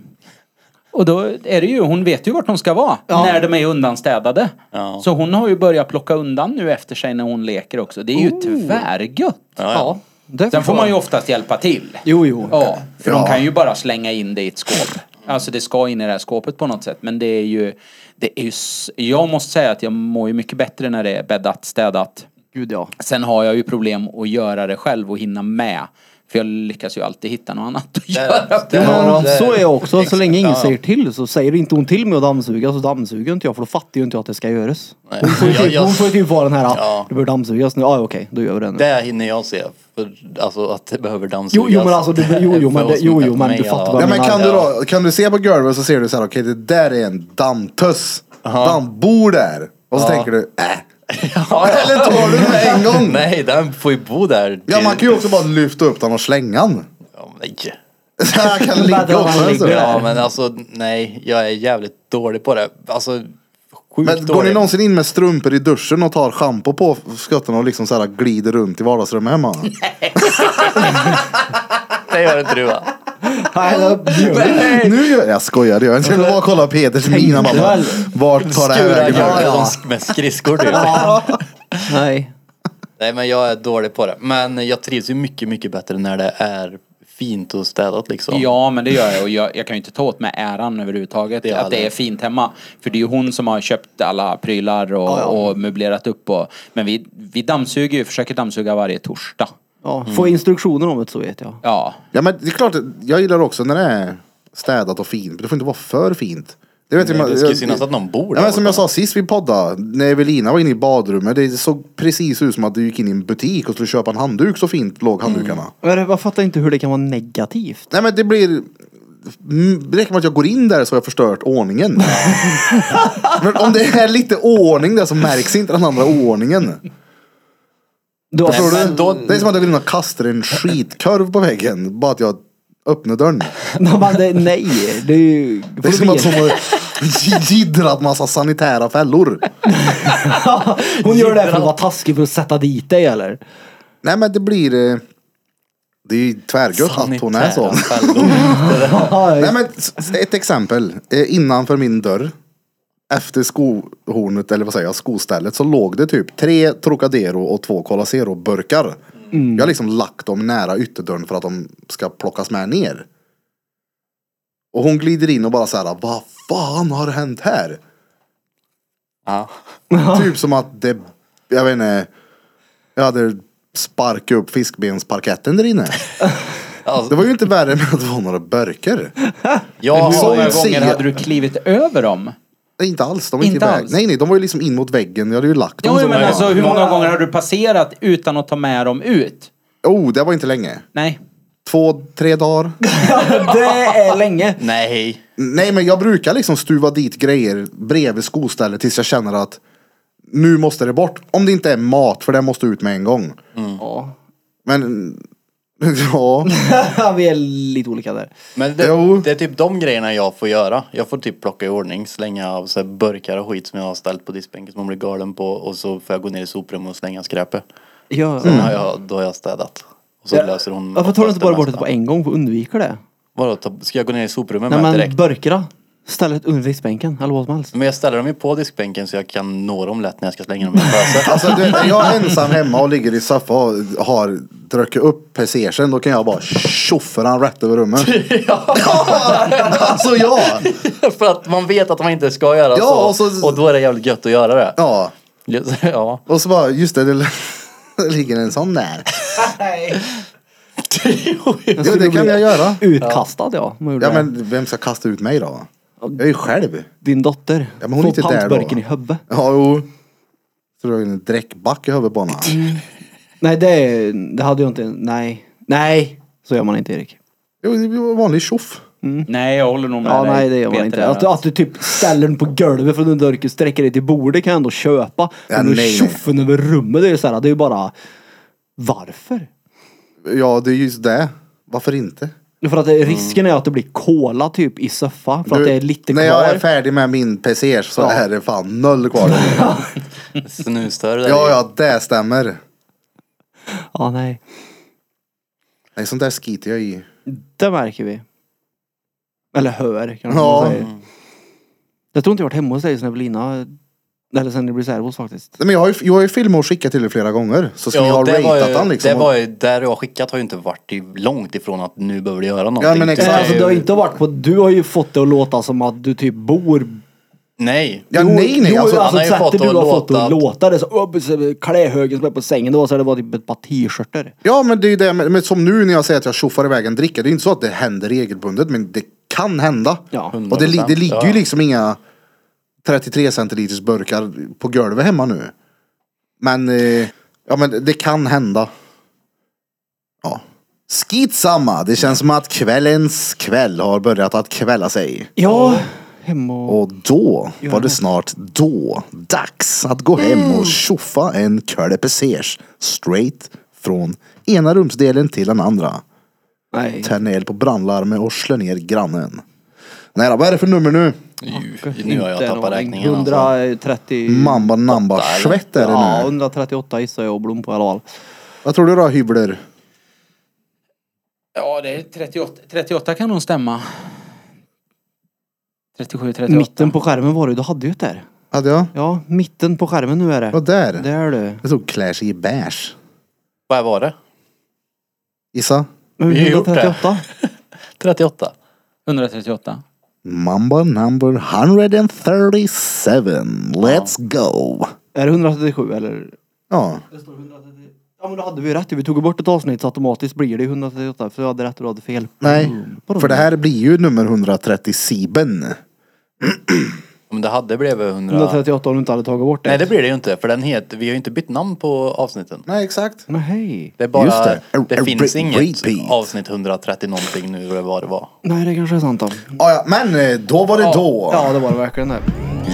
Och då är det ju, hon vet ju vart hon ska vara när de är undanstädade. Ja. Så hon har ju börjat plocka undan nu efter sig när hon leker också. Det är ju tvärgött. Oh. Ja, ja. det Sen får jag. man ju oftast hjälpa till. Jo, jo. Ja, för Ja. de kan ju bara slänga in det i ett skåp. Alltså det ska in i det här skåpet på något sätt. Men det är ju, det är ju, s- jag måste säga att jag mår ju mycket bättre när det är bäddat, städat. Gud ja. Sen har jag ju problem att göra det själv och hinna med. För jag lyckas ju alltid hitta något annat att göra. Jo, men det- så är jag också. Så länge ingen Ja. säger till så säger inte hon till mig att dammsuga så dammsuger inte jag för då fattar ju inte jag att det ska göras. Nej. Hon får ju Jag- typ, jag- hon får ju typ vara den här, Ja. det bör dammsugas nu. Ja ja, okej, då gör vi det nu. Det hinner jag se. För, alltså att det behöver dammsugas. Jo, jo men alltså, du, jo, jo, men, det, jo, jo, men Mig, du ja. fattar vad Ja, jag men menar. kan, du då, kan du se på golvet så ser du så här, okej det där är en dammtuss. Den bor där. Och så tänker du, äh. Eller tar du den med en (laughs) gång? Nej, den får ju bo där. Ja, man kan ju också bara lyfta upp den (laughs) och slänga den. (laughs) Ja, nej. Jag kan ligga Vadå, också. han ligger? Alltså. Ja men alltså nej, jag är jävligt dålig på det. Alltså sjukt Men går ni dålig. någonsin in med strumpor i duschen och tar schampo på skötterna och liksom så här glider runt i vardagsrummet hemma? Det gör inte du va? Nej, det gör det. nu gör jag skojar, det gör jag inte. Jag vill bara kolla Peters min. Han bara, väl. Vart tar det här Alltså, Skurar vägen? jag ja, med (laughs) skridskor typ. Nej. Nej men jag är dålig på det. Men jag trivs ju mycket, mycket bättre när det är fint och städat liksom. Ja, men det gör jag. Och jag, jag kan ju inte ta åt mig äran överhuvudtaget. Det är att det aldrig. är fint hemma. För det är ju hon som har köpt alla prylar och, och möblerat upp. Och, men vi, vi dammsuger ju, försöker dammsuga varje torsdag. Ja, få Mm. instruktioner om det så vet jag. Ja. Ja men det är klart, jag gillar också när det är städat och fint. Men det får inte vara för fint. Det, vet jag- det ska ju jag- synas att någon bor ja, där men Som jag sa sist vi poddade, när Evelina var inne i badrummet. Det såg precis ut som att du gick in i en butik och skulle köpa en handduk. Så fint låg handdukarna. Mm. Men jag fattar inte hur det kan vara negativt. Nej men det blir... Mm, Det räcker med att jag går in där så har jag förstört (laughs) ordningen. men om det är lite ordning där så märks inte den andra oordningen. Du har, Nej, Förstår du? men då- Det är som att jag går in och kastar en skitkorv på väggen. Bara att jag öppnar dörren. nej, men det, nej, det är ju... Det är som att hon har (laughs) jiddrat massa sanitära fällor. Hon gör det för att vara taskig för att sätta dit dig eller? Nej men det blir... eh, Det är ju tvärgött att hon är så. Sanitära fällor. Nej men s- s- ett exempel. Eh, Innanför min dörr. Efter skohornet, eller vad säger jag, skostället så låg det typ tre Trocadero och två Colasero burkar. Jag har liksom lagt dem nära ytterdörren för att de ska plockas med ner. Och hon glider in och bara så här, vad fan har hänt här? Ja. Typ som att det, jag vet inte, jag hade sparkat upp fiskbensparketten där inne. Det Alltså, var ju inte värre än att det var några burkar. jag Men hur har många ju... ser gånger jag. hade du klivit över dem? Nej, inte alls, de var inte, Inte iväg. alls. Nej, nej, de var ju liksom in mot väggen. Jag hade ju lagt dem. Jo, så men var- alltså hur många gånger har du passerat utan att ta med dem ut? Oh, det var inte länge. Nej. Två, tre dagar. (laughs) Det är länge. Nej. nej, men jag brukar liksom stuva dit grejer bredvid skostället tills jag känner att nu måste det bort. Om det inte är mat, för det måste ut med en gång. Mm. Ja. Men, (laughs) ja. (laughs) Vi är lite olika där. Men Jo. det, det är typ de grejerna jag får göra. Jag får typ plocka i ordning, slänga av så här burkar och skit som jag har ställt på diskbänken som man blir galen på och så får jag gå ner i soprummet och slänga skräpet. Ja. Mm. Sen har jag, då har jag städat. Och så löser hon Varför tar du inte bara bort det mesta. på en gång för att undvika det? Vadå, ta- ska jag gå ner i soprummet Nej med men direkt? burkarna. Stället under diskbänken eller vad som helst. Men jag ställer dem ju på diskbänken så jag kan nå dem lätt när jag ska slänga dem i en påse. Alltså, du, vet, när jag är ensam hemma och ligger i soffan och har druckit upp persersen, då kan jag bara tjoffa den rätt över rummet. ja, (laughs) alltså ja. (laughs) För att man vet att man inte ska göra Ja, så, och och så- då är det jävligt gött att göra det. (laughs) Ja, ja. och så bara, just det, (laughs) det ligger en sån där. Jo, det kan jag göra. Utkastad ja. om jag gjorde Mm. Ja, det. men vem ska kasta ut mig då? Jag är ju själv. Din dotter. Ja, men hon är inte Få där då. pantburken i huvudet. Ja, jo. Så du har en dräckback i huvudet på honom. Nej det, är- det hade jag inte. Nej. Nej. Så gör man inte Erik. Jo, det är en vanlig tjoff. Nej, jag håller nog med Mm. Ja, dig. nej det gör man Peter, inte. där. Att, du- att du typ ställer den på golvet för att du inte orkar sträcka dig till bordet kan jag ändå köpa. Ja, Men du nej, nej. tjoffen över rummet, det är ju såhär, det är ju bara... Varför? Ja, det är just det. Varför inte? För att Mm. det, risken är att det blir kola typ i soffan för att det är lite när kvar. jag är färdig med min pesers så är det fan noll kvar. ja, Snusdörr där i. ja, det stämmer. Ja nej. Nej, sånt där skiter jag i. Det märker vi. Eller hör kanske Ja. man säger. Jag tror inte jag varit hemma hos dig sen Evelina... Eller sen det blev särbos faktiskt. Nej, men jag har ju, jag har ju filmat och skickat till er flera gånger. Så som jag har det var ratat ju- den liksom. Det var ju, där du har skickat har ju inte varit i- långt ifrån att nu behöver du göra någonting. men Det är exakt. Alltså ju- du har inte varit på... Du har ju fått det att låta som att du typ bor Nej. Ja, nej, nej. jo, Alltså, alltså, han har ju sättet fått du att har fått att låta- låta det så, upp, så klädhögen som är på sängen då så det var typ ett par t-shirtar. Ja men det är ju det, men men som nu när jag säger att jag tjoffar iväg en dricka, det är ju inte så att det händer regelbundet men det kan hända. Ja. Och det, li- det 100%, ligger ju ja. liksom inga 33 centiliters burkar på golvet hemma nu. Men, eh, ja men det kan hända. Ja. Skitsamma, det känns som att kvällens kväll har börjat att kvälla sig. Ja, hemma och... Och då var det snart då dags att gå hem Mm. och tjoffa en curly pesers straight från ena rumsdelen till den andra. Nej. Tär ner på brandlarmet och slår ner grannen. Nej då, vad är det för nummer nu? Ju, nu har jag Inte en tappat aning. räkningen alltså. 130... Mamba namba eller? svett är Ja, det nu. 138 gissar jag och Blom på i alla fall. Vad tror du då Hybler? Ja, det är 38. 38 kan nog stämma. 37, 38. Mitten på skärmen var det du hade ju ett där. Hade jag? Ja, mitten på skärmen nu är det. Vad där? Det är du. Det stod Clash i bärs. Vad var det? Gissa? Vi har gjort det. 138. 38? 138. Mamba number 137. Let's go. Är det 137 eller? Ja, Det står 137. Ja men då hade vi ju rätt Vi tog ju bort ett avsnitt så automatiskt blir det 138. För jag hade rätt och du hade fel. nej. För det här blir ju nummer 137. Men det hade blivit 100... 138 om du inte hade tagit bort det. Nej det blir det ju inte för den heter, vi har ju inte bytt namn på avsnitten. Nej, exakt. Men hej. Det är bara, Just det, det. A- a finns re- inget repeat. avsnitt 130 någonting nu eller vad det var. Nej det kanske är sant då. Ah, ja, men eh, då var det då. Ja det var det verkligen det.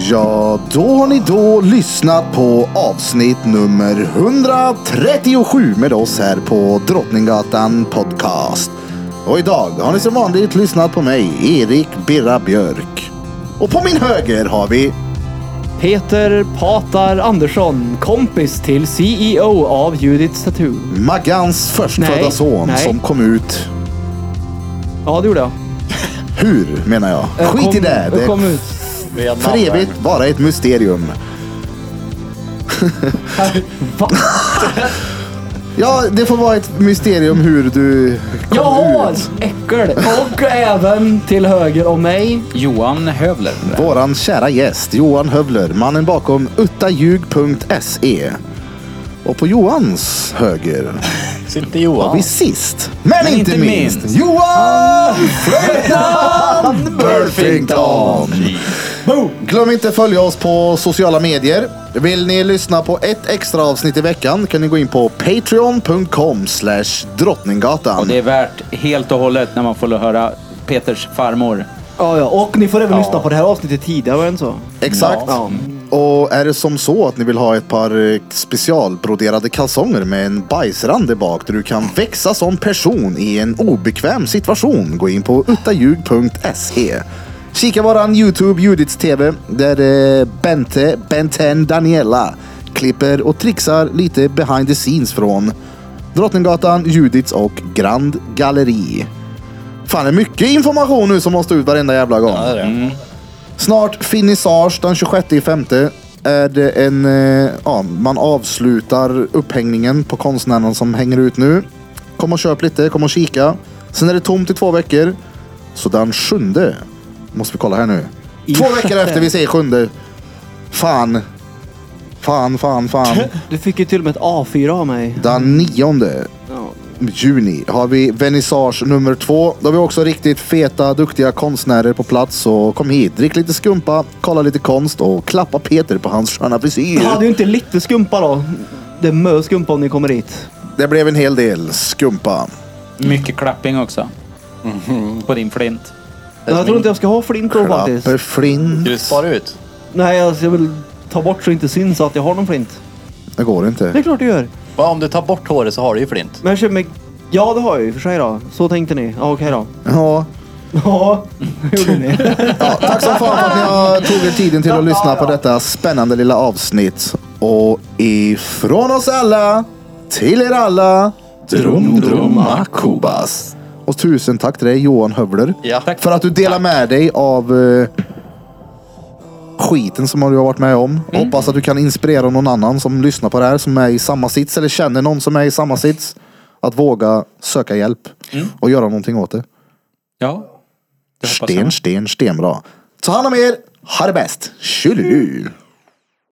Ja, då har ni då lyssnat på avsnitt nummer 137 med oss här på Drottninggatan Podcast. Och idag har ni som vanligt lyssnat på mig, Erik Birra Björk. Och på min höger har vi... Peter Patar Andersson, kompis till CEO av Judith Tattoo. Maggans förstfödda Nej, son nej. som kom ut... Ja det gjorde jag. Hur menar jag? Jag Skit kom, i det! Jag Det kom är ut. Vi hade för namn. evigt bara ett mysterium. Va? Ja, det får vara ett mysterium hur du kom Jag har ut. äckel! Och även till höger om mig. Johan Hövler. Våran kära gäst Johan Hövler, mannen bakom uttaljug.se. E. Och på Johans höger Sitter har Johan. vi sist, men, inte, inte minst, minst, Johan Flöjtnant (laughs) Burfington! Boom! Glöm inte att följa oss på sociala medier. Vill ni lyssna på ett extra avsnitt i veckan kan ni gå in på patreon.com slash drottninggatan. Och det är värt helt och hållet när man får höra Peters farmor. Ja, ja. Och ni får även lyssna på det här avsnittet tidigare än så. Exakt. Ja. Och är det som så att ni vill ha ett par eh, specialbroderade kalsonger med en bajsrande bak där du kan växa som person i en obekväm situation, gå in på uttaljug.se. E. Kika våran Youtube, Judits TV, där eh, Bente, Benten Daniela klipper och trixar lite behind the scenes från Drottninggatan, Judits och Grand Galleri. Fan, det är mycket information nu som måste ut varenda jävla gång. Mm. Ja, det Mm. är det. Snart finissage den 26 i femte. Är det en, eh, ja, man avslutar upphängningen på konstnärerna som hänger ut nu. Kom och köp lite, kom och kika. Sen är det tomt i två veckor. Så den sjunde, måste vi kolla här nu. I Två sjätte. veckor efter vi säger sjunde. Fan. Fan, fan, (laughs) fan. Du fick ju till och med ett A4 av mig. Den nionde Ja. juni har vi vernissage nummer två. Då har vi också riktigt feta, duktiga konstnärer på plats. Så kom hit, drick lite skumpa, kolla lite konst och klappa Peter på hans sköna frisyr. Du hade ju inte lite skumpa då. Det är mö skumpa om ni kommer hit. Det blev en hel del skumpa. Mycket klapping också. På din flint. Men jag tror inte jag ska ha flint då faktiskt. Klapper flint. Ska du spara ut? Nej, alltså, jag vill ta bort så det inte syns att jag har någon flint. Det går Det inte. är klart jag gör. Va, om du tar bort håret så har du ju flint. Men jag känner mig... Ja, det har jag ju i och för sig då. Så tänkte ni. Ja, okej då. Ja. Ja, det (laughs) gjorde ni. ja. Tack så fan för att ni har tog er tiden till att lyssna på detta spännande lilla avsnitt. Och ifrån oss alla, till er alla, Drum Drum Akubas. Och tusen tack till dig Johan Hövler. Ja. Tack. För att du delar med dig av eh, skiten som du har varit med om. Hoppas att du kan inspirera någon annan som lyssnar på det här som är i samma sits eller känner någon som är i samma sits. Att våga söka hjälp och göra någonting åt det. Ja. Det hoppas jag. Sten, sten, stenbra. Ta hand om er. Ha det bäst. Tjolilu.